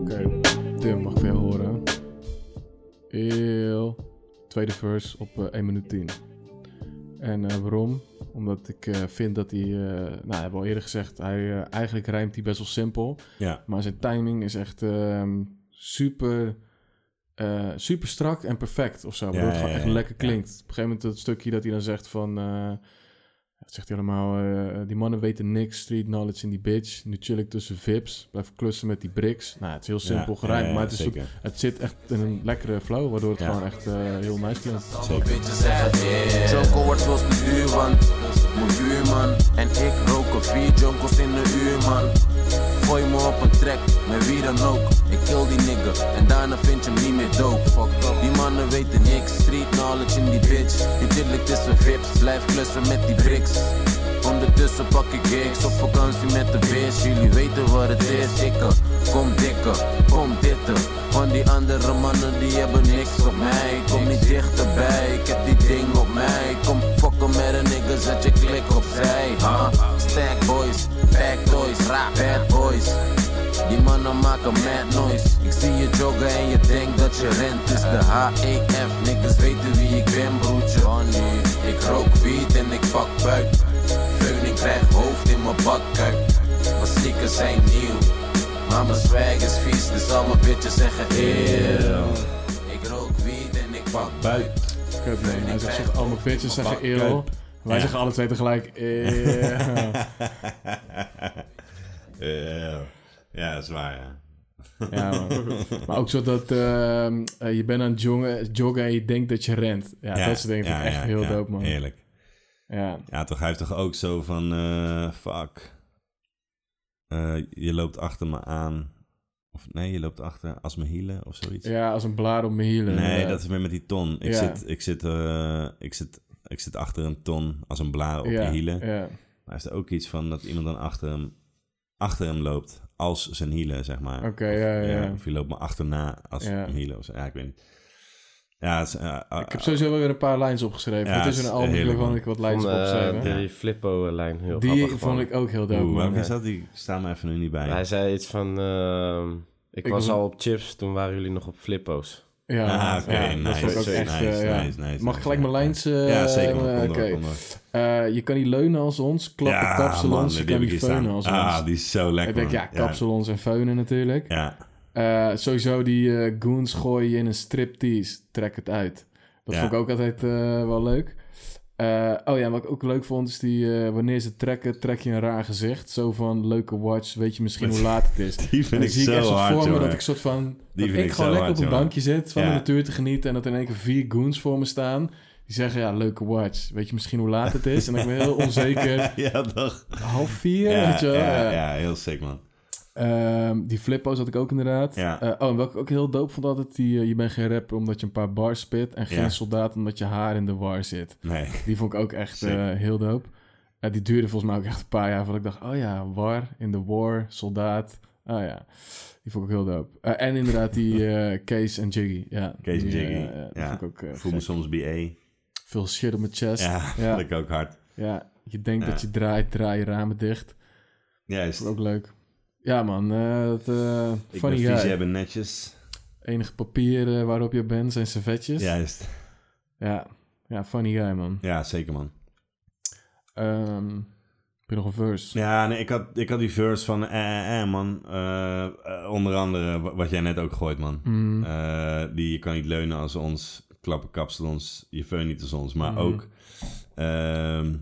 [SPEAKER 2] Oké, Tim, mag ik weer horen? Heel. Tweede verse op eh, 1 minuut 10. En eh, waarom? Omdat ik eh, vind dat hij, eh, nou, hebben we al eerder gezegd, hij, eh, eigenlijk rijmt hij best wel simpel.
[SPEAKER 1] Ja,
[SPEAKER 2] Maar zijn timing is echt ehm, super, eh, super strak en perfect of zo. Waardoor het
[SPEAKER 1] ja,
[SPEAKER 2] gewoon
[SPEAKER 1] ja,
[SPEAKER 2] echt
[SPEAKER 1] ja,
[SPEAKER 2] lekker
[SPEAKER 1] ja.
[SPEAKER 2] klinkt. Op een gegeven moment dat stukje dat hij dan zegt van... eh, wat zegt hij allemaal? eh, die mannen weten niks, street knowledge in die bitch. Nu chill ik tussen vips, blijf klussen met die bricks. Nou, het is heel simpel
[SPEAKER 1] ja,
[SPEAKER 2] gerijmd,
[SPEAKER 1] ja, ja,
[SPEAKER 2] maar het, is ook-
[SPEAKER 1] zeker.
[SPEAKER 2] het zit echt in een lekkere flow, waardoor het
[SPEAKER 1] Ja.
[SPEAKER 2] gewoon echt eh, heel nice klinkt.
[SPEAKER 1] zeker.
[SPEAKER 4] Jonko wordt zoals de duurman, mijn buurman. En ik roken vier jonkels in de uur, man. Gooi me op een trek, met wie dan ook. Ik kill die nigger, en daarna vind je hem niet meer dope. Fuck up, die mannen weten niks. Street knowledge in die bitch. Natuurlijk tussen vips, blijf klussen met die bricks. Ondertussen pak ik gigs op vakantie met de bitch. Jullie weten wat het is, dikke. Kom dikker, kom ditter. Want die andere mannen die hebben niks op mij. Kom niet dichterbij, ik heb die ding op mij. Kom fokken met een nigga, zet je klik opzij. Huh? Stack boys, back toys, rap bad boys. Die mannen maken mad noise. Ik zie je joggen en je denkt dat je rent. Het is de HEF, niggas weten wie ik ben, broertje. Honey, ik rook wiet en ik pak buik. Veun, ik krijg hoofd in mijn bakkuik. Mijn sneakers zijn nieuw. Maar maar mijn swag is vies, dus al mijn bitches zeggen eeuw. Ik rook wiet en ik pak buik.
[SPEAKER 2] Kut, nee. Hij zegt, zegt allemaal bitches zeggen eeuw.
[SPEAKER 1] Kut.
[SPEAKER 2] Wij
[SPEAKER 1] Ja.
[SPEAKER 2] zeggen alle twee tegelijk eeuw.
[SPEAKER 1] Eh, ja, dat is waar, ja.
[SPEAKER 2] Ja, maar, maar ook zo dat ehm, eh, je bent aan het jongen, joggen en je denkt dat je rent. Ja,
[SPEAKER 1] Ja,
[SPEAKER 2] dat soort dingen vind
[SPEAKER 1] ja,
[SPEAKER 2] ik echt
[SPEAKER 1] ja,
[SPEAKER 2] heel
[SPEAKER 1] ja,
[SPEAKER 2] dope, man.
[SPEAKER 1] Heerlijk.
[SPEAKER 2] Ja.
[SPEAKER 1] Ja, toch, hij heeft toch ook zo van, eh, fuck. Eh, je loopt achter me aan. Of nee, je loopt achter als me hielen of zoiets.
[SPEAKER 2] ja, als een blaar op mijn hielen.
[SPEAKER 1] nee,
[SPEAKER 2] inderdaad.
[SPEAKER 1] dat is weer met die ton. Ik,
[SPEAKER 2] Ja.
[SPEAKER 1] zit, ik, zit, eh, ik, zit, ik zit achter een ton als een blaar op je
[SPEAKER 2] ja,
[SPEAKER 1] hielen.
[SPEAKER 2] Ja,
[SPEAKER 1] Maar hij heeft er ook iets van dat iemand dan achter hem, achter hem loopt als zijn hielen, zeg maar.
[SPEAKER 2] Oké,
[SPEAKER 1] Of-
[SPEAKER 2] ja, ja, ja.
[SPEAKER 1] Of je loopt me achterna als
[SPEAKER 2] Ja.
[SPEAKER 1] een hielen. Of zo. Ja, ik weet niet. Ja, het is, eh, eh,
[SPEAKER 2] Ik heb sowieso wel weer een paar lines opgeschreven.
[SPEAKER 1] Ja,
[SPEAKER 2] het is
[SPEAKER 1] het
[SPEAKER 2] een
[SPEAKER 1] is
[SPEAKER 2] album
[SPEAKER 1] heerlijk,
[SPEAKER 2] waarvan
[SPEAKER 1] man.
[SPEAKER 2] ik wat
[SPEAKER 3] Van,
[SPEAKER 2] lines
[SPEAKER 3] eh,
[SPEAKER 2] opschrijven.
[SPEAKER 3] die Flippo-lijn heel
[SPEAKER 2] Die
[SPEAKER 3] grappig
[SPEAKER 2] vond ik ook heel dope.
[SPEAKER 1] oeh,
[SPEAKER 2] man.
[SPEAKER 1] waarom is dat? Die staan me even nu niet bij.
[SPEAKER 3] Hij zei iets van... ehm, ik,
[SPEAKER 2] Ik
[SPEAKER 3] was
[SPEAKER 2] was-
[SPEAKER 3] al op chips, toen waren jullie nog op Flippo's.
[SPEAKER 2] Ja,
[SPEAKER 1] Ah, oké,
[SPEAKER 2] ja, dat
[SPEAKER 1] nice,
[SPEAKER 2] vond ik ook echt...
[SPEAKER 1] nice,
[SPEAKER 2] eh, ja.
[SPEAKER 1] nice, nice,
[SPEAKER 2] Mag
[SPEAKER 1] nice,
[SPEAKER 2] ik gelijk
[SPEAKER 1] ja.
[SPEAKER 2] mijn lijns... eh,
[SPEAKER 1] ja, zeker. man.
[SPEAKER 2] eh,
[SPEAKER 1] Kom door,
[SPEAKER 2] Oké.
[SPEAKER 1] kom door.
[SPEAKER 2] Eh, je kan niet leunen als ons, klappen
[SPEAKER 1] Ja,
[SPEAKER 2] kapsalons,
[SPEAKER 1] man,
[SPEAKER 2] je
[SPEAKER 1] die
[SPEAKER 2] kan
[SPEAKER 1] heb ik
[SPEAKER 2] niet
[SPEAKER 1] hier
[SPEAKER 2] feunen
[SPEAKER 1] staan.
[SPEAKER 2] als
[SPEAKER 1] Ah,
[SPEAKER 2] ons.
[SPEAKER 1] die is zo lekker.
[SPEAKER 2] Ik denk, ja,
[SPEAKER 1] man.
[SPEAKER 2] kapsalons en feunen natuurlijk.
[SPEAKER 1] Ja,
[SPEAKER 2] Eh, sowieso die eh, goons gooien je in een striptease. Trek het uit. Dat
[SPEAKER 1] Ja.
[SPEAKER 2] vond ik ook altijd eh, wel leuk. Eh, oh ja, wat ik ook leuk vond is die... eh, wanneer ze trekken, trek je een raar gezicht. Zo van, leuke watch, weet je misschien hoe laat het is.
[SPEAKER 1] die vind
[SPEAKER 2] En
[SPEAKER 1] ik
[SPEAKER 2] dan zie ik
[SPEAKER 1] zo
[SPEAKER 2] echt zo
[SPEAKER 1] hard,
[SPEAKER 2] voor me
[SPEAKER 1] jongen.
[SPEAKER 2] dat ik soort van...
[SPEAKER 1] Die
[SPEAKER 2] dat
[SPEAKER 1] vind
[SPEAKER 2] ik
[SPEAKER 1] ik
[SPEAKER 2] gewoon
[SPEAKER 1] zo
[SPEAKER 2] lekker
[SPEAKER 1] hard,
[SPEAKER 2] op een
[SPEAKER 1] jongen.
[SPEAKER 2] bankje zit van
[SPEAKER 1] Ja.
[SPEAKER 2] de natuur te genieten... en dat in één keer vier goons voor me staan... die zeggen, ja, leuke watch. Weet je misschien hoe laat het is? En ik ben heel onzeker.
[SPEAKER 1] ja, toch?
[SPEAKER 2] Half vier,
[SPEAKER 1] Ja,
[SPEAKER 2] weet je wel.
[SPEAKER 1] ja,
[SPEAKER 2] Ja.
[SPEAKER 1] ja, heel sick, man.
[SPEAKER 2] Ehm, die flippo's had ik ook inderdaad.
[SPEAKER 1] Ja.
[SPEAKER 2] Eh, oh, en welke ik ook heel dope vond altijd... Die, eh, je bent geen rapper omdat je een paar bars spit... en geen
[SPEAKER 1] Ja.
[SPEAKER 2] soldaat omdat je haar in de war zit.
[SPEAKER 1] Nee.
[SPEAKER 2] Die vond ik ook echt
[SPEAKER 1] Sick.
[SPEAKER 2] eh, heel dope. Eh, die duurde volgens mij ook echt een paar jaar... voordat ik dacht, oh ja, war, in de war, soldaat. Oh ja, die vond ik ook heel dope. Eh, en inderdaad die eh Kees en Jiggy. Ja,
[SPEAKER 1] Kees en
[SPEAKER 2] die,
[SPEAKER 1] Jiggy,
[SPEAKER 2] eh, eh, die
[SPEAKER 1] ja.
[SPEAKER 2] vond ik ook eh,
[SPEAKER 1] Ik voel me soms BA.
[SPEAKER 2] veel shit op mijn chest. Ja,
[SPEAKER 1] Ja, dat ik ook hard.
[SPEAKER 2] je denkt
[SPEAKER 1] Ja.
[SPEAKER 2] dat je draait, draai je ramen dicht.
[SPEAKER 1] Juist.
[SPEAKER 2] Ook leuk. Ja man, eh dat, eh,
[SPEAKER 1] Ik ben
[SPEAKER 2] funny
[SPEAKER 1] vies,
[SPEAKER 2] guy.
[SPEAKER 1] jij bent netjes.
[SPEAKER 2] enige papieren waarop je bent zijn servetjes. Ja.
[SPEAKER 1] Juist.
[SPEAKER 2] Ja, funny guy, man.
[SPEAKER 1] Ja, zeker, man.
[SPEAKER 2] Ehm, heb je nog een verse?
[SPEAKER 1] Ja, nee, ik had, ik had die verse van eh, eh, man. eh, eh, onder andere wa- wat jij net ook gooit, man.
[SPEAKER 2] Mm.
[SPEAKER 1] Eh, die je kan niet leunen als ons, klappen kapsalons, je veun niet als ons, maar
[SPEAKER 2] Mhm.
[SPEAKER 1] ook. ehm,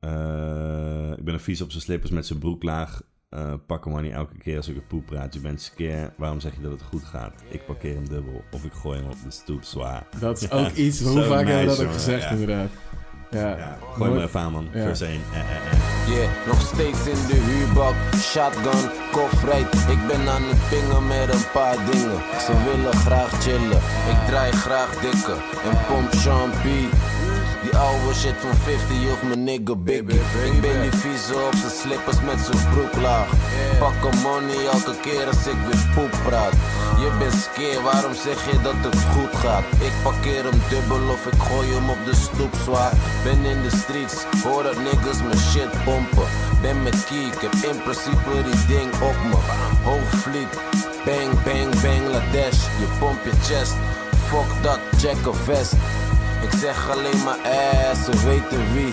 [SPEAKER 1] eh, ik ben een vies op zijn slippers met zijn broek laag. Eh, pak hem maar niet elke keer als ik een poep praat. Je bent skeer. Waarom zeg je dat het goed gaat? Ik parkeer hem dubbel of ik gooi hem op de stoep zwaar.
[SPEAKER 2] Dat is
[SPEAKER 1] Ja,
[SPEAKER 2] ook iets, hoe
[SPEAKER 1] zo
[SPEAKER 2] vaak hebben we
[SPEAKER 1] nice,
[SPEAKER 2] dat ook
[SPEAKER 1] jongen,
[SPEAKER 2] gezegd,
[SPEAKER 1] ja.
[SPEAKER 2] inderdaad. Ja,
[SPEAKER 1] Ja, gooi
[SPEAKER 2] Nooit-
[SPEAKER 1] maar even aan, man.
[SPEAKER 2] Ja.
[SPEAKER 1] Vers 1. Eh, eh, eh.
[SPEAKER 4] Yeah, nog steeds in de huurbak, shotgun, kofrijt. Ik ben aan het pingen met een paar dingen. Ze willen graag chillen, ik draai graag dikke en pomp champagne. Die oude shit van 50 of mijn nigga Biggie. Ik ben die vieze op zijn slippers met zijn broek laag. Pak een money elke keer als ik weer poep praat. Je bent skeer, waarom zeg je dat het goed gaat? Ik parkeer hem dubbel of ik gooi hem op de stoep zwaar. Ben in de streets, hoor dat niggas mijn shit pompen. Ben met key, ik heb in principe die ding op me. Hoogvliet, bang, bang, Bangladesh. Je pompt je chest, fuck dat, check een vest. Ik zeg alleen maar ass, ze weten wie.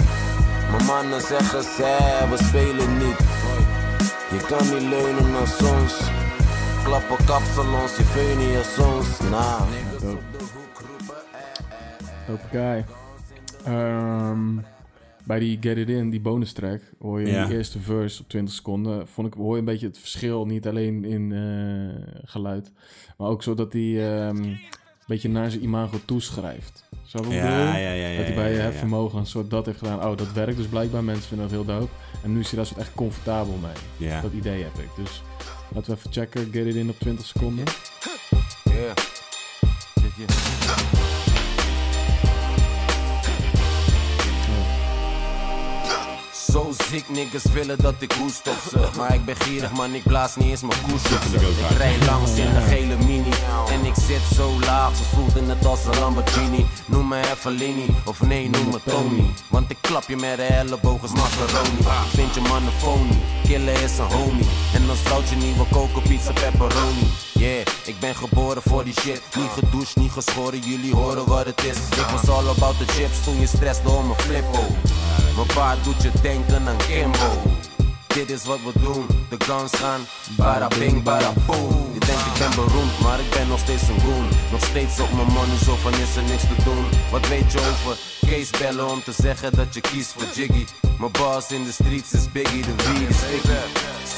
[SPEAKER 4] Mijn mannen zeggen zij, we spelen niet. Je kan niet leunen als ons. Klappen kapsalons, je veun niet als ons. Nou. Nah.
[SPEAKER 2] dope guy. Ehm, bij die Get It In, die bonus track, hoor je
[SPEAKER 1] Ja.
[SPEAKER 2] in die eerste verse op 20 seconden, vond ik, hoor je een beetje het verschil, niet alleen in eh, geluid, maar ook zo dat hij ehm, een beetje naar zijn imago toeschrijft. Zo wat ik bedoel?
[SPEAKER 1] Ja, ja, ja, ja.
[SPEAKER 2] Dat hij
[SPEAKER 1] ja,
[SPEAKER 2] bij je
[SPEAKER 1] ja, ja.
[SPEAKER 2] vermogen een soort dat heeft gedaan. Oh, dat werkt dus blijkbaar. Mensen vinden dat heel dope. En nu is hij daar soort echt comfortabel mee.
[SPEAKER 1] Ja.
[SPEAKER 2] Dat idee heb ik. Dus laten we even checken. Get it in op 20 seconden.
[SPEAKER 4] Zo ziek, niggas willen dat ik hoest op ze. Maar ik ben gierig, man, ik blaas niet eens mijn koers op ze. Ik rij langs in een gele mini. En ik zit zo laag, ze voelden het als een Lamborghini. Noem me Evelini, of nee, noem me Tony. Want ik klap je met de ellebogen als macaroni. Ik vind je man een phony, killen is een homie. En dan stout je nieuwe koken, pizza, pepperoni. Yeah, ik ben geboren voor die shit. Niet gedoucht, niet geschoren, jullie horen wat het is. Ik was all about the chips toen je stress door mijn flippo. Mijn pa doet je denken aan Kimbo. Dit is wat we doen, de guns gaan, bara bing, bara boom. Je denkt ik ben beroemd, maar ik ben nog steeds een goon. Nog steeds op mijn money, zo van is er niks te doen. Wat weet je over Kees bellen om te zeggen dat je kiest voor Jiggy? Mijn boss in de streets is Biggie, de weed is sticky.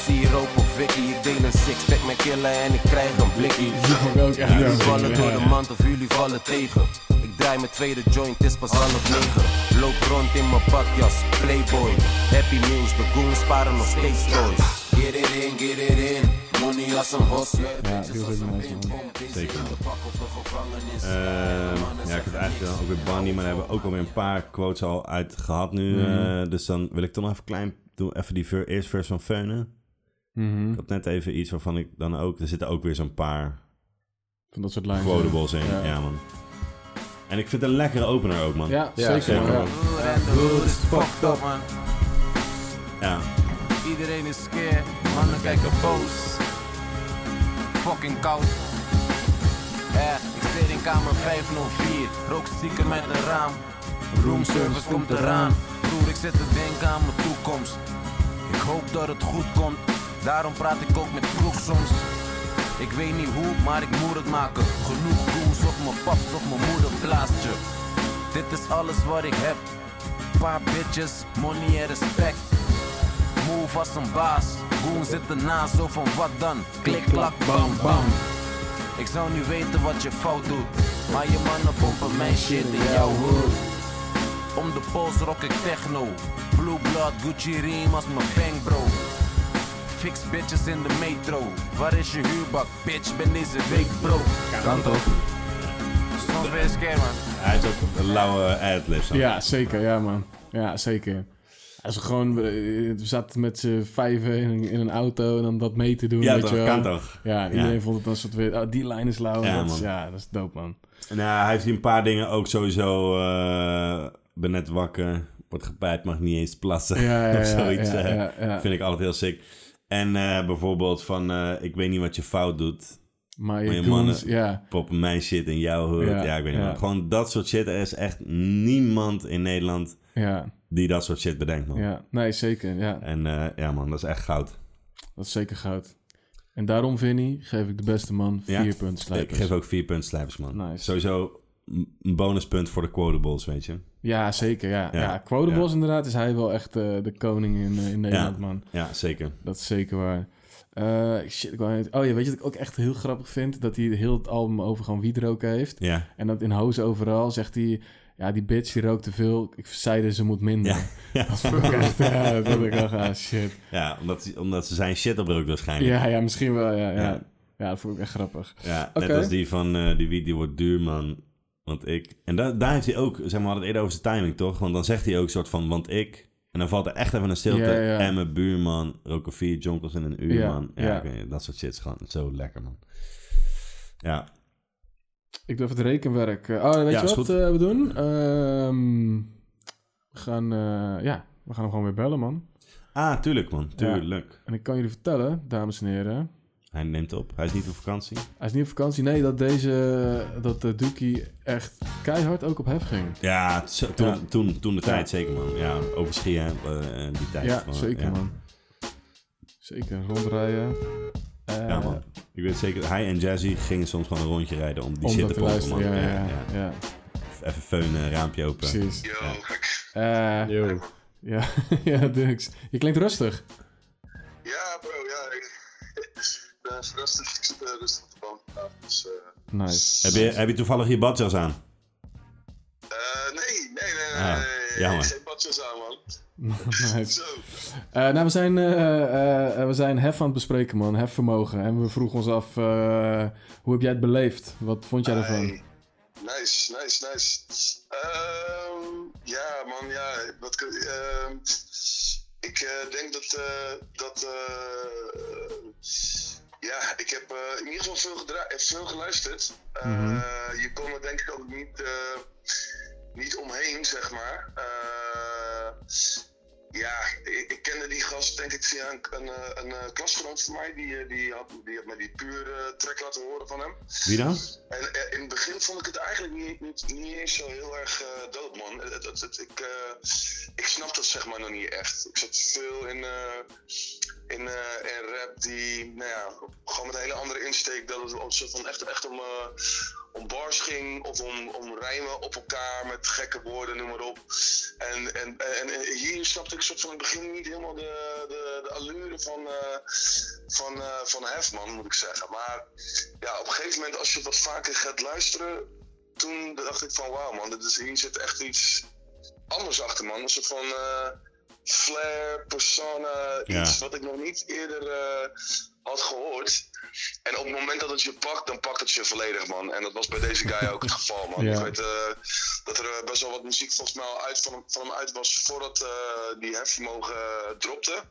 [SPEAKER 4] Siroop of Vicky, ik deel een sixpack met killen en ik krijg een blikkie.
[SPEAKER 2] vond ik ook echt
[SPEAKER 4] Jullie
[SPEAKER 2] leuk.
[SPEAKER 4] vallen door
[SPEAKER 2] Ja,
[SPEAKER 4] de
[SPEAKER 2] ja.
[SPEAKER 4] mand of jullie vallen tegen. Ik draai mijn tweede joint, het is pas half negen. Loop rond in mijn pakjas, playboy. Happy meals, de goons sparen nog steeds toys. Get it in, get it in. Money als een hos.
[SPEAKER 2] Ja, die was ook een nice man.
[SPEAKER 1] Zeker. Ehm, ja, ik heb eigenlijk dan ook weer Barney, maar daar hebben we ook alweer een paar quotes al uit gehad nu.
[SPEAKER 2] Mhm.
[SPEAKER 1] eh, dus dan wil ik toch nog even klein doen. Even die ver, eerste vers van Feune.
[SPEAKER 2] Mhm.
[SPEAKER 1] Ik had net even iets waarvan ik dan ook... Er zitten ook weer zo'n paar
[SPEAKER 2] Van dat soort lijnen.
[SPEAKER 1] quotables in.
[SPEAKER 2] Ja.
[SPEAKER 1] Ja. man. En ik vind het een lekkere opener ook, man.
[SPEAKER 2] Ja,
[SPEAKER 3] Ja,
[SPEAKER 2] zeker.
[SPEAKER 1] zeker.
[SPEAKER 2] Ja.
[SPEAKER 4] is fucked up man.
[SPEAKER 1] Ja.
[SPEAKER 4] Iedereen is scared, mannen kijken boos. Fucking koud. Eh, ik zit in kamer 504, rook stiekem met een raam. Roomservice komt eraan. Broer, ik zit te denken aan mijn toekomst. Ik hoop dat het goed komt, daarom praat ik ook met kroeg soms. Ik weet niet hoe, maar ik moet het maken. Genoeg goons op mijn paps, op mijn moeder plaatje. Dit is alles wat ik heb. Paar bitches, money en respect. Move als een baas. Goon zit ernaast, zo van wat dan? Klik, klak, bam, bam. Ik zou nu weten wat je fout doet. Maar je mannen pompen mijn shit in jouw hood. Om de pols rock ik techno. Blue blood, Gucci riem als mijn bank bro. Fix bitches in de metro. Waar is je huurbak? Bitch, ben deze week bro. Kant op. Soms ben je scared, man.
[SPEAKER 1] Hij is ook een lauwe ad-lib. zo.
[SPEAKER 2] Ja, zeker. Ja, man. Ja, zeker. Als we gewoon... eh, We zaten met z'n vijven in een, in een auto en dan dat mee te doen,
[SPEAKER 1] Ja,
[SPEAKER 2] weet
[SPEAKER 1] toch,
[SPEAKER 2] je wel.
[SPEAKER 1] kan toch?
[SPEAKER 2] Ja, en
[SPEAKER 1] Ja.
[SPEAKER 2] iedereen vond het dan soort weer... Oh, die lijn is lauw.
[SPEAKER 1] Ja,
[SPEAKER 2] Ja, dat is,
[SPEAKER 1] man.
[SPEAKER 2] ja, dat is dope, man.
[SPEAKER 1] Nou, hij heeft hier een paar dingen ook sowieso... eh ben net wakker, wordt gepijpt, mag niet eens plassen.
[SPEAKER 2] Ja, ja, ja.
[SPEAKER 1] of zoiets.
[SPEAKER 2] ja,
[SPEAKER 1] eh.
[SPEAKER 2] ja, ja.
[SPEAKER 1] Vind ik altijd heel sick. En eh, bijvoorbeeld van, eh, ik weet niet wat je fout doet. Maar
[SPEAKER 2] Maar
[SPEAKER 1] je
[SPEAKER 2] je
[SPEAKER 1] mannen-
[SPEAKER 2] goons, ja.
[SPEAKER 1] Pop mijn shit in jouw hood. Ja,
[SPEAKER 2] Ja,
[SPEAKER 1] ik weet niet.
[SPEAKER 2] ja.
[SPEAKER 1] maar Gewoon dat soort shit. Er is echt niemand in Nederland
[SPEAKER 2] Ja,
[SPEAKER 1] die dat soort shit bedenkt, man.
[SPEAKER 2] ja. Nee, zeker. Ja,
[SPEAKER 1] En eh, ja, man, dat is echt goud.
[SPEAKER 2] dat is zeker goud. En daarom, Vinny, geef ik de beste man
[SPEAKER 1] Ja.
[SPEAKER 2] vier punten
[SPEAKER 1] Ik
[SPEAKER 2] slijpers.
[SPEAKER 1] geef ook vier punten slijpers, man.
[SPEAKER 2] Nice.
[SPEAKER 1] Sowieso een een bonuspunt voor de quotables, weet je.
[SPEAKER 2] Ja, zeker. Ja,
[SPEAKER 1] Ja,
[SPEAKER 2] ja. quotables
[SPEAKER 1] ja.
[SPEAKER 2] inderdaad is hij wel echt eh, de koning in, eh, in Nederland, man.
[SPEAKER 1] Ja, zeker.
[SPEAKER 2] Dat is zeker waar. Eh, shit, ik wou net- Oh ja, weet je wat ik ook echt heel grappig vind? Dat hij heel het album over gewoon wiet roken heeft.
[SPEAKER 1] Ja.
[SPEAKER 2] En dat in Hoos overal zegt hij... Ja, die bitch die rookt te veel. Ik zeide ze moet minder.
[SPEAKER 1] Ja. Ja.
[SPEAKER 2] Dat vond ik echt... ja, dat vond ik echt... ah, shit.
[SPEAKER 1] Ja, omdat, omdat ze zijn shit oprookt waarschijnlijk.
[SPEAKER 2] Ja, ja, misschien wel. Ja, ja.
[SPEAKER 1] Ja.
[SPEAKER 2] ja. dat vond ik echt grappig.
[SPEAKER 1] Ja, net
[SPEAKER 2] Oké.
[SPEAKER 1] als die van eh, die wiet die wordt duur, man. Want ik... En da daar heeft hij ook... Zeg maar, we hadden het eerder over zijn timing, toch? Want dan zegt hij ook soort van, want ik... En dan valt er echt even een stilte.
[SPEAKER 2] Ja, ja.
[SPEAKER 1] En mijn buurman, roken vier jonkels in een uur,
[SPEAKER 2] Ja,
[SPEAKER 1] man. Ja,
[SPEAKER 2] ja.
[SPEAKER 1] ik weet niet, dat soort shit is gewoon zo lekker, man. Ja,
[SPEAKER 2] Ik doe even het rekenwerk. Eh, Oh, weet
[SPEAKER 1] Ja, is
[SPEAKER 2] je wat
[SPEAKER 1] goed.
[SPEAKER 2] eh, we doen? Ehm, we gaan... eh, ja, we gaan hem gewoon weer bellen, man.
[SPEAKER 1] Ah, tuurlijk man, tuurlijk.
[SPEAKER 2] En ik kan jullie vertellen, dames en heren...
[SPEAKER 1] Hij neemt op, hij is niet op vakantie.
[SPEAKER 2] Hij is niet op vakantie. Nee, dat deze... Dat de Doekie echt keihard ook op hef ging.
[SPEAKER 1] Ja, zo- toen,
[SPEAKER 2] Ja.
[SPEAKER 1] Toen, toen, de tijd zeker man. Ja, over skiën eh, en die tijd.
[SPEAKER 2] Ja,
[SPEAKER 1] Maar,
[SPEAKER 2] zeker
[SPEAKER 1] ja.
[SPEAKER 2] man. Zeker, rondrijden. Eh,
[SPEAKER 1] Ja man, ik weet zeker, hij en Jazzy gingen soms gewoon een rondje rijden om die
[SPEAKER 2] Om
[SPEAKER 1] shit
[SPEAKER 2] dat
[SPEAKER 1] te
[SPEAKER 2] te
[SPEAKER 1] pompen man.
[SPEAKER 2] luisteren, ja, ja,
[SPEAKER 1] ja.
[SPEAKER 2] ja, ja.
[SPEAKER 1] Even feunen, raampje open.
[SPEAKER 2] precies.
[SPEAKER 1] Ja.
[SPEAKER 2] Eh,
[SPEAKER 3] Yo.
[SPEAKER 2] ja, ja, Dux. Je klinkt rustig.
[SPEAKER 10] Ja, bro, ja. Ik ben even rustig, ik zit eh, rustig op de bank vandaag, dus... eh,
[SPEAKER 2] Nice.
[SPEAKER 1] Heb, je, heb je toevallig je badjas aan?
[SPEAKER 10] eh, nee, nee, nee, nee,
[SPEAKER 1] Ah,
[SPEAKER 10] nee,
[SPEAKER 1] jammer.
[SPEAKER 10] geen badjes aan, man.
[SPEAKER 2] nice.
[SPEAKER 10] Zo,
[SPEAKER 2] Eh, nou, we zijn, eh, eh, eh, we zijn hef aan het bespreken, man. Hefvermogen. En we vroegen ons af, eh, hoe heb jij het beleefd? Wat vond jij ervan?
[SPEAKER 10] hey. Nice, nice, nice. Ehm, ja, man, ja. Wat, kun- ehm, ik eh, denk dat... eh, dat eh, ja, ik heb eh, in ieder geval veel, gedra- eh, veel geluisterd. Eh, Je kon er denk ik ook niet, eh, niet omheen, zeg maar. Eh, ja, ik, ik, ik kende die gast denk ik via een, een, eh, een, eh, klasgenoot van mij. Die, eh, die, had, die had mij die pure eh, track laten horen van hem.
[SPEAKER 1] Wie dan?
[SPEAKER 10] En eh, in het begin vond ik het eigenlijk niet, niet, niet eens zo heel erg eh dood, man. Het, het, het- ik, eh, ik snap dat zeg maar nog niet echt. Ik zat veel in, eh, in, eh, in rap die, nou ja, gewoon met een hele andere insteek. Dat het om, soort van echt, echt om, eh, om bars ging of om, om rijmen op elkaar met gekke woorden, noem maar op. En, en, en, en hier snapte ik soort van in het begin niet helemaal de, de, de allure van, eh, van, eh, van Hefman, moet ik zeggen. Maar ja, op een gegeven moment, als je wat vaker gaat luisteren, toen dacht ik van wauw man, dit is, hier zit echt iets anders achter man. Een soort van eh flair, persona,
[SPEAKER 1] Ja.
[SPEAKER 10] iets wat ik nog niet eerder eh, had gehoord. En op het moment dat het je pakt, dan pakt het je volledig man. En dat was bij deze guy ook het geval man.
[SPEAKER 2] Ja.
[SPEAKER 10] Ik weet eh, dat er eh, best wel wat muziek volgens mij al uit van, hem- van hem uit was voordat eh, die hefvermogen eh, dropte.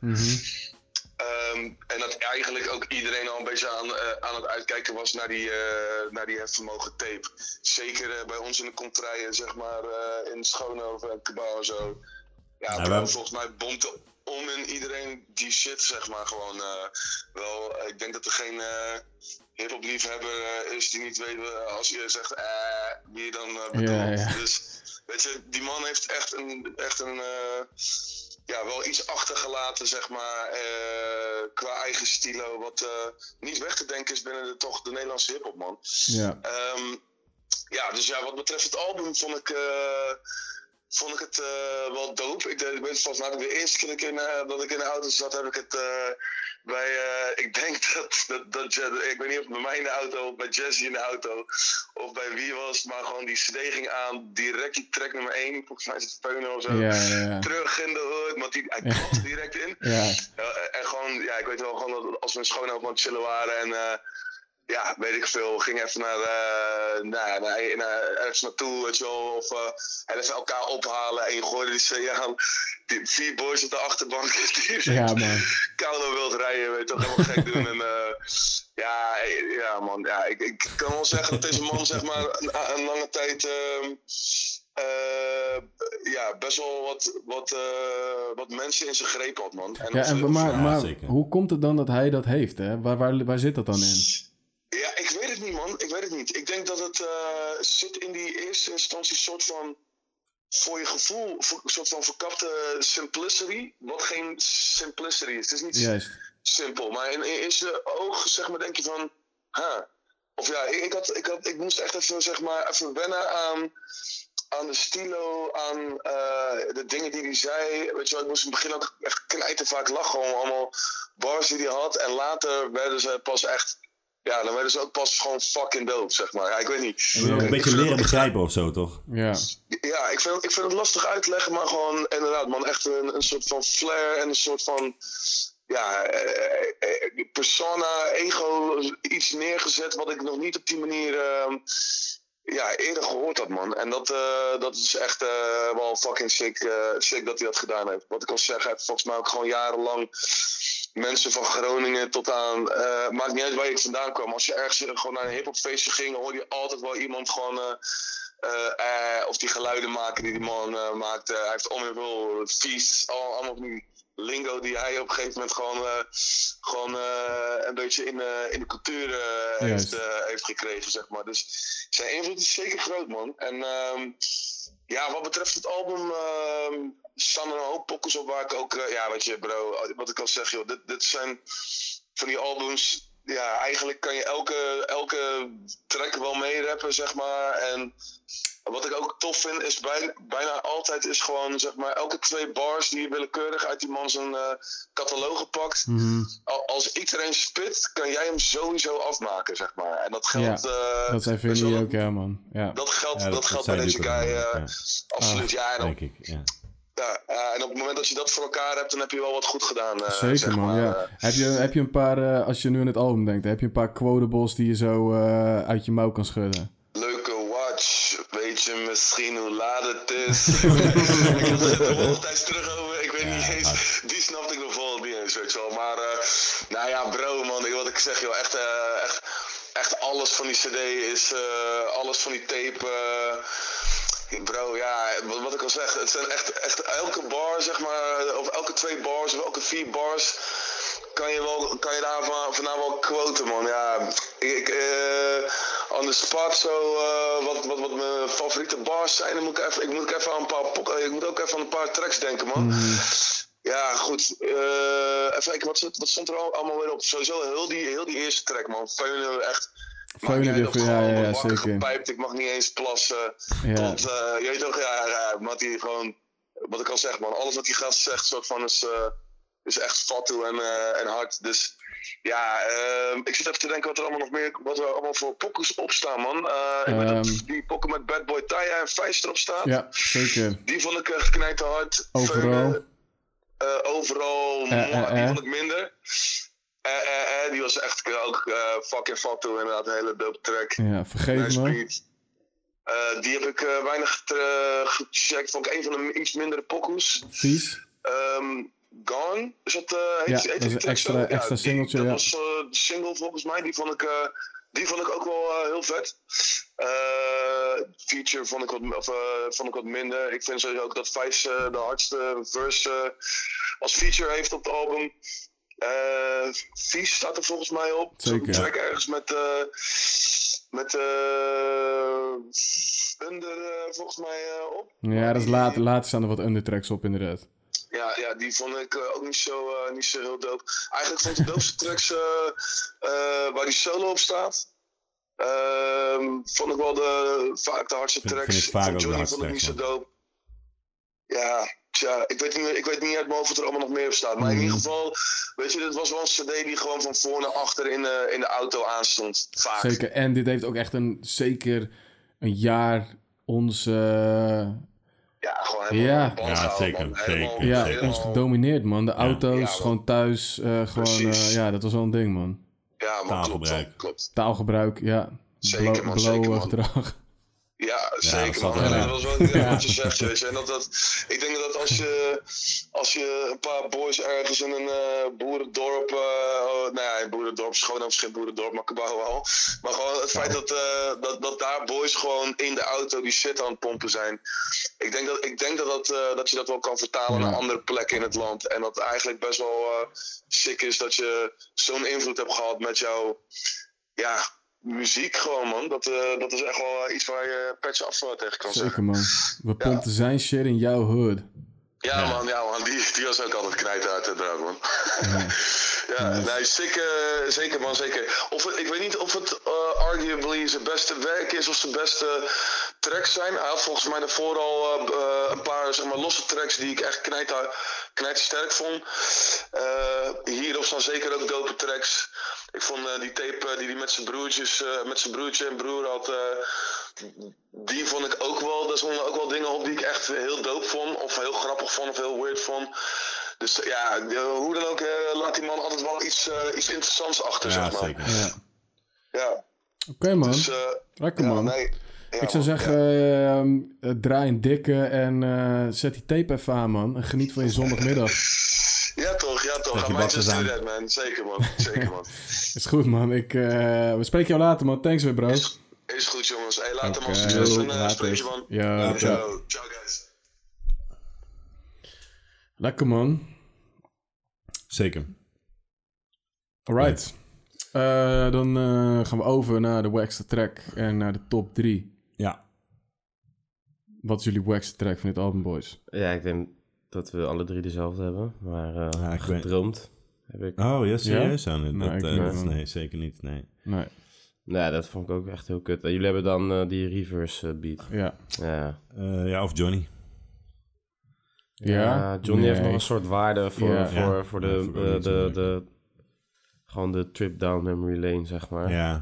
[SPEAKER 10] Ehm, en dat eigenlijk ook iedereen al een beetje aan, eh, aan het uitkijken was naar die, eh naar die hefvermogen tape. Zeker eh, bij ons in de contraien, zeg maar, eh, in Schoonhoven en Cabau en zo. Ja,
[SPEAKER 1] Ja,
[SPEAKER 10] bro,
[SPEAKER 1] wij-
[SPEAKER 10] volgens mij bomt om in iedereen die shit, zeg maar, gewoon eh, wel. eh, ik denk dat er geen eh hip-hop liefhebber eh, is die niet weet eh, als je zegt, eh, wie je dan eh, bedoelt.
[SPEAKER 2] ja.
[SPEAKER 10] Dus, weet je, die man heeft echt een, echt een eh, ja, wel iets achtergelaten, zeg maar, eh, qua eigen stilo, wat eh, niet weg te denken is binnen de, toch de Nederlandse hip-hop, man.
[SPEAKER 2] Ja.
[SPEAKER 10] Ehm, ja, dus ja, wat betreft het album vond ik, eh, vond ik het eh, wel dope. Ik, deed- ik weet volgens mij de eerste keer dat ik in, eh, dat ik in de auto zat, heb ik het eh, bij, eh, ik denk dat, dat, dat, Je- ik weet niet of het bij mij in de auto, of bij Jesse in de auto, of bij wie was, maar gewoon die steging aan, direct die track nummer 1, volgens mij is het Peunen of zo.
[SPEAKER 2] Ja, ja, ja.
[SPEAKER 10] Terug in de hood, want die, hij kwam direct in.
[SPEAKER 2] Ja.
[SPEAKER 10] Ja, eh, en gewoon, ja, ik weet wel gewoon dat als we in Schoonhoven aan het chillen waren en eh, ja, weet ik veel, ging even naar, eh nou, ja, naar, naar ergens naartoe, weet je wel, of eh, en even elkaar ophalen en je gooide die zee aan. Die vier boys op de achterbank die
[SPEAKER 2] Ja, man.
[SPEAKER 10] koude wild rijden, weet je toch, helemaal gek doen. En, eh, ja, eh, ja, man, ja, ik, ik kan wel zeggen dat deze man, zeg maar, een, een lange tijd... ehm, eh, ja, best wel wat, wat, eh, wat mensen in zijn greep had, man. En
[SPEAKER 2] Ja,
[SPEAKER 10] dat, eh,
[SPEAKER 2] en, maar,
[SPEAKER 1] Ja,
[SPEAKER 2] maar
[SPEAKER 1] zeker.
[SPEAKER 2] hoe komt het dan dat hij dat heeft? Hè? Waar, waar, waar zit dat dan in?
[SPEAKER 10] Ja, ik weet het niet, man. Ik weet het niet. Ik denk dat het eh, zit in die eerste instantie soort van voor je gevoel, voor- soort van verkapte simplicity, wat geen simplicity is. Het is niet
[SPEAKER 2] Juist.
[SPEAKER 10] simpel, maar in, in eerste oog zeg maar denk je van, ha. Of ja, ik, ik, had, ik, had, ik moest echt even, zeg maar, even wennen aan, aan de stilo, aan eh, de dingen die hij zei. Weet je wel, ik moest in het begin ook echt knijten vaak lachen om allemaal bars die hij had. En later werden ze pas echt, ja, dan werden ze ook pas gewoon fucking dope, zeg maar. Ja, ik weet niet.
[SPEAKER 1] Je moet ook
[SPEAKER 10] Ik
[SPEAKER 1] een beetje
[SPEAKER 10] vind dat-
[SPEAKER 1] leren begrijpen of zo, toch?
[SPEAKER 2] Ja.
[SPEAKER 10] ja, ik vind, ik vind het lastig uit te leggen, maar gewoon inderdaad, man, echt een, een soort van flair en een soort van ja, eh, eh, persona, ego, iets neergezet wat ik nog niet op die manier ehm, ja, eerder gehoord had, man. En dat, eh, dat is echt eh, wel fucking sick, eh, sick dat hij dat gedaan heeft. Wat ik al zeg, hij heeft volgens mij ook gewoon jarenlang mensen van Groningen tot aan... eh, maakt niet uit waar je vandaan kwam. Als je ergens eh, gewoon naar een hip feestje ging, hoorde je altijd wel iemand gewoon... eh, eh, eh, of die geluiden maken die die man eh, maakt. Eh, hij heeft onweerwil, vies, al, allemaal van die lingo die hij op een gegeven moment gewoon, eh, gewoon eh, een beetje in, eh, in de cultuur eh,
[SPEAKER 2] Juist.
[SPEAKER 10] heeft, eh, heeft gekregen, zeg maar. Dus zijn invloed is zeker groot, man. En ehm, ja, wat betreft het album ehm, staan er een hoop pokkels op waar ik ook... eh, ja, weet je, bro, wat ik al zeg, joh, dit, dit zijn van die albums... Ja, eigenlijk kan je elke, elke track wel meerappen, zeg maar. En wat ik ook tof vind, is bijna, bijna altijd is gewoon, zeg maar, elke twee bars die je willekeurig uit die man zijn eh, catalogen pakt.
[SPEAKER 2] Mhm.
[SPEAKER 10] Al- Als iedereen spit, kan jij hem sowieso afmaken, zeg maar. En dat geldt... eh,
[SPEAKER 2] Dat zijn
[SPEAKER 10] weet je wel,
[SPEAKER 2] Vinnie ook, ja, man. Ja.
[SPEAKER 10] dat geldt,
[SPEAKER 1] Ja,
[SPEAKER 10] dat
[SPEAKER 1] dat-
[SPEAKER 10] geldt
[SPEAKER 1] dat
[SPEAKER 10] bij
[SPEAKER 1] zei
[SPEAKER 10] deze guy
[SPEAKER 1] Luca dan,
[SPEAKER 10] eh,
[SPEAKER 1] ja.
[SPEAKER 10] absoluut.
[SPEAKER 2] Ah,
[SPEAKER 10] Ja, en, op,
[SPEAKER 1] Denk ik, ja.
[SPEAKER 10] ja, eh, en op het moment dat je dat voor elkaar hebt, dan heb je wel wat goed gedaan. eh,
[SPEAKER 2] Zeker,
[SPEAKER 10] zeg
[SPEAKER 2] man.
[SPEAKER 10] maar,
[SPEAKER 2] Ja.
[SPEAKER 10] eh.
[SPEAKER 2] Heb, je, heb je een paar, eh, als je nu aan het album denkt, heb je een paar quotables die je zo eh, uit je mouw kan schudden?
[SPEAKER 10] Leuke watch, weet je misschien hoe laat het is? ik had het er wel tijd terug over, ik weet niet eens. Die snapte ik nog wel niet eens, weet je wel. Maar, eh, nou ja, bro, man, ik- wat ik zeg, joh, echt, eh, echt, echt alles van die CD is, eh, alles van die tape. eh, Bro, ja, wat, wat ik al zeg, het zijn echt, echt elke bar, zeg maar, of elke twee bars of elke vier bars kan je, wel, kan je daar van, vandaan wel quoten, man. Ja, ik, ik, eh, on the spot, zo, eh, wat, wat, wat mijn favoriete bars zijn, dan moet ik, even, ik, moet ik, even aan een paar, pok- eh, ik moet ook even aan een paar tracks denken, man.
[SPEAKER 2] Mm.
[SPEAKER 10] Ja, goed. Eh, even kijken, wat, zat- wat stond er al- allemaal weer op? Sowieso heel die, heel die eerste track, man. Feunen, echt.
[SPEAKER 2] Feunen
[SPEAKER 10] Maakt niet uit
[SPEAKER 2] weer
[SPEAKER 10] of
[SPEAKER 2] veel-
[SPEAKER 10] het gewoon
[SPEAKER 2] ja, ja, ja,
[SPEAKER 10] wakker
[SPEAKER 2] zeker.
[SPEAKER 10] gepijpt, ik mag niet eens plassen.
[SPEAKER 2] Ja.
[SPEAKER 10] Tot, eh, je weet toch, ja, ja, Mattie, gewoon, wat ik al zeg, man. Alles wat die gast zegt, soort van, is, eh, is echt fatsoen en, eh, en hard. Dus ja, ehm, ik zit even te denken wat er allemaal nog meer, wat er allemaal voor pokkers op staan, man. Eh, ik weet dat
[SPEAKER 2] Ehm.
[SPEAKER 10] die pokken met Bad Boy Taya en Vijs erop staat.
[SPEAKER 2] Ja, zeker.
[SPEAKER 10] Die vond ik echt knijten hard.
[SPEAKER 2] Overal.
[SPEAKER 10] Eh, overal,
[SPEAKER 2] Eh, eh,
[SPEAKER 10] mwah, die
[SPEAKER 2] eh.
[SPEAKER 10] vond ik minder. Eh, eh, eh, die was echt ook eh, fucking fatsoen, inderdaad. Een hele dope track.
[SPEAKER 2] Ja, vergeef
[SPEAKER 10] Nice
[SPEAKER 2] me.
[SPEAKER 10] beat. Eh, die heb ik eh, weinig eh, gecheckt. Vond ik een van de iets mindere pokoes.
[SPEAKER 2] Vies.
[SPEAKER 10] Ehm, Gone? Is dat, eh, heet,
[SPEAKER 2] Ja,
[SPEAKER 10] heet die
[SPEAKER 2] dat is een
[SPEAKER 10] track
[SPEAKER 2] extra-
[SPEAKER 10] zo?
[SPEAKER 2] extra
[SPEAKER 10] die-
[SPEAKER 2] singeltje,
[SPEAKER 10] Dat
[SPEAKER 2] ja.
[SPEAKER 10] was eh, de single volgens mij. Die vond ik, eh, die vond ik ook wel eh, heel vet. Eh, feature vond ik, wat, of, eh, vond ik wat minder. Ik vind sowieso ook dat Vijs eh, de hardste verse eh, als feature heeft op het album. Eh Vies staat er volgens mij op. Zo'n
[SPEAKER 2] Zeker.
[SPEAKER 10] track ergens met... eh, met eh Under eh, volgens mij eh, op.
[SPEAKER 2] Ja, dat is laat, later staan er wat undertracks op, inderdaad.
[SPEAKER 10] Ja, ja, die vond ik eh, ook niet zo, eh, niet zo heel dope. Eigenlijk vond ik de doopste tracks eh, eh, waar die solo op staat. ehm, vond ik wel de, vaak de hardste
[SPEAKER 1] Vind-
[SPEAKER 10] tracks.
[SPEAKER 1] vind ik vaak
[SPEAKER 10] Van
[SPEAKER 1] ook de
[SPEAKER 10] Johnny
[SPEAKER 1] hardste
[SPEAKER 10] vond ik niet zo
[SPEAKER 1] tracks,
[SPEAKER 10] dope. Ja, tja, ik weet niet, meer- ik weet niet uit mijn hoofd wat er allemaal nog meer op staat. Maar in
[SPEAKER 1] Mhm.
[SPEAKER 10] ieder geval, weet je, dit was wel een cd die gewoon van voor naar achter in de, in de auto aanstond. Vaak.
[SPEAKER 2] Zeker. En dit heeft ook echt een, zeker een jaar ons, eh,
[SPEAKER 10] Ja, gewoon helemaal
[SPEAKER 2] Ja.
[SPEAKER 10] aan de band
[SPEAKER 1] Ja,
[SPEAKER 10] gehouden,
[SPEAKER 1] zeker,
[SPEAKER 10] man.
[SPEAKER 1] zeker,
[SPEAKER 10] Helemaal-
[SPEAKER 2] ja,
[SPEAKER 1] zeker.
[SPEAKER 2] ons gedomineerd, man. De auto's,
[SPEAKER 10] Ja, man.
[SPEAKER 2] gewoon thuis, eh, gewoon,
[SPEAKER 10] Precies.
[SPEAKER 2] eh, ja, dat was wel een ding, man.
[SPEAKER 10] Ja, man, klopt,
[SPEAKER 1] Taalgebruik.
[SPEAKER 10] klopt, klopt.
[SPEAKER 2] Taalgebruik, ja.
[SPEAKER 10] Zeker,
[SPEAKER 2] Blo-
[SPEAKER 10] man,
[SPEAKER 2] blowen
[SPEAKER 10] zeker, man.
[SPEAKER 2] gedrag.
[SPEAKER 10] Ja,
[SPEAKER 1] dat
[SPEAKER 10] zeker
[SPEAKER 1] zat
[SPEAKER 10] man.
[SPEAKER 1] er wel in.
[SPEAKER 10] Ja, dat was wel inderdaad
[SPEAKER 2] Ja.
[SPEAKER 10] wat je zegt. Weet je. En dat, dat, ik denk dat als je, als je een paar boys ergens in een eh, boerendorp... eh, oh, nou ja, in boerendorp, schoon is geen boerendorp, maar Cabau wel. Maar gewoon het feit dat, eh, dat, dat daar boys gewoon in de auto die shit aan het pompen zijn. Ik denk dat, ik denk dat, dat, eh, dat je dat wel kan vertalen
[SPEAKER 2] Ja.
[SPEAKER 10] naar andere plekken in het land. En dat eigenlijk best wel eh sick is dat je zo'n invloed hebt gehad met jouw... Ja, muziek gewoon, man. Dat, eh, dat is echt wel eh, iets waar je patch af eh, tegen kan
[SPEAKER 2] Zeker,
[SPEAKER 10] zeggen.
[SPEAKER 2] man. We pompten zijn shit in jouw hood.
[SPEAKER 10] Ja, man, ja, man. Die, die was ook altijd knijt uit het draak, man. ja, nee, sick, eh, zeker, man, zeker. Of, het- ik weet niet of het eh, arguably zijn beste werk is of zijn beste tracks zijn. Hij had volgens mij daarvoor al eh, b- eh, een paar zeg maar, losse tracks die ik echt knijt, sterk vond. Eh, hierop staan zeker ook dope tracks. Ik vond eh, die tape eh, die hij met zijn broertjes, eh, met zijn broertje en broer had, eh, die vond ik ook wel. Daar stonden ook wel dingen op die ik echt heel dope vond, of heel grappig vond, of heel weird vond. Dus eh, ja, eh, hoe dan ook, eh, laat die man altijd wel iets, eh, iets interessants achter,
[SPEAKER 1] Ja,
[SPEAKER 10] zeg maar.
[SPEAKER 1] zeker.
[SPEAKER 2] Ja.
[SPEAKER 10] Ja,
[SPEAKER 2] Oké, man.
[SPEAKER 10] dus, eh,
[SPEAKER 2] Lekker,
[SPEAKER 10] ja,
[SPEAKER 2] man.
[SPEAKER 10] nee. Ja,
[SPEAKER 2] Ik zou
[SPEAKER 10] man,
[SPEAKER 2] zeggen, ehm, eh, draai een dikke en eh, zet die tape even aan, man. En geniet van je zondagmiddag.
[SPEAKER 10] ja. Ja, toch, ja, toch.
[SPEAKER 1] Zeg je
[SPEAKER 10] Ga Manchester
[SPEAKER 1] bakjes aan.
[SPEAKER 10] do that, man. Zeker, man. Zeker, man.
[SPEAKER 2] Is goed, man. Ik, eh, we spreken jou later, man. Thanks weer, bro.
[SPEAKER 10] Is, is goed, jongens. Hey, laat hem
[SPEAKER 2] Oké,
[SPEAKER 10] al succes en eh
[SPEAKER 1] later.
[SPEAKER 10] spreek je, man.
[SPEAKER 2] Ja,
[SPEAKER 10] Yo,
[SPEAKER 2] ciao.
[SPEAKER 10] yo. Ciao, guys.
[SPEAKER 2] Lekker, man.
[SPEAKER 1] Zeker.
[SPEAKER 2] Alright. Eh, dan eh, gaan we over naar de waxte track en naar de top 3.
[SPEAKER 1] Ja.
[SPEAKER 2] Wat is jullie waxte track van dit album, boys?
[SPEAKER 3] Ja, ik denk dat we alle drie dezelfde hebben. Maar eh,
[SPEAKER 1] Ja, ik weet-
[SPEAKER 3] gedroomd heb ik.
[SPEAKER 1] Oh, ja, serieus? Ja? Nee,
[SPEAKER 2] Nee,
[SPEAKER 1] dat,
[SPEAKER 2] ik
[SPEAKER 1] eh,
[SPEAKER 2] niet,
[SPEAKER 1] dat is-
[SPEAKER 2] man.
[SPEAKER 1] nee, zeker niet. Nee.
[SPEAKER 2] Nee,
[SPEAKER 3] Nou, dat vond ik ook echt heel kut. En jullie hebben dan eh, die reverse eh, beat.
[SPEAKER 2] ja.
[SPEAKER 3] Ja.
[SPEAKER 1] Eh, ja, of Johnny.
[SPEAKER 2] Ja?
[SPEAKER 3] Johnny heeft
[SPEAKER 2] Nee.
[SPEAKER 3] nog een soort waarde voor,
[SPEAKER 2] Ja.
[SPEAKER 3] voor,
[SPEAKER 1] Ja,
[SPEAKER 3] voor
[SPEAKER 1] dat
[SPEAKER 3] de, eh,
[SPEAKER 1] vond ik ook
[SPEAKER 3] de,
[SPEAKER 1] niet zo
[SPEAKER 3] de,
[SPEAKER 1] leuk.
[SPEAKER 3] de- Gewoon de trip down memory lane, zeg maar.
[SPEAKER 1] Ja.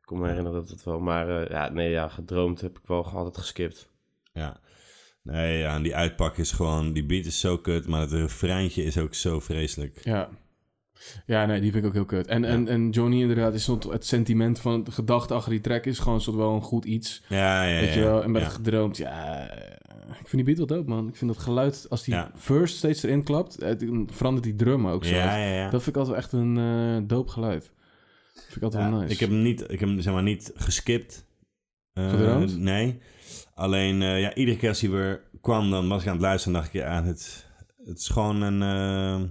[SPEAKER 3] Ik kon me herinneren dat het wel. Maar eh, ja, nee, ja, gedroomd heb ik wel gewoon altijd geskipt.
[SPEAKER 1] Ja. Nee, ja, en die uitpak is gewoon... Die beat is zo kut, maar het refreintje is ook zo vreselijk.
[SPEAKER 2] Ja. Ja, nee, die vind ik ook heel kut. En, en, en Johnny inderdaad, is soort het sentiment van de gedachte achter die track is gewoon soort wel een goed iets.
[SPEAKER 1] Ja, ja, ja.
[SPEAKER 2] weet je wel, en met
[SPEAKER 1] ja.
[SPEAKER 2] het gedroomd, ja... eh, Ik vind die beat wel dope, man. Ik vind dat geluid, als die
[SPEAKER 1] Ja.
[SPEAKER 2] first steeds erin klapt, het, dan verandert die drum ook zo.
[SPEAKER 1] Ja, ja, ja.
[SPEAKER 2] Dat vind ik altijd wel echt een eh dope geluid. Dat vind ik altijd
[SPEAKER 1] Ja,
[SPEAKER 2] wel Oh, nice.
[SPEAKER 1] Ik heb hem niet, ik heb hem, zeg maar, niet geskipt. Eh,
[SPEAKER 2] Gedroomd?
[SPEAKER 1] Nee. Alleen, eh, ja, iedere keer als hij weer kwam, dan was ik aan het luisteren en dacht ik, ja, het, Het is gewoon een eh,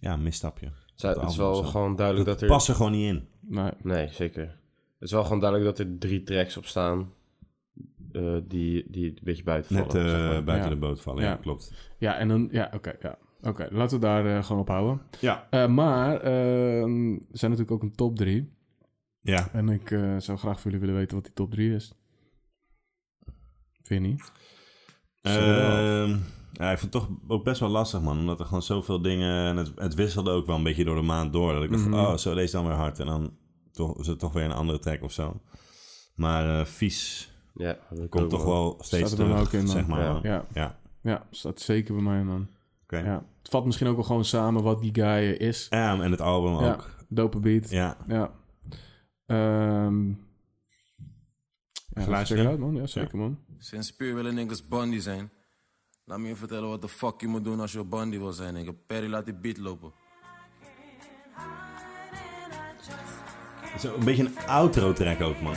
[SPEAKER 1] ja, een misstapje.
[SPEAKER 3] Zou-
[SPEAKER 1] Het
[SPEAKER 3] het is
[SPEAKER 1] album
[SPEAKER 3] wel
[SPEAKER 1] of zo.
[SPEAKER 3] gewoon duidelijk dat,
[SPEAKER 1] Het
[SPEAKER 3] er...
[SPEAKER 1] past er gewoon niet in.
[SPEAKER 2] Maar
[SPEAKER 3] Nee, zeker. Het is wel gewoon duidelijk dat er drie tracks op staan eh, die, die een beetje buiten
[SPEAKER 1] Net
[SPEAKER 3] vallen.
[SPEAKER 1] eh,
[SPEAKER 3] zeg maar.
[SPEAKER 1] buiten
[SPEAKER 2] Ja.
[SPEAKER 1] de boot vallen, ja,
[SPEAKER 2] Ja.
[SPEAKER 1] klopt.
[SPEAKER 2] Ja, en dan... Ja, oké. ja. Oké, laten we daar eh, gewoon op houden.
[SPEAKER 1] Ja.
[SPEAKER 2] Eh, maar ehm, er zijn natuurlijk ook een top 3.
[SPEAKER 1] Ja,
[SPEAKER 2] En ik eh, zou graag voor jullie willen weten wat die top 3 is. Vind je niet?
[SPEAKER 1] Ehm, ja, ik vond het toch ook best wel lastig, man. Omdat er gewoon zoveel dingen... En het, het wisselde ook wel een beetje door de maand door. Dat ik dacht, van,
[SPEAKER 2] Mhm.
[SPEAKER 1] oh, zo deze dan weer hard. En dan toch, is het toch weer een andere track of zo. Maar eh, vies
[SPEAKER 3] Ja, dat
[SPEAKER 1] komt
[SPEAKER 3] ook
[SPEAKER 1] toch
[SPEAKER 3] wel.
[SPEAKER 1] wel steeds
[SPEAKER 2] er bij mij
[SPEAKER 1] terug,
[SPEAKER 2] ook in, man.
[SPEAKER 1] zeg maar.
[SPEAKER 3] Ja.
[SPEAKER 1] man.
[SPEAKER 2] Ja.
[SPEAKER 1] Ja.
[SPEAKER 2] Ja, staat zeker bij mij, man.
[SPEAKER 1] oké.
[SPEAKER 2] Ja. Het vat misschien ook wel gewoon samen wat die guy eh, is.
[SPEAKER 1] Ja, en het album
[SPEAKER 2] Ja.
[SPEAKER 1] ook.
[SPEAKER 2] Dope beat. Ja.
[SPEAKER 1] Ja,
[SPEAKER 2] Ehm, ja,
[SPEAKER 1] Geluisterd,
[SPEAKER 2] check it
[SPEAKER 1] hè?
[SPEAKER 2] out, man. Ja, zeker, man.
[SPEAKER 4] Sinds puur willen niggas bandy zijn. Laat me je vertellen wat de fuck je moet doen als je bandy wil zijn, nigga. Perry laat die beat lopen.
[SPEAKER 1] het is een beetje een outro-track ook, man.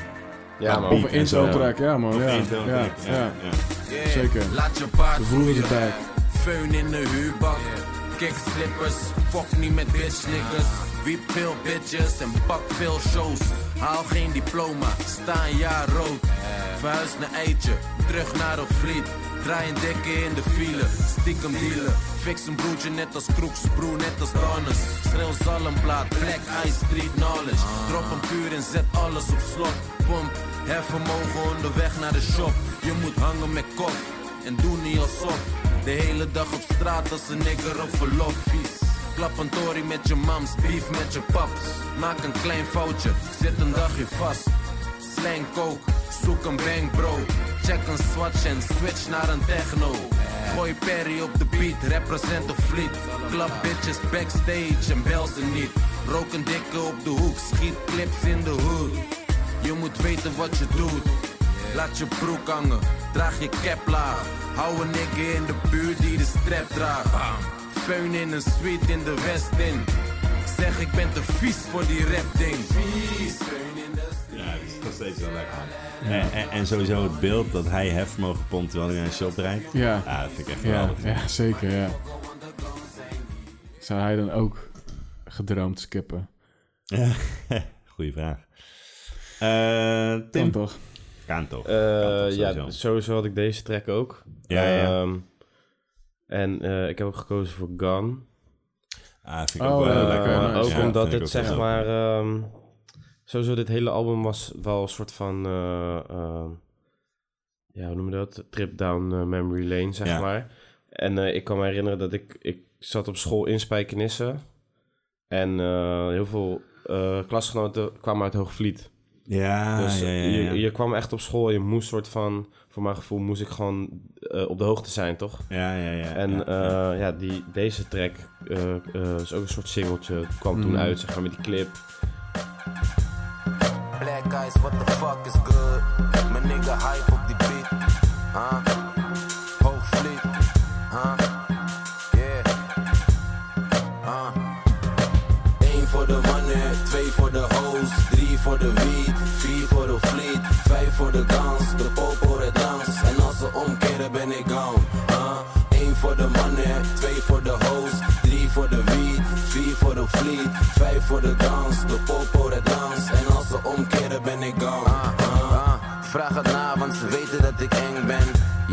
[SPEAKER 3] Ja,
[SPEAKER 1] Of
[SPEAKER 3] man.
[SPEAKER 1] beat
[SPEAKER 2] Of een intro
[SPEAKER 1] en zo.
[SPEAKER 2] track, ja, man.
[SPEAKER 1] Of
[SPEAKER 2] ja.
[SPEAKER 1] een intro
[SPEAKER 2] ja,
[SPEAKER 1] track,
[SPEAKER 2] ja.
[SPEAKER 1] ja.
[SPEAKER 4] Yeah,
[SPEAKER 2] Zeker.
[SPEAKER 4] Laat je paard
[SPEAKER 2] De vloer is
[SPEAKER 4] groeien.
[SPEAKER 2] erbij.
[SPEAKER 4] Föhn in de huurbak. Kickslippers. Fuck niet met bitch niggas. Wiep veel bitches en pak veel shows. Haal geen diploma. Sta een jaar rood. Verhuis naar Eitje. Terug naar de vliet. Draai een dikke in de file. Stiekem dealen. Fix een broertje net als Kroeks, broer net als Donis. Schreeuw zalmplaat, black ice, street knowledge.
[SPEAKER 2] Ah.
[SPEAKER 4] Drop een puur en zet alles op slot. Pomp, hervermogen onderweg naar de shop. Je moet hangen met kop en doe niet alsof. De hele dag op straat als een nigger op verlof. Vies. Klap een tory met je mams, beef met je paps. Maak een klein foutje, zit een dagje vast. Slang coke, zoek een bank bro. Check een swatch en switch naar een techno. Gooi Perry op de beat, represent de fleet. Klap bitches backstage en bel ze niet. Rook een dikke op de hoek, schiet clips in de hood. Je moet weten wat je doet. Laat je broek hangen, draag je cap laag. Hou een nigger in de buurt die de strap draagt. Feun in een suite in de West in. Zeg ik ben te vies voor die rap ding. Vies, feun in de
[SPEAKER 1] Ja, het is nog steeds wel lekker. En, en, en sowieso het beeld dat hij hefvermogen pompt terwijl hij naar een shop rijdt.
[SPEAKER 2] Ja.
[SPEAKER 1] Ja, dat vind ik echt
[SPEAKER 2] Ja,
[SPEAKER 1] geweldig.
[SPEAKER 2] ja, zeker, ja. Zou hij dan ook gedroomd skippen?
[SPEAKER 1] Goeie vraag. Eh
[SPEAKER 2] Kan
[SPEAKER 1] Tim.
[SPEAKER 2] toch?
[SPEAKER 1] Kan toch? Kan
[SPEAKER 3] Eh,
[SPEAKER 1] toch
[SPEAKER 3] ja,
[SPEAKER 1] sowieso.
[SPEAKER 3] sowieso. had ik deze track ook.
[SPEAKER 1] Ja, ja, ja.
[SPEAKER 3] Ehm, en eh, ik heb ook gekozen voor Gun.
[SPEAKER 1] Ah, vind ik ook
[SPEAKER 2] Oh,
[SPEAKER 1] wel
[SPEAKER 2] ja,
[SPEAKER 3] Eh,
[SPEAKER 1] lekker.
[SPEAKER 2] nice.
[SPEAKER 1] man.
[SPEAKER 3] ook
[SPEAKER 1] Ja, vind
[SPEAKER 3] omdat
[SPEAKER 1] ik
[SPEAKER 3] dit
[SPEAKER 1] ook
[SPEAKER 3] zeg
[SPEAKER 1] wel.
[SPEAKER 3] maar... ehm, sowieso dit hele album was wel een soort van... eh, ehm, ja, hoe noem je dat? Trip down eh, memory lane, zeg
[SPEAKER 1] Ja.
[SPEAKER 3] maar. En eh, ik kan me herinneren dat ik... Ik zat op school in Spijkenisse. En eh, heel veel eh, klasgenoten kwamen uit Hoogvliet.
[SPEAKER 1] Ja,
[SPEAKER 3] Dus
[SPEAKER 1] Ah, ja, ja, ja.
[SPEAKER 3] Je, je kwam echt op school, je moest soort van, voor mijn gevoel, moest ik gewoon eh, op de hoogte zijn, toch?
[SPEAKER 1] ja, ja, ja.
[SPEAKER 3] En eh,
[SPEAKER 1] ja,
[SPEAKER 3] ja,
[SPEAKER 1] ja.
[SPEAKER 3] ja die, deze track eh, eh, is ook een soort singeltje, Het kwam
[SPEAKER 2] Mm.
[SPEAKER 3] toen uit, zeg maar, met die clip.
[SPEAKER 4] Black guys, what the fuck is good? Mijn nigga hype op die beat. Huh? Hoogvliet. Huh? Yeah. Huh? Eén voor de mannen, twee voor de hoes, drie voor de wiet, vier voor de vliet, vijf voor de dans, de popo de dans. En als ze omkeren ben ik gone. Huh? Eén voor de mannen, twee voor de hoes, drie voor de wiet, vier voor de vliet, vijf voor de dans, de popo de dans. En als ze omkeren ben ik gone. Huh? Huh? Huh? Vraag het na, want ze weten dat ik eng ben.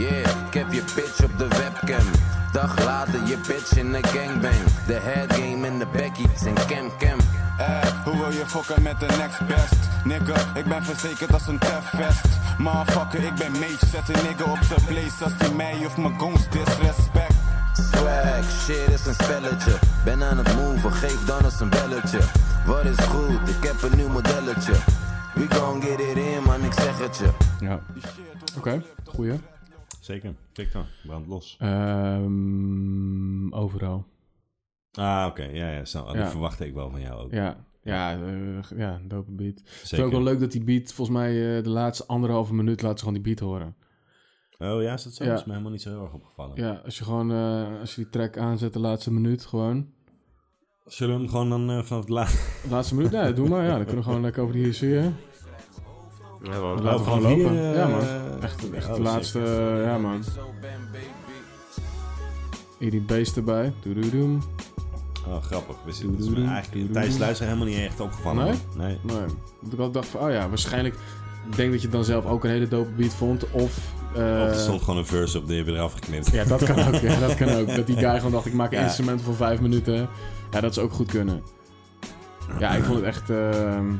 [SPEAKER 4] Yeah, ik heb je bitch op de webcam. Dag later, je bitch in de gangbang. De head game en de Becky zijn cam cam.
[SPEAKER 5] Eh, hoe wil je fokken met de next best? Nigga, ik ben verzekerd als een tefvest. Motherfucker, ik ben mage. Zet een nigga op zijn place als die mij of mijn gongs disrespect.
[SPEAKER 4] Swag, shit is een spelletje. Ben aan het move, geef dan eens een belletje. Wat is goed, ik heb een nieuw modelletje. We gon' get it in, man, ik zeg het je.
[SPEAKER 2] Ja. Oké, goeie.
[SPEAKER 1] Zeker. Kijk dan. Brand los.
[SPEAKER 2] Ehm, overal.
[SPEAKER 1] Ah, oké. Ja, ja, snap.
[SPEAKER 2] Ja.
[SPEAKER 1] Dat verwachtte ik wel van jou ook.
[SPEAKER 2] Ja, ja, eh, ja, dope beat. Het is
[SPEAKER 1] Zeker.
[SPEAKER 2] ook wel leuk dat die beat, volgens mij eh, de laatste anderhalve minuut laat ze gewoon die beat horen.
[SPEAKER 1] Oh ja, is dat zo?
[SPEAKER 2] Ja.
[SPEAKER 1] Dat is me helemaal niet zo heel erg opgevallen.
[SPEAKER 2] Ja, als je gewoon, eh, als je die track aanzet de laatste minuut gewoon.
[SPEAKER 1] Zullen we hem gewoon dan eh, vanaf het laatste...
[SPEAKER 2] De laatste minuut? Nee, doe maar. Ja, dan kunnen we gewoon lekker over die hier zien.
[SPEAKER 3] Ja, man.
[SPEAKER 2] Laten we
[SPEAKER 1] vanaf
[SPEAKER 2] gewoon lopen.
[SPEAKER 1] hier, eh,
[SPEAKER 2] ja man, echt, echt
[SPEAKER 1] oh,
[SPEAKER 2] de laatste,
[SPEAKER 1] zeker.
[SPEAKER 2] eh, ja man. Eddie Beest erbij. Doedoedoem.
[SPEAKER 1] Oh, grappig. We zitten, dat is me eigenlijk tijdens luisteren helemaal niet echt opgevallen.
[SPEAKER 2] Nee?
[SPEAKER 1] hoor. Nee.
[SPEAKER 2] Nee. Want ik had dacht van, oh ja, waarschijnlijk denk dat je dan zelf ook een hele dope beat vond. Of... eh,
[SPEAKER 1] Of er stond gewoon een verse op, die hebben we eraf geknipt.
[SPEAKER 2] Ja, dat kan ook. Ja, dat kan ook. Dat die guy gewoon dacht, ik maak een
[SPEAKER 1] Ja.
[SPEAKER 2] instrument voor vijf minuten. Ja, dat zou ook goed kunnen. Ja, ik vond het echt... ehm,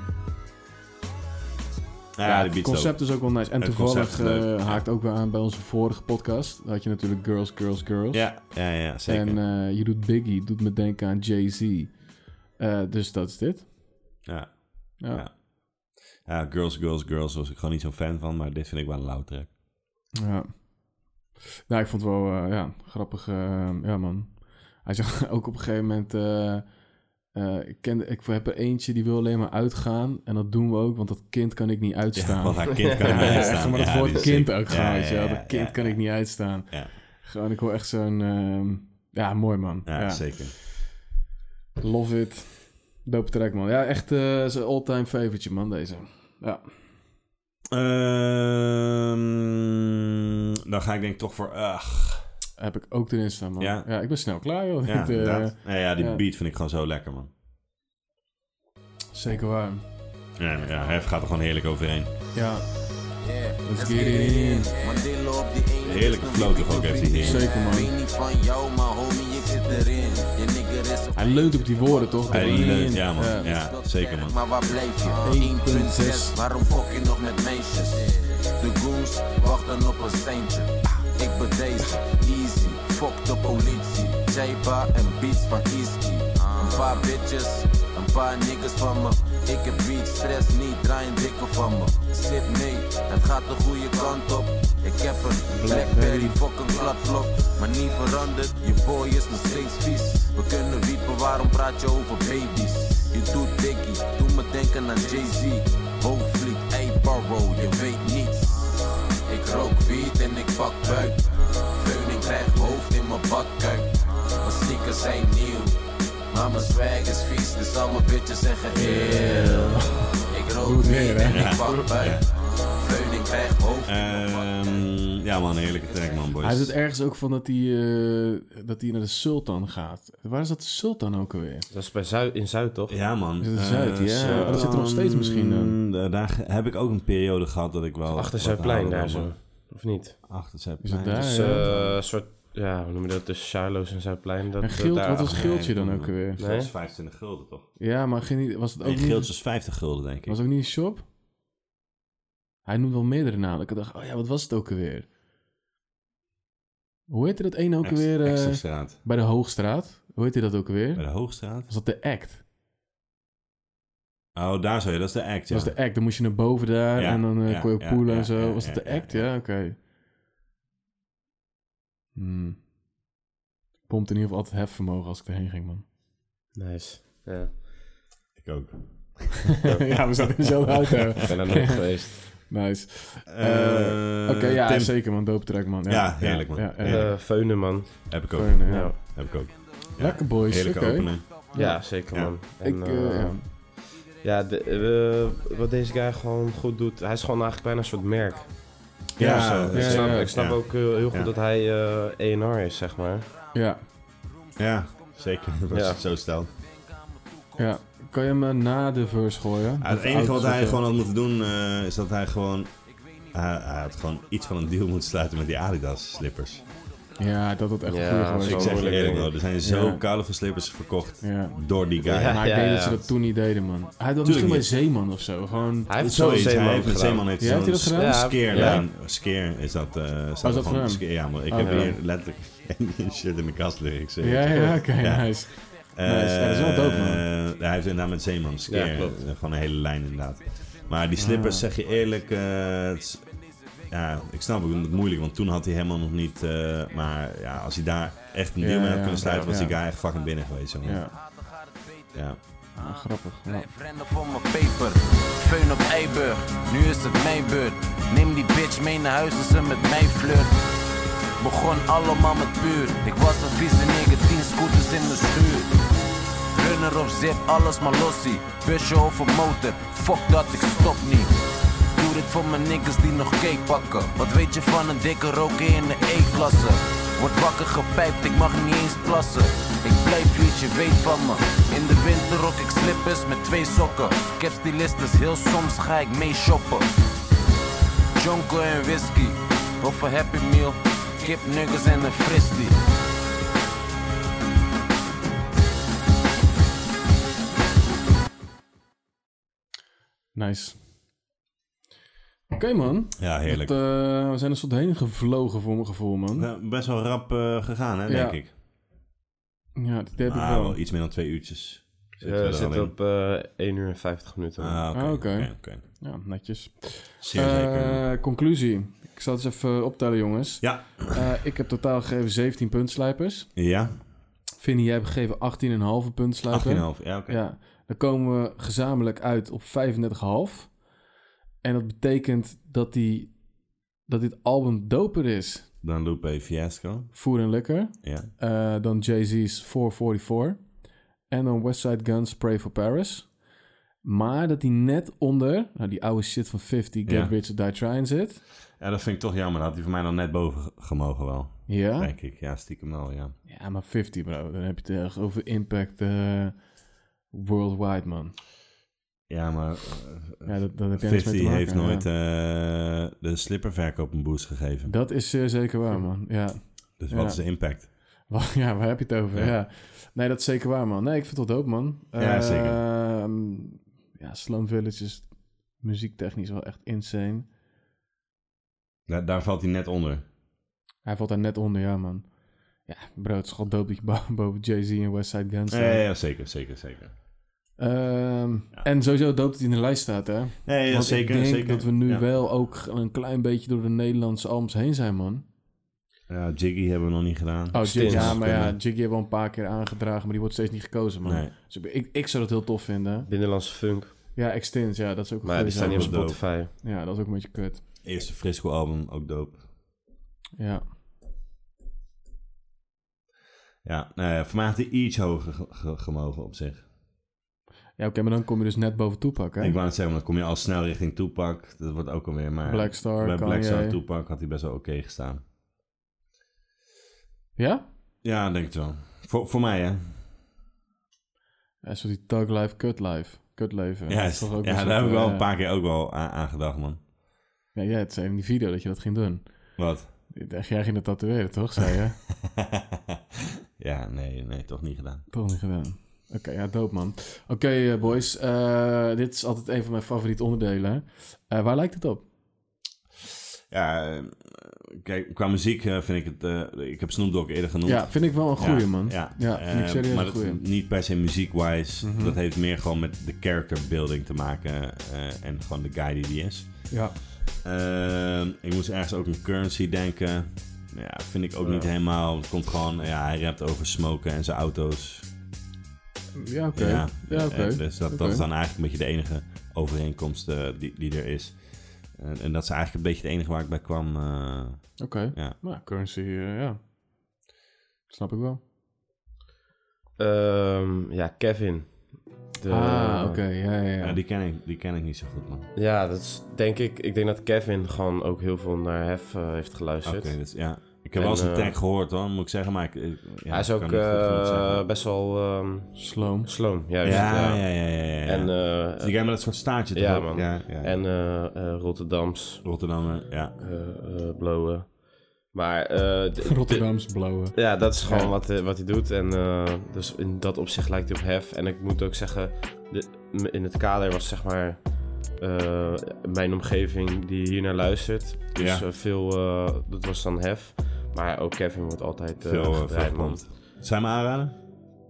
[SPEAKER 1] Ja,
[SPEAKER 2] ja,
[SPEAKER 1] Ah, die
[SPEAKER 2] het
[SPEAKER 1] beat
[SPEAKER 2] concept is ook wel nice. En
[SPEAKER 1] Het
[SPEAKER 2] toevallig
[SPEAKER 1] concept is leuk,
[SPEAKER 2] eh, haakt ook weer aan bij onze vorige podcast. Daar had je natuurlijk Girls, Girls, Girls.
[SPEAKER 1] Ja, ja, ja, zeker.
[SPEAKER 2] En eh, je doet Biggie, doet me denken aan Jay-Z. Eh, dus dat is dit.
[SPEAKER 1] ja.
[SPEAKER 2] Ja.
[SPEAKER 1] Ja. Ja, Girls, Girls, Girls was ik gewoon niet zo'n fan van, maar dit vind ik wel een loud track.
[SPEAKER 2] Ja. Nou, ik vond het wel eh, ja, grappig. eh, ja, man. Hij zegt ook op een gegeven moment... eh, eh, ik, ken, ik heb er eentje die wil alleen maar uitgaan. En dat doen we ook, want dat kind kan ik niet uitstaan.
[SPEAKER 1] Ja, want haar kind kan ik niet
[SPEAKER 2] Ja,
[SPEAKER 1] uitstaan.
[SPEAKER 2] echt, Maar dat
[SPEAKER 1] Ja, die
[SPEAKER 2] woord
[SPEAKER 1] is
[SPEAKER 2] kind
[SPEAKER 1] ziek.
[SPEAKER 2] ook
[SPEAKER 1] Ja,
[SPEAKER 2] gewoon,
[SPEAKER 1] ja,
[SPEAKER 2] weet je wel.
[SPEAKER 1] ja,
[SPEAKER 2] Dat kind
[SPEAKER 1] ja,
[SPEAKER 2] kan
[SPEAKER 1] ja.
[SPEAKER 2] ik niet uitstaan.
[SPEAKER 1] Ja.
[SPEAKER 2] Gewoon, ik hoor echt zo'n... ehm, ja, mooi man.
[SPEAKER 1] Ja, zeker.
[SPEAKER 2] Love it. Dope track, man. Ja, echt eh, zijn all-time favorite, man, deze. Ja.
[SPEAKER 1] Ehm, dan ga ik denk ik toch voor... eh, Ach,
[SPEAKER 2] Heb ik ook erin staan, man.
[SPEAKER 1] Ja.
[SPEAKER 2] Ja, ik ben snel klaar, joh.
[SPEAKER 1] ja,
[SPEAKER 2] Dit, eh,
[SPEAKER 1] inderdaad. Ja, ja, die
[SPEAKER 2] ja.
[SPEAKER 1] beat vind ik gewoon zo lekker, man.
[SPEAKER 2] Zeker waar.
[SPEAKER 1] Ja, ja, Hef gaat er gewoon heerlijk overheen.
[SPEAKER 2] Ja. Let's get it in.
[SPEAKER 1] Heerlijke flow toch ook heeft hij hier.
[SPEAKER 2] Zeker, man.
[SPEAKER 4] Van jou, maar homie, ik zit erin. Je nigger is een
[SPEAKER 2] Hij leunt op die woorden, toch?
[SPEAKER 1] Hij
[SPEAKER 2] Erin.
[SPEAKER 1] leunt, ja man. Ja, zeker man.
[SPEAKER 4] Maar waar blijf je? 1.6, waarom fok je nog met meisjes? De goons wachten op een seintje. Ik ben deze, easy, fok de politie. Jaiba en beats van Iski. Een paar bitches, een paar niggas van me. Ik heb beat stress, niet draaien dikke van me. Zit mee, het gaat de goede kant op. Ik heb een Blackberry, fok een klapblok. Maar niet veranderd, je boy is nog steeds vies. We kunnen wiepen, waarom praat je over baby's? Je doet dikkie, doe me denken aan Jay-Z. Hoofdvliet, ey Barrow, je weet niets. Ik rook wiet en ik pak buik. Veun, ik krijg hoofd in mijn bakkuik. Mijn sneakers zijn nieuw, maar mijn swag is vies, dus al mijn bitches zeggen heel. Ik rook
[SPEAKER 2] Goed weer,
[SPEAKER 4] wiet en
[SPEAKER 2] hè?
[SPEAKER 1] Ja.
[SPEAKER 4] ik pak buik. Veun, ik krijg hoofd.
[SPEAKER 1] Ehm, ja man, heerlijke track man boys.
[SPEAKER 2] Hij heeft het ergens ook van dat hij, eh, dat hij naar de Sultan gaat. Waar is dat Sultan ook alweer?
[SPEAKER 3] Dat is bij Zuid, in Zuid, toch?
[SPEAKER 1] Ja man.
[SPEAKER 2] Is het
[SPEAKER 1] Eh,
[SPEAKER 2] Zuid? Ja,
[SPEAKER 1] zo.
[SPEAKER 2] maar dat zit er nog steeds misschien in.
[SPEAKER 1] Da- Daar heb ik ook een periode gehad dat ik wel...
[SPEAKER 3] Achter
[SPEAKER 1] wat
[SPEAKER 3] Zuidplein
[SPEAKER 1] haalde
[SPEAKER 3] daar
[SPEAKER 1] dan,
[SPEAKER 3] zo.
[SPEAKER 1] maar-
[SPEAKER 3] Of niet?
[SPEAKER 1] Achter
[SPEAKER 2] Is het
[SPEAKER 1] Zuidplein.
[SPEAKER 2] daar?
[SPEAKER 3] Dus,
[SPEAKER 2] ja?
[SPEAKER 3] eh, een soort, ja, hoe noem je dat? Tussen Charlo's en Zuidplein. Dat,
[SPEAKER 2] en
[SPEAKER 3] dat
[SPEAKER 2] Gild,
[SPEAKER 3] daar
[SPEAKER 2] wat was
[SPEAKER 3] achter-
[SPEAKER 2] Gildje dan
[SPEAKER 1] nee,
[SPEAKER 2] ook alweer?
[SPEAKER 1] Dat is 25 gulden toch?
[SPEAKER 2] Ja, maar ging niet, was het ook
[SPEAKER 1] Nee,
[SPEAKER 2] niet-
[SPEAKER 1] Giltje is 50 gulden denk ik.
[SPEAKER 2] was ook niet een shop? Hij noemde wel meerdere namen. Ik dacht, oh ja, wat was het ook alweer? Hoe heette dat ene ook
[SPEAKER 1] Ex-
[SPEAKER 2] alweer? eh,
[SPEAKER 1] Excelstraat.
[SPEAKER 2] bij de Hoogstraat. Hoe heette dat ook
[SPEAKER 1] Bij
[SPEAKER 2] alweer?
[SPEAKER 1] de Hoogstraat?
[SPEAKER 2] Was dat de act?
[SPEAKER 1] Oh, daar zo, ja. Dat is de act, ja.
[SPEAKER 2] Dat was de act. Dan moest je naar boven daar
[SPEAKER 1] Ja,
[SPEAKER 2] en dan eh,
[SPEAKER 1] ja,
[SPEAKER 2] kon je ook
[SPEAKER 1] ja,
[SPEAKER 2] poelen
[SPEAKER 1] ja,
[SPEAKER 2] en zo.
[SPEAKER 1] ja,
[SPEAKER 2] was
[SPEAKER 1] ja,
[SPEAKER 2] dat de
[SPEAKER 1] ja,
[SPEAKER 2] act?
[SPEAKER 1] ja.
[SPEAKER 2] Ja, oké. Hmm. Pompt in ieder geval altijd hefvermogen als ik erheen ging, man.
[SPEAKER 3] Nice. Ja,
[SPEAKER 1] Ik ook.
[SPEAKER 2] ja, we zaten in dezelfde auto.
[SPEAKER 3] ik ben er nooit geweest.
[SPEAKER 2] Nice.
[SPEAKER 1] Eh,
[SPEAKER 2] Oké, ja,
[SPEAKER 1] Tim.
[SPEAKER 2] zeker man. Dope track, man.
[SPEAKER 1] Ja, heerlijk, man.
[SPEAKER 2] Ja, ja.
[SPEAKER 1] Heerlijk.
[SPEAKER 3] Eh Veunen, man.
[SPEAKER 1] Heb
[SPEAKER 3] Eh,
[SPEAKER 1] ik ook.
[SPEAKER 2] Fijn, ja.
[SPEAKER 3] Ja,
[SPEAKER 1] Heb ik ook.
[SPEAKER 2] Lekker boys. Oké.
[SPEAKER 1] Heerlijke opener.
[SPEAKER 3] ja zeker,
[SPEAKER 1] Ja.
[SPEAKER 3] man. En,
[SPEAKER 2] Ik, eh,
[SPEAKER 3] eh,
[SPEAKER 2] ja.
[SPEAKER 3] Ja, de- eh, wat deze guy gewoon goed doet, hij is gewoon eigenlijk bijna een soort merk.
[SPEAKER 1] Ja,
[SPEAKER 3] Of zo.
[SPEAKER 1] ja,
[SPEAKER 3] ik
[SPEAKER 2] ja,
[SPEAKER 3] snap,
[SPEAKER 2] ja.
[SPEAKER 3] ik snap
[SPEAKER 1] Ja.
[SPEAKER 3] ook eh, heel goed
[SPEAKER 1] Ja.
[SPEAKER 3] dat hij ENR is, zeg maar.
[SPEAKER 2] ja,
[SPEAKER 1] Ja, zeker. Als je
[SPEAKER 3] Ja.
[SPEAKER 1] het zo stelt.
[SPEAKER 2] ja. Kan je hem eh, na de verse gooien?
[SPEAKER 1] Ja, het enige wat hij gewoon had moeten doen eh, is dat hij gewoon. hij- hij had gewoon iets van een deal moeten sluiten met die Adidas slippers.
[SPEAKER 2] Ja, dat had echt
[SPEAKER 3] Ja,
[SPEAKER 2] een goede
[SPEAKER 1] ik
[SPEAKER 2] geweest.
[SPEAKER 3] Zo
[SPEAKER 1] zeg je
[SPEAKER 3] Oh, moeilijk,
[SPEAKER 1] eerlijk,
[SPEAKER 3] jongen.
[SPEAKER 1] bro, er zijn zo
[SPEAKER 2] Ja.
[SPEAKER 1] koude van slippers verkocht
[SPEAKER 2] Ja.
[SPEAKER 1] door die guy.
[SPEAKER 3] Ja,
[SPEAKER 2] Maar ik denk dat ze dat toen niet deden, man. Hij had misschien bij
[SPEAKER 1] niet.
[SPEAKER 2] Zeeman of zo. Gewoon...
[SPEAKER 3] Hij heeft
[SPEAKER 1] Zoiets.
[SPEAKER 3] zo'n
[SPEAKER 1] hij
[SPEAKER 3] Zeeman
[SPEAKER 1] heeft met
[SPEAKER 3] gedaan.
[SPEAKER 1] Zeeman heeft
[SPEAKER 2] Ja, heeft hij dat
[SPEAKER 1] zo'n
[SPEAKER 2] gedaan? Oh,
[SPEAKER 1] skeer.
[SPEAKER 3] Ja.
[SPEAKER 1] lijn. Skeer is dat. eh staat
[SPEAKER 2] dat
[SPEAKER 1] er
[SPEAKER 2] voor hem?
[SPEAKER 1] gewoon skeer. Ja, maar ik
[SPEAKER 2] Oh,
[SPEAKER 1] heb
[SPEAKER 2] ja.
[SPEAKER 1] hier letterlijk geen shit in mijn kast liggen. ik zweer het
[SPEAKER 2] Ja,
[SPEAKER 1] je.
[SPEAKER 2] ja, oké,
[SPEAKER 1] Ja.
[SPEAKER 2] nice.
[SPEAKER 1] Eh,
[SPEAKER 2] Nice. Ja, dat is wel dope, man.
[SPEAKER 1] eh, hij heeft inderdaad met Zeeman skeer.
[SPEAKER 3] Ja, klopt.
[SPEAKER 1] eh, gewoon een hele lijn inderdaad. Maar die slippers,
[SPEAKER 2] Ah.
[SPEAKER 1] zeg je eerlijk... eh, het is- ja, ik snap ook het moeilijk, want toen had hij helemaal nog niet... eh, maar ja, als hij daar echt een deal
[SPEAKER 2] Ja,
[SPEAKER 1] mee had
[SPEAKER 2] ja,
[SPEAKER 1] kunnen sluiten...
[SPEAKER 2] ja,
[SPEAKER 1] was
[SPEAKER 2] ja.
[SPEAKER 1] die guy echt fucking binnen geweest, jongen. Ja.
[SPEAKER 2] Ja, Ah, grappig. Ja.
[SPEAKER 4] Blijf rennen voor mijn paper. Feun op Eiburg, nu is het mijn beurt. Neem die bitch mee naar huis als ze met mij flirt. Begon allemaal met puur. Ik was een vieze nigger, tien scooters in mijn stuur. Runner of zip, alles maar lossie. Busje of een motor, fuck dat, ik stop niet. Doe dit voor mijn niggas die nog cake pakken. Wat weet je van een dikke roker in de E-klasse?
[SPEAKER 6] Word wakker gepijpt, ik mag niet eens plassen. Ik blijf hier, je weet van me. In de winter rok ik slippers met twee sokken. Ik heb stylistes, heel soms ga ik mee shoppen. Jonko en whisky, of een Happy Meal. Kip, nuggets en een frisbee.
[SPEAKER 2] Nice. Oké, man.
[SPEAKER 1] Ja, heerlijk.
[SPEAKER 2] Dat, eh, we zijn er soort heen gevlogen voor mijn gevoel, man. Ja,
[SPEAKER 1] Nou, best wel rap eh, gegaan, hè,
[SPEAKER 2] Ja.
[SPEAKER 1] denk ik.
[SPEAKER 2] dat heb ik
[SPEAKER 1] Ah,
[SPEAKER 2] wel.
[SPEAKER 1] wel iets meer dan twee uurtjes. Zitten
[SPEAKER 3] Eh,
[SPEAKER 1] we
[SPEAKER 3] We
[SPEAKER 1] er al
[SPEAKER 3] zitten
[SPEAKER 1] in?
[SPEAKER 3] op eh 1 uur en 50 minuten.
[SPEAKER 1] Ah, oké.
[SPEAKER 2] Ah,
[SPEAKER 1] oké,
[SPEAKER 2] oké.
[SPEAKER 1] oké.
[SPEAKER 2] Ja, netjes.
[SPEAKER 1] Zeer zeker.
[SPEAKER 2] Eh, conclusie. Ik zal het eens even optellen, jongens.
[SPEAKER 1] Ja.
[SPEAKER 2] Eh, ik heb totaal gegeven 17 puntslijpers.
[SPEAKER 1] Ja,
[SPEAKER 2] Vinnie, jij hebt gegeven 18,5 puntslijper.
[SPEAKER 1] 18,5. Ja, oké.
[SPEAKER 2] Ja, dan komen we gezamenlijk uit op 35,5. En dat betekent dat, die, dat dit album doper is.
[SPEAKER 1] Dan Lupe Fiasco.
[SPEAKER 2] Voer en Lekker.
[SPEAKER 1] Ja.
[SPEAKER 2] Eh, dan Jay-Z's 444. En dan Westside Guns Pray for Paris. Maar dat die net onder, nou die oude shit van 50, Get
[SPEAKER 1] Ja.
[SPEAKER 2] Rich or Die Trying zit.
[SPEAKER 1] ja, dat vind ik toch jammer. Dat had hij voor mij dan net boven ge- gemogen wel.
[SPEAKER 2] Ja.
[SPEAKER 1] Denk ik. Ja, stiekem wel, ja.
[SPEAKER 2] Ja, maar 50 bro, dan heb je het echt over impact eh, worldwide man.
[SPEAKER 1] Ja, maar eh,
[SPEAKER 2] Ja, dat, dat heb jij niks mee
[SPEAKER 1] 50
[SPEAKER 2] te maken,
[SPEAKER 1] heeft
[SPEAKER 2] ja.
[SPEAKER 1] nooit eh, de slipperverkoop een boost gegeven.
[SPEAKER 2] Dat is zeer zeker waar man, ja.
[SPEAKER 1] Dus wat
[SPEAKER 2] Ja.
[SPEAKER 1] is de impact?
[SPEAKER 2] Wa- Ja, waar heb je het over?
[SPEAKER 1] Ja.
[SPEAKER 2] Ja. Nee, dat is zeker waar, man. Nee, ik vind het dope, man.
[SPEAKER 1] Ja, zeker.
[SPEAKER 2] Ehm, ja, Slum Village is muziektechnisch wel echt insane.
[SPEAKER 1] Da- daar valt hij net onder.
[SPEAKER 2] Hij valt daar net onder, ja, man. Ja, bro, het is gewoon dope dat je bo- boven Jay-Z en Westside Gun staat.
[SPEAKER 1] Ja, ja, ja, zeker, zeker, zeker.
[SPEAKER 2] Ehm, En sowieso dope dat hij in de lijst staat, hè?
[SPEAKER 1] Nee, ja,
[SPEAKER 2] Want
[SPEAKER 1] zeker,
[SPEAKER 2] ik denk
[SPEAKER 1] zeker.
[SPEAKER 2] dat we nu
[SPEAKER 1] Ja.
[SPEAKER 2] wel ook een klein beetje door de Nederlandse albums heen zijn, man.
[SPEAKER 1] Ja, Jiggy hebben we nog niet gedaan.
[SPEAKER 2] Oh, Jiggy,
[SPEAKER 3] Stins.
[SPEAKER 2] ja, maar ja, Jiggy hebben we al een paar keer aangedragen, maar die wordt steeds niet gekozen, man.
[SPEAKER 1] Nee.
[SPEAKER 2] Dus ik, ik- ik zou dat heel tof vinden.
[SPEAKER 3] Binnenlandse funk.
[SPEAKER 2] Ja, Extins, ja, dat is ook een
[SPEAKER 3] Maar ja,
[SPEAKER 2] goeie
[SPEAKER 3] die staan
[SPEAKER 2] zaak.
[SPEAKER 3] niet op
[SPEAKER 1] wel dope.
[SPEAKER 3] Spotify.
[SPEAKER 2] Ja, dat is ook een beetje kut.
[SPEAKER 1] Eerste Frisco album, ook dope.
[SPEAKER 2] Ja.
[SPEAKER 1] Ja, nou ja, voor mij had hij iets hoger ge- ge- gemogen op zich.
[SPEAKER 2] Ja, oké, maar dan kom je dus net boven Toepak, hè?
[SPEAKER 1] Ik wou het zeggen, maar dan kom je al snel richting Tupac. Dat wordt ook alweer, maar...
[SPEAKER 2] Black Star,
[SPEAKER 1] Bij Black Star
[SPEAKER 2] Kanye.
[SPEAKER 1] Tupac had hij best wel oké gestaan.
[SPEAKER 2] Ja?
[SPEAKER 1] Ja, ik denk het wel. Voor, voor mij, hè?
[SPEAKER 2] Ja, zo die Tug Life, Cut Life. Kut leven.
[SPEAKER 1] Ja,
[SPEAKER 2] Dat is toch ook
[SPEAKER 1] ja
[SPEAKER 2] zo'n,
[SPEAKER 1] daar heb ik wel
[SPEAKER 2] eh,
[SPEAKER 1] een paar keer ook wel aan, aan gedacht, man.
[SPEAKER 2] Ja, jij het zei in die video dat je dat ging doen.
[SPEAKER 1] Wat?
[SPEAKER 2] Jij ging het tatoeëren, toch? Zei je?
[SPEAKER 1] ja, nee, nee, toch niet gedaan.
[SPEAKER 2] Toch niet gedaan. Oké, ja, dope man. Oké, eh, boys. eh, dit is altijd een van mijn favoriete onderdelen. Eh, waar lijkt het op?
[SPEAKER 1] Ja, eh, kijk, qua muziek eh, vind ik het... eh, ik heb Snoop Dogg eerder genoemd.
[SPEAKER 2] Ja, vind ik wel een goeie, man. Ja, vind ik
[SPEAKER 1] eh,
[SPEAKER 2] serieus
[SPEAKER 1] maar
[SPEAKER 2] een
[SPEAKER 1] dat-
[SPEAKER 2] goeie.
[SPEAKER 1] niet per se muziek-wise.
[SPEAKER 2] Mhm.
[SPEAKER 1] Dat heeft meer gewoon met de character building te maken. eh, en gewoon de guy die die is.
[SPEAKER 2] Ja.
[SPEAKER 1] Ehm, ik moest ergens ook een currency denken. Ja, vind ik ook niet
[SPEAKER 2] Oh.
[SPEAKER 1] helemaal. Het komt gewoon... Ja, hij rapt over smoken en zijn auto's.
[SPEAKER 2] Ja, oké.
[SPEAKER 1] Ja,
[SPEAKER 2] Ja, oké.
[SPEAKER 1] eh, dus dat, dat
[SPEAKER 2] Oké.
[SPEAKER 1] is dan eigenlijk een beetje de enige overeenkomst eh, die, die er is. En, en dat is eigenlijk een beetje het enige waar ik bij kwam. eh,
[SPEAKER 2] Oké.
[SPEAKER 1] ja.
[SPEAKER 2] Nou, currency, eh, ja. Snap ik wel.
[SPEAKER 3] Ehm, ja, Kevin. De-
[SPEAKER 2] ah, oké. Ja, ja, ja.
[SPEAKER 1] Ja, die, ken ik, die ken ik niet zo goed, man.
[SPEAKER 3] Ja, dat is denk ik. Ik denk dat Kevin gewoon ook heel veel naar Hef eh, heeft
[SPEAKER 1] Oké,
[SPEAKER 3] geluisterd.
[SPEAKER 1] dus ja. Ik heb
[SPEAKER 3] En,
[SPEAKER 1] wel eens een
[SPEAKER 3] eh,
[SPEAKER 1] track gehoord, hoor, moet ik zeggen. Maar ik, ik- ja,
[SPEAKER 3] Hij is
[SPEAKER 1] ik
[SPEAKER 3] ook
[SPEAKER 1] kan niet goed genoeg
[SPEAKER 3] eh,
[SPEAKER 1] zeggen.
[SPEAKER 3] best wel ehm
[SPEAKER 2] Sloom.
[SPEAKER 3] sloom. Juist,
[SPEAKER 1] Ja, ja, ja, ja. ja, ja.
[SPEAKER 3] En, eh,
[SPEAKER 1] Dus die guy met dat soort staartje toch
[SPEAKER 3] ja,
[SPEAKER 1] ook?
[SPEAKER 3] man.
[SPEAKER 1] Ja, ja.
[SPEAKER 3] en eh, eh, Rotterdams,
[SPEAKER 1] Rotterdammer, ja.
[SPEAKER 3] eh, eh, blowen. Maar eh, d-
[SPEAKER 2] Rotterdamse blauwe.
[SPEAKER 3] d- ja, dat is gewoon
[SPEAKER 2] Ja.
[SPEAKER 3] wat, eh, wat hij doet. En eh, dus in dat opzicht lijkt hij op Hef. En ik moet ook zeggen, de- m- in het kader was zeg maar eh, mijn omgeving die hier naar luistert. Dus
[SPEAKER 1] Ja.
[SPEAKER 3] eh, veel, eh, dat was dan Hef. Maar ook Kevin wordt altijd eh,
[SPEAKER 1] Veel, eh, veel
[SPEAKER 3] gedraaid, man.
[SPEAKER 1] gekomen. Zou je hem aanraden?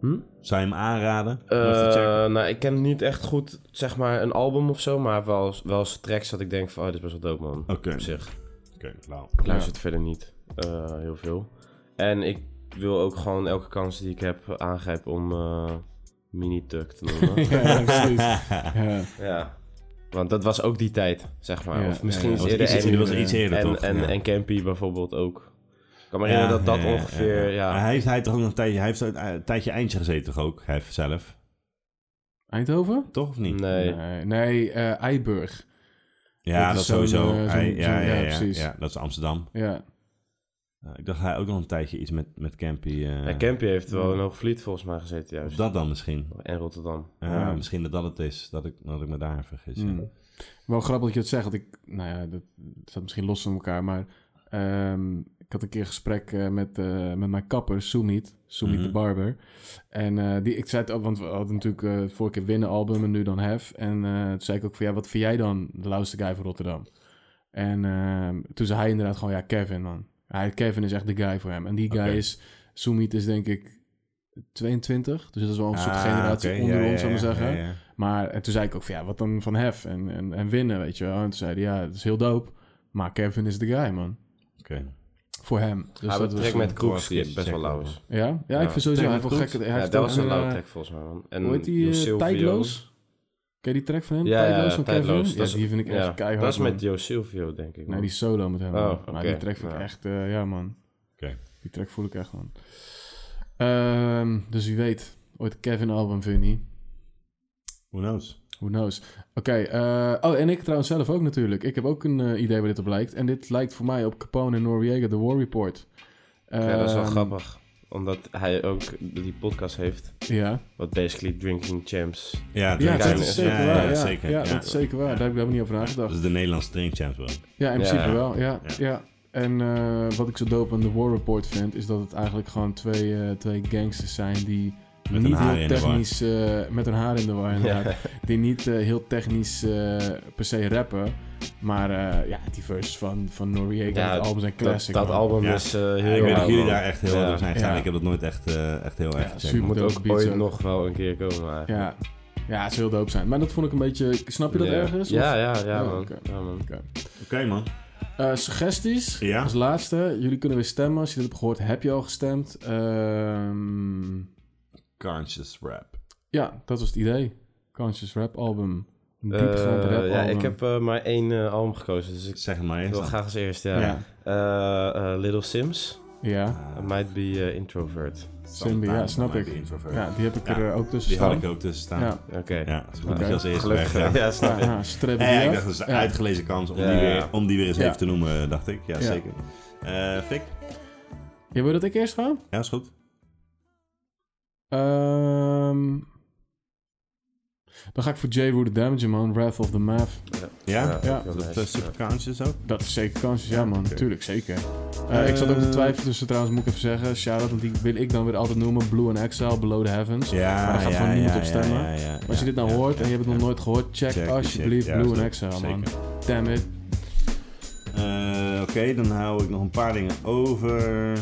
[SPEAKER 3] Hm?
[SPEAKER 1] Zou je hem aanraden? om even te checken?
[SPEAKER 3] Eh, nou, ik ken niet echt goed, zeg maar, een album of zo, maar wel, wel eens tracks dat ik denk van, oh, dit is best wel dope, man.
[SPEAKER 1] Oké.
[SPEAKER 3] Op zich.
[SPEAKER 1] Oké, nou. klauw.
[SPEAKER 3] Ik luister het verder niet eh, heel veel. En ik wil ook gewoon elke kans die ik heb aangrijpen om eh, mini-tuck te noemen.
[SPEAKER 2] ja, ja, precies. ja.
[SPEAKER 3] ja. Want dat was ook die tijd, zeg maar.
[SPEAKER 2] Ja,
[SPEAKER 3] of misschien
[SPEAKER 2] ja,
[SPEAKER 3] is
[SPEAKER 1] Dat was
[SPEAKER 3] eerder
[SPEAKER 1] iets,
[SPEAKER 3] en,
[SPEAKER 1] dat was iets eerder,
[SPEAKER 3] en,
[SPEAKER 1] toch?
[SPEAKER 3] en,
[SPEAKER 1] Ja.
[SPEAKER 3] en Campy bijvoorbeeld ook. Ik kan me herinneren dat dat
[SPEAKER 1] ja, ja,
[SPEAKER 3] ongeveer, ja.
[SPEAKER 1] Maar Hij heeft, hij heeft toch ook een tijdje, hij heeft zo- een tijdje eindje gezeten, toch ook? Hij heeft zelf,
[SPEAKER 2] Eindhoven?
[SPEAKER 1] toch of niet?
[SPEAKER 3] Nee.
[SPEAKER 2] Nee, nee eh, Eiburg.
[SPEAKER 1] Ja,
[SPEAKER 2] Dat
[SPEAKER 1] dat,
[SPEAKER 2] is
[SPEAKER 1] sowieso.
[SPEAKER 2] zo'n, eh,
[SPEAKER 1] Hij-
[SPEAKER 2] zo'n-
[SPEAKER 1] ja,
[SPEAKER 2] zo'n-
[SPEAKER 1] ja,
[SPEAKER 2] ja,
[SPEAKER 1] ja,
[SPEAKER 2] precies.
[SPEAKER 1] ja, dat is Amsterdam.
[SPEAKER 2] Ja.
[SPEAKER 1] Ja, Eh, ik dacht hij ook nog een tijdje iets met, met Campy. eh,
[SPEAKER 3] Ja, Campy heeft wel in Hoogvliet volgens mij gezeten
[SPEAKER 1] of
[SPEAKER 3] juist.
[SPEAKER 1] dat dan misschien.
[SPEAKER 3] En Rotterdam.
[SPEAKER 1] Ja,
[SPEAKER 2] Ja.
[SPEAKER 1] Misschien dat dat het is, dat ik, dat ik me daar vergis. ja.
[SPEAKER 3] Ah,
[SPEAKER 2] Mm. Wel grappig dat je dat zegt. Want ik, nou ja, dat staat misschien los van elkaar. Maar ehm, ik had een keer een gesprek eh, met, eh, met mijn kapper, Sumit. Sumit
[SPEAKER 1] Mhm.
[SPEAKER 2] de Barber. En eh, die, ik zei het ook, want we hadden natuurlijk eh vorige keer winnen album en nu dan Hef. En eh, toen zei ik ook van, ja, wat vind jij dan de lauwste guy van Rotterdam? En ehm, toen zei hij inderdaad gewoon, ja, Kevin, man. Hij, Kevin is echt de guy voor hem. En die guy
[SPEAKER 1] Oké.
[SPEAKER 2] is, Sumit is denk ik 22. Dus dat is wel een soort
[SPEAKER 1] Ah,
[SPEAKER 2] generatie
[SPEAKER 1] oké,
[SPEAKER 2] onder
[SPEAKER 1] ja,
[SPEAKER 2] ons,
[SPEAKER 1] ja,
[SPEAKER 2] zou ik
[SPEAKER 1] ja,
[SPEAKER 2] maar zeggen.
[SPEAKER 1] ja, ja.
[SPEAKER 2] Maar en toen zei ik ook van ja, wat dan van hef en, en, en winnen, weet je wel. En toen zei hij ja, het is heel dope, maar Kevin is de guy, man.
[SPEAKER 1] Oké.
[SPEAKER 2] Voor hem. Dus
[SPEAKER 3] Hij
[SPEAKER 2] dat
[SPEAKER 3] betrekt
[SPEAKER 2] was-
[SPEAKER 3] met Kroeks,
[SPEAKER 1] Kroeks,
[SPEAKER 3] die best wel lauw is.
[SPEAKER 2] Ja? ja, ik vind sowieso, hij heeft wel
[SPEAKER 1] Goed.
[SPEAKER 2] gekke... Hij
[SPEAKER 3] Ja,
[SPEAKER 2] heeft
[SPEAKER 3] dat
[SPEAKER 2] ook
[SPEAKER 3] was een
[SPEAKER 2] eh,
[SPEAKER 3] low tech volgens mij, man. En
[SPEAKER 2] Hoe heet die?
[SPEAKER 3] Jo
[SPEAKER 2] eh,
[SPEAKER 3] Silvio.
[SPEAKER 2] tijdloos? Ken je die track van hem?
[SPEAKER 3] Ja,
[SPEAKER 2] tijdloos
[SPEAKER 3] ja,
[SPEAKER 2] van
[SPEAKER 3] tijdloos.
[SPEAKER 2] Kevin?
[SPEAKER 3] Dat is-
[SPEAKER 2] Ja, die vind ik echt
[SPEAKER 3] Ja,
[SPEAKER 2] keihard,
[SPEAKER 3] dat is
[SPEAKER 2] man.
[SPEAKER 3] met Jo Silvio, denk ik.
[SPEAKER 2] Nee,
[SPEAKER 3] man.
[SPEAKER 2] die solo met hem.
[SPEAKER 3] Oh,
[SPEAKER 2] man. Maar
[SPEAKER 3] oké,
[SPEAKER 2] die track vind ik
[SPEAKER 3] ja.
[SPEAKER 2] echt... eh, ja, man.
[SPEAKER 1] Oké.
[SPEAKER 2] Die track voel ik echt, man. Ehm, dus wie weet. Ooit Kevin album, vind je niet?
[SPEAKER 1] Who knows?
[SPEAKER 2] Who knows? Oké, eh, oh, en ik trouwens zelf ook natuurlijk. Ik heb ook een eh, idee waar dit op lijkt. En dit lijkt voor mij op Capone en Noriega, The War Report.
[SPEAKER 3] Ja, dat is wel
[SPEAKER 2] Ehm,
[SPEAKER 3] grappig. Omdat hij ook die podcast heeft.
[SPEAKER 2] Ja,
[SPEAKER 3] Wat basically Drinking Champs.
[SPEAKER 1] Ja,
[SPEAKER 2] ja dat
[SPEAKER 3] Kevin
[SPEAKER 2] is
[SPEAKER 3] is-
[SPEAKER 2] zeker waar. Ja,
[SPEAKER 1] zeker.
[SPEAKER 2] Ja,
[SPEAKER 1] ja.
[SPEAKER 2] dat is zeker waar. Daar heb ik helemaal niet over nagedacht.
[SPEAKER 1] Dat is de Nederlandse Drink Champs wel.
[SPEAKER 2] Ja, in
[SPEAKER 3] Ja.
[SPEAKER 2] principe wel. Ja, ja.
[SPEAKER 1] Ja.
[SPEAKER 2] En eh, wat ik zo dope aan The War Report vind, is dat het eigenlijk gewoon twee, eh, twee gangsters zijn die
[SPEAKER 1] Met hun
[SPEAKER 2] niet
[SPEAKER 1] haren
[SPEAKER 2] heel
[SPEAKER 1] in de war.
[SPEAKER 2] technisch, eh, met hun haar in de war inderdaad, die niet eh, heel technisch eh, per se rappen. Maar eh, ja, die verse van, van Noriega,
[SPEAKER 3] Ja,
[SPEAKER 2] dat album zijn
[SPEAKER 3] Dat,
[SPEAKER 2] classic.
[SPEAKER 3] dat
[SPEAKER 2] man.
[SPEAKER 3] album
[SPEAKER 1] Ja.
[SPEAKER 3] is eh, heel
[SPEAKER 1] ik weet dat
[SPEAKER 3] lauw,
[SPEAKER 1] jullie
[SPEAKER 3] man.
[SPEAKER 1] daar echt heel hard
[SPEAKER 3] Ja.
[SPEAKER 1] op zijn gegaan.
[SPEAKER 2] Ja.
[SPEAKER 1] Ik heb dat nooit echt, eh, echt heel erg gecheckt.
[SPEAKER 2] super.
[SPEAKER 1] man.
[SPEAKER 3] Moet
[SPEAKER 2] Dope
[SPEAKER 3] ook
[SPEAKER 2] beats
[SPEAKER 3] ooit
[SPEAKER 2] ook.
[SPEAKER 3] nog wel een keer komen eigenlijk.
[SPEAKER 2] Ja. ja, het is heel dope zijn. Maar dat vond ik een beetje... Snap je dat
[SPEAKER 3] Ja.
[SPEAKER 2] ergens?
[SPEAKER 3] Ja, ja, ja,
[SPEAKER 2] Oh,
[SPEAKER 3] man.
[SPEAKER 2] oké.
[SPEAKER 3] Ja, man.
[SPEAKER 1] Oké, man.
[SPEAKER 2] Eh, suggesties.
[SPEAKER 1] Ja.
[SPEAKER 2] Als laatste. Jullie kunnen weer stemmen. Als je dit hebt gehoord, heb je al gestemd. Ehm,
[SPEAKER 1] Conscious rap.
[SPEAKER 2] ja, dat was het idee. Conscious Rap Album. Een
[SPEAKER 3] Eh,
[SPEAKER 2] diepgaand rap album.
[SPEAKER 3] ja, ik heb eh, maar één eh, album gekozen, dus ik
[SPEAKER 1] Zeg het maar eens.
[SPEAKER 3] wil
[SPEAKER 1] dan.
[SPEAKER 3] graag als eerst, ja.
[SPEAKER 2] Ja, ja.
[SPEAKER 3] Eh, eh, Little Sims, I
[SPEAKER 1] Ah,
[SPEAKER 3] Might Be eh, Introvert.
[SPEAKER 2] Simbi, ja, snap
[SPEAKER 1] Might Be
[SPEAKER 2] ik.
[SPEAKER 1] Introvert.
[SPEAKER 2] Ja, die heb ik
[SPEAKER 1] Ja.
[SPEAKER 2] er eh, ook tussen
[SPEAKER 1] Die had
[SPEAKER 2] staan.
[SPEAKER 1] ik ook tussen staan.
[SPEAKER 2] Ja,
[SPEAKER 1] Ja,
[SPEAKER 3] Oké.
[SPEAKER 1] het is goed dat
[SPEAKER 2] Oké.
[SPEAKER 1] je als eerste
[SPEAKER 3] Gelukkig.
[SPEAKER 1] weg.
[SPEAKER 3] ja,
[SPEAKER 2] ja,
[SPEAKER 3] snap ik.
[SPEAKER 2] ja, strep
[SPEAKER 1] Ja, ja,
[SPEAKER 2] die
[SPEAKER 1] ik
[SPEAKER 2] af.
[SPEAKER 1] dacht, dat is een
[SPEAKER 2] Ja.
[SPEAKER 1] uitgelezen kans om,
[SPEAKER 3] Ja,
[SPEAKER 1] die
[SPEAKER 3] ja.
[SPEAKER 1] weer, om die weer eens
[SPEAKER 2] Ja.
[SPEAKER 1] even te noemen, dacht ik. Ja,
[SPEAKER 2] Ja.
[SPEAKER 1] zeker. Eh, Fik?
[SPEAKER 2] Je wil dat ik eerst ga?
[SPEAKER 1] Ja, is goed.
[SPEAKER 2] Ehm, dan ga ik voor J. Roo the Damager, man. Wrath of the Math.
[SPEAKER 1] Ja?
[SPEAKER 3] Ja,
[SPEAKER 2] Ja.
[SPEAKER 1] Is
[SPEAKER 3] heel
[SPEAKER 1] dat
[SPEAKER 3] nice.
[SPEAKER 1] eh, super conscious ook?
[SPEAKER 2] Dat is zeker kansjes, ja man, tuurlijk, zeker. Eh,
[SPEAKER 1] Eh,
[SPEAKER 2] ik zat ook te twijfelen tussen, trouwens moet ik even zeggen, shout-out, want die wil ik dan weer altijd noemen, Blue in Exile, Below the Heavens.
[SPEAKER 1] Ja,
[SPEAKER 2] Maar daar gaat
[SPEAKER 1] ja,
[SPEAKER 2] gewoon niemand op stemmen.
[SPEAKER 1] ja, ja,
[SPEAKER 2] Maar als
[SPEAKER 1] ja,
[SPEAKER 2] je dit nou
[SPEAKER 1] ja,
[SPEAKER 2] hoort
[SPEAKER 1] ja,
[SPEAKER 2] en je hebt het
[SPEAKER 1] ja.
[SPEAKER 2] nog nooit gehoord, check,
[SPEAKER 1] Check die
[SPEAKER 2] alsjeblieft
[SPEAKER 1] shit, ja,
[SPEAKER 2] Blue in
[SPEAKER 1] zeker.
[SPEAKER 2] Exile, man.
[SPEAKER 1] Zeker.
[SPEAKER 2] Damn it.
[SPEAKER 1] Eh, Oké, dan hou ik nog een paar dingen over.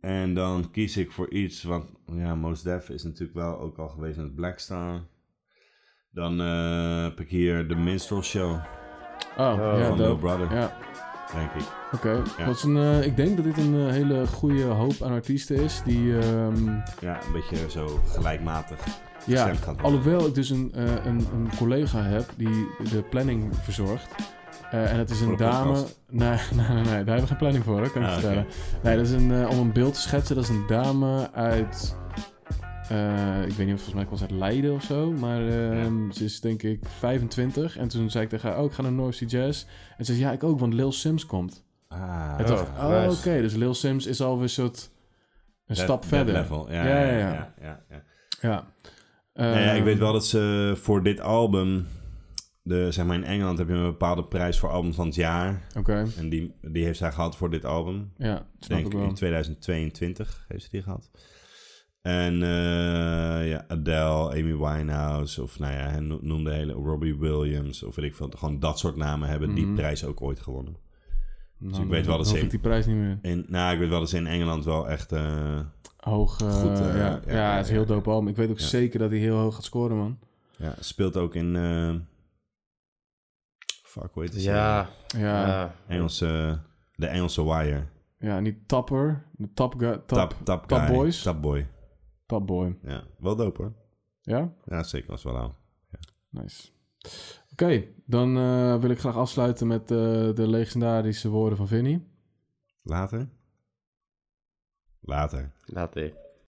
[SPEAKER 1] En dan kies ik voor iets, want ja, Most Def is natuurlijk wel ook al geweest met Blackstar. Dan eh, heb ik hier de Minstrel Show
[SPEAKER 2] Oh, ja,
[SPEAKER 1] van Lil
[SPEAKER 2] dope.
[SPEAKER 1] Brother,
[SPEAKER 2] Ja,
[SPEAKER 1] denk ik.
[SPEAKER 2] oké.
[SPEAKER 1] Ja.
[SPEAKER 2] Dat is een, eh, ik denk dat dit een eh, hele goede hoop aan artiesten is, die, ehm,
[SPEAKER 1] Ja, een beetje zo gelijkmatig
[SPEAKER 2] ja,
[SPEAKER 1] gestemd gaat worden.
[SPEAKER 2] alhoewel ik dus een, eh, een, een collega heb die de planning verzorgt. Eh, en het is
[SPEAKER 1] Voor
[SPEAKER 2] een
[SPEAKER 1] de
[SPEAKER 2] dame.
[SPEAKER 1] podcast.
[SPEAKER 2] Nee, nee, nee, nee, daar hebben we geen planning voor, hoor, kan ik
[SPEAKER 1] Ah,
[SPEAKER 2] je
[SPEAKER 1] oké.
[SPEAKER 2] vertellen. Nee, dat is een, eh, om een beeld te schetsen, dat is een dame uit. eh, ik weet niet, volgens mij kwam ze uit Leiden of zo. Maar ehm, ze is denk ik 25. En toen zei ik tegen haar: Oh, ik ga naar North Sea Jazz. En ze zei: Ja, ik ook, want Lil Sims komt.
[SPEAKER 1] Ah,
[SPEAKER 2] en toen dacht ik:
[SPEAKER 3] nice.
[SPEAKER 2] Oh, oké. Dus Lil Sims is alweer een soort. Een
[SPEAKER 1] that-
[SPEAKER 2] stap
[SPEAKER 1] that
[SPEAKER 2] verder.
[SPEAKER 1] level. Ja,
[SPEAKER 2] Ja,
[SPEAKER 1] ja, ja.
[SPEAKER 2] ja, ja.
[SPEAKER 1] ja, ja, ja.
[SPEAKER 2] Ja.
[SPEAKER 1] Nou ja, ik
[SPEAKER 2] Ehm,
[SPEAKER 1] weet wel dat ze voor dit album, de, zeg maar in Engeland heb je een bepaalde prijs voor album van het jaar.
[SPEAKER 2] Oké,
[SPEAKER 1] En die, die heeft zij gehad voor dit album.
[SPEAKER 2] ja, snap
[SPEAKER 1] Denk
[SPEAKER 2] ik
[SPEAKER 1] ik
[SPEAKER 2] wel.
[SPEAKER 1] in 2022 heeft ze die gehad. En eh, ja, Adele, Amy Winehouse of nou ja, hij no- noemde hele Robbie Williams of weet ik veel. Gewoon dat soort namen hebben
[SPEAKER 2] Mhm.
[SPEAKER 1] die prijs ook ooit gewonnen.
[SPEAKER 2] Nou,
[SPEAKER 1] Dus ik weet wel dat ze-
[SPEAKER 2] dan hoef ik die prijs niet meer.
[SPEAKER 1] En nou, ik weet wel dat ze in Engeland wel echt... eh,
[SPEAKER 2] Hoog. eh,
[SPEAKER 1] Goed, eh,
[SPEAKER 2] ja.
[SPEAKER 1] ja,
[SPEAKER 2] Ja,
[SPEAKER 1] ja,
[SPEAKER 2] het is heel
[SPEAKER 1] ja,
[SPEAKER 2] dope album. Ik weet ook
[SPEAKER 1] Ja.
[SPEAKER 2] zeker dat hij heel hoog gaat scoren, man.
[SPEAKER 1] ja, speelt ook in... eh, fuck, hoe heet het?
[SPEAKER 3] Ja,
[SPEAKER 2] Ja, ja.
[SPEAKER 3] ja.
[SPEAKER 1] Engelse, de Engelse Wire.
[SPEAKER 2] niet Tapper. de Top, guy, top,
[SPEAKER 1] Tap,
[SPEAKER 2] top,
[SPEAKER 1] tap, guy.
[SPEAKER 2] Boys.
[SPEAKER 1] Tap Boy.
[SPEAKER 2] Boy.
[SPEAKER 1] Ja, wel dope hoor.
[SPEAKER 2] Ja?
[SPEAKER 1] Ja, zeker was wel aan.
[SPEAKER 2] Nice. Oké, dan eh, wil ik graag afsluiten met eh, de legendarische woorden van Vinny.
[SPEAKER 1] Later? Later.
[SPEAKER 3] laat ik.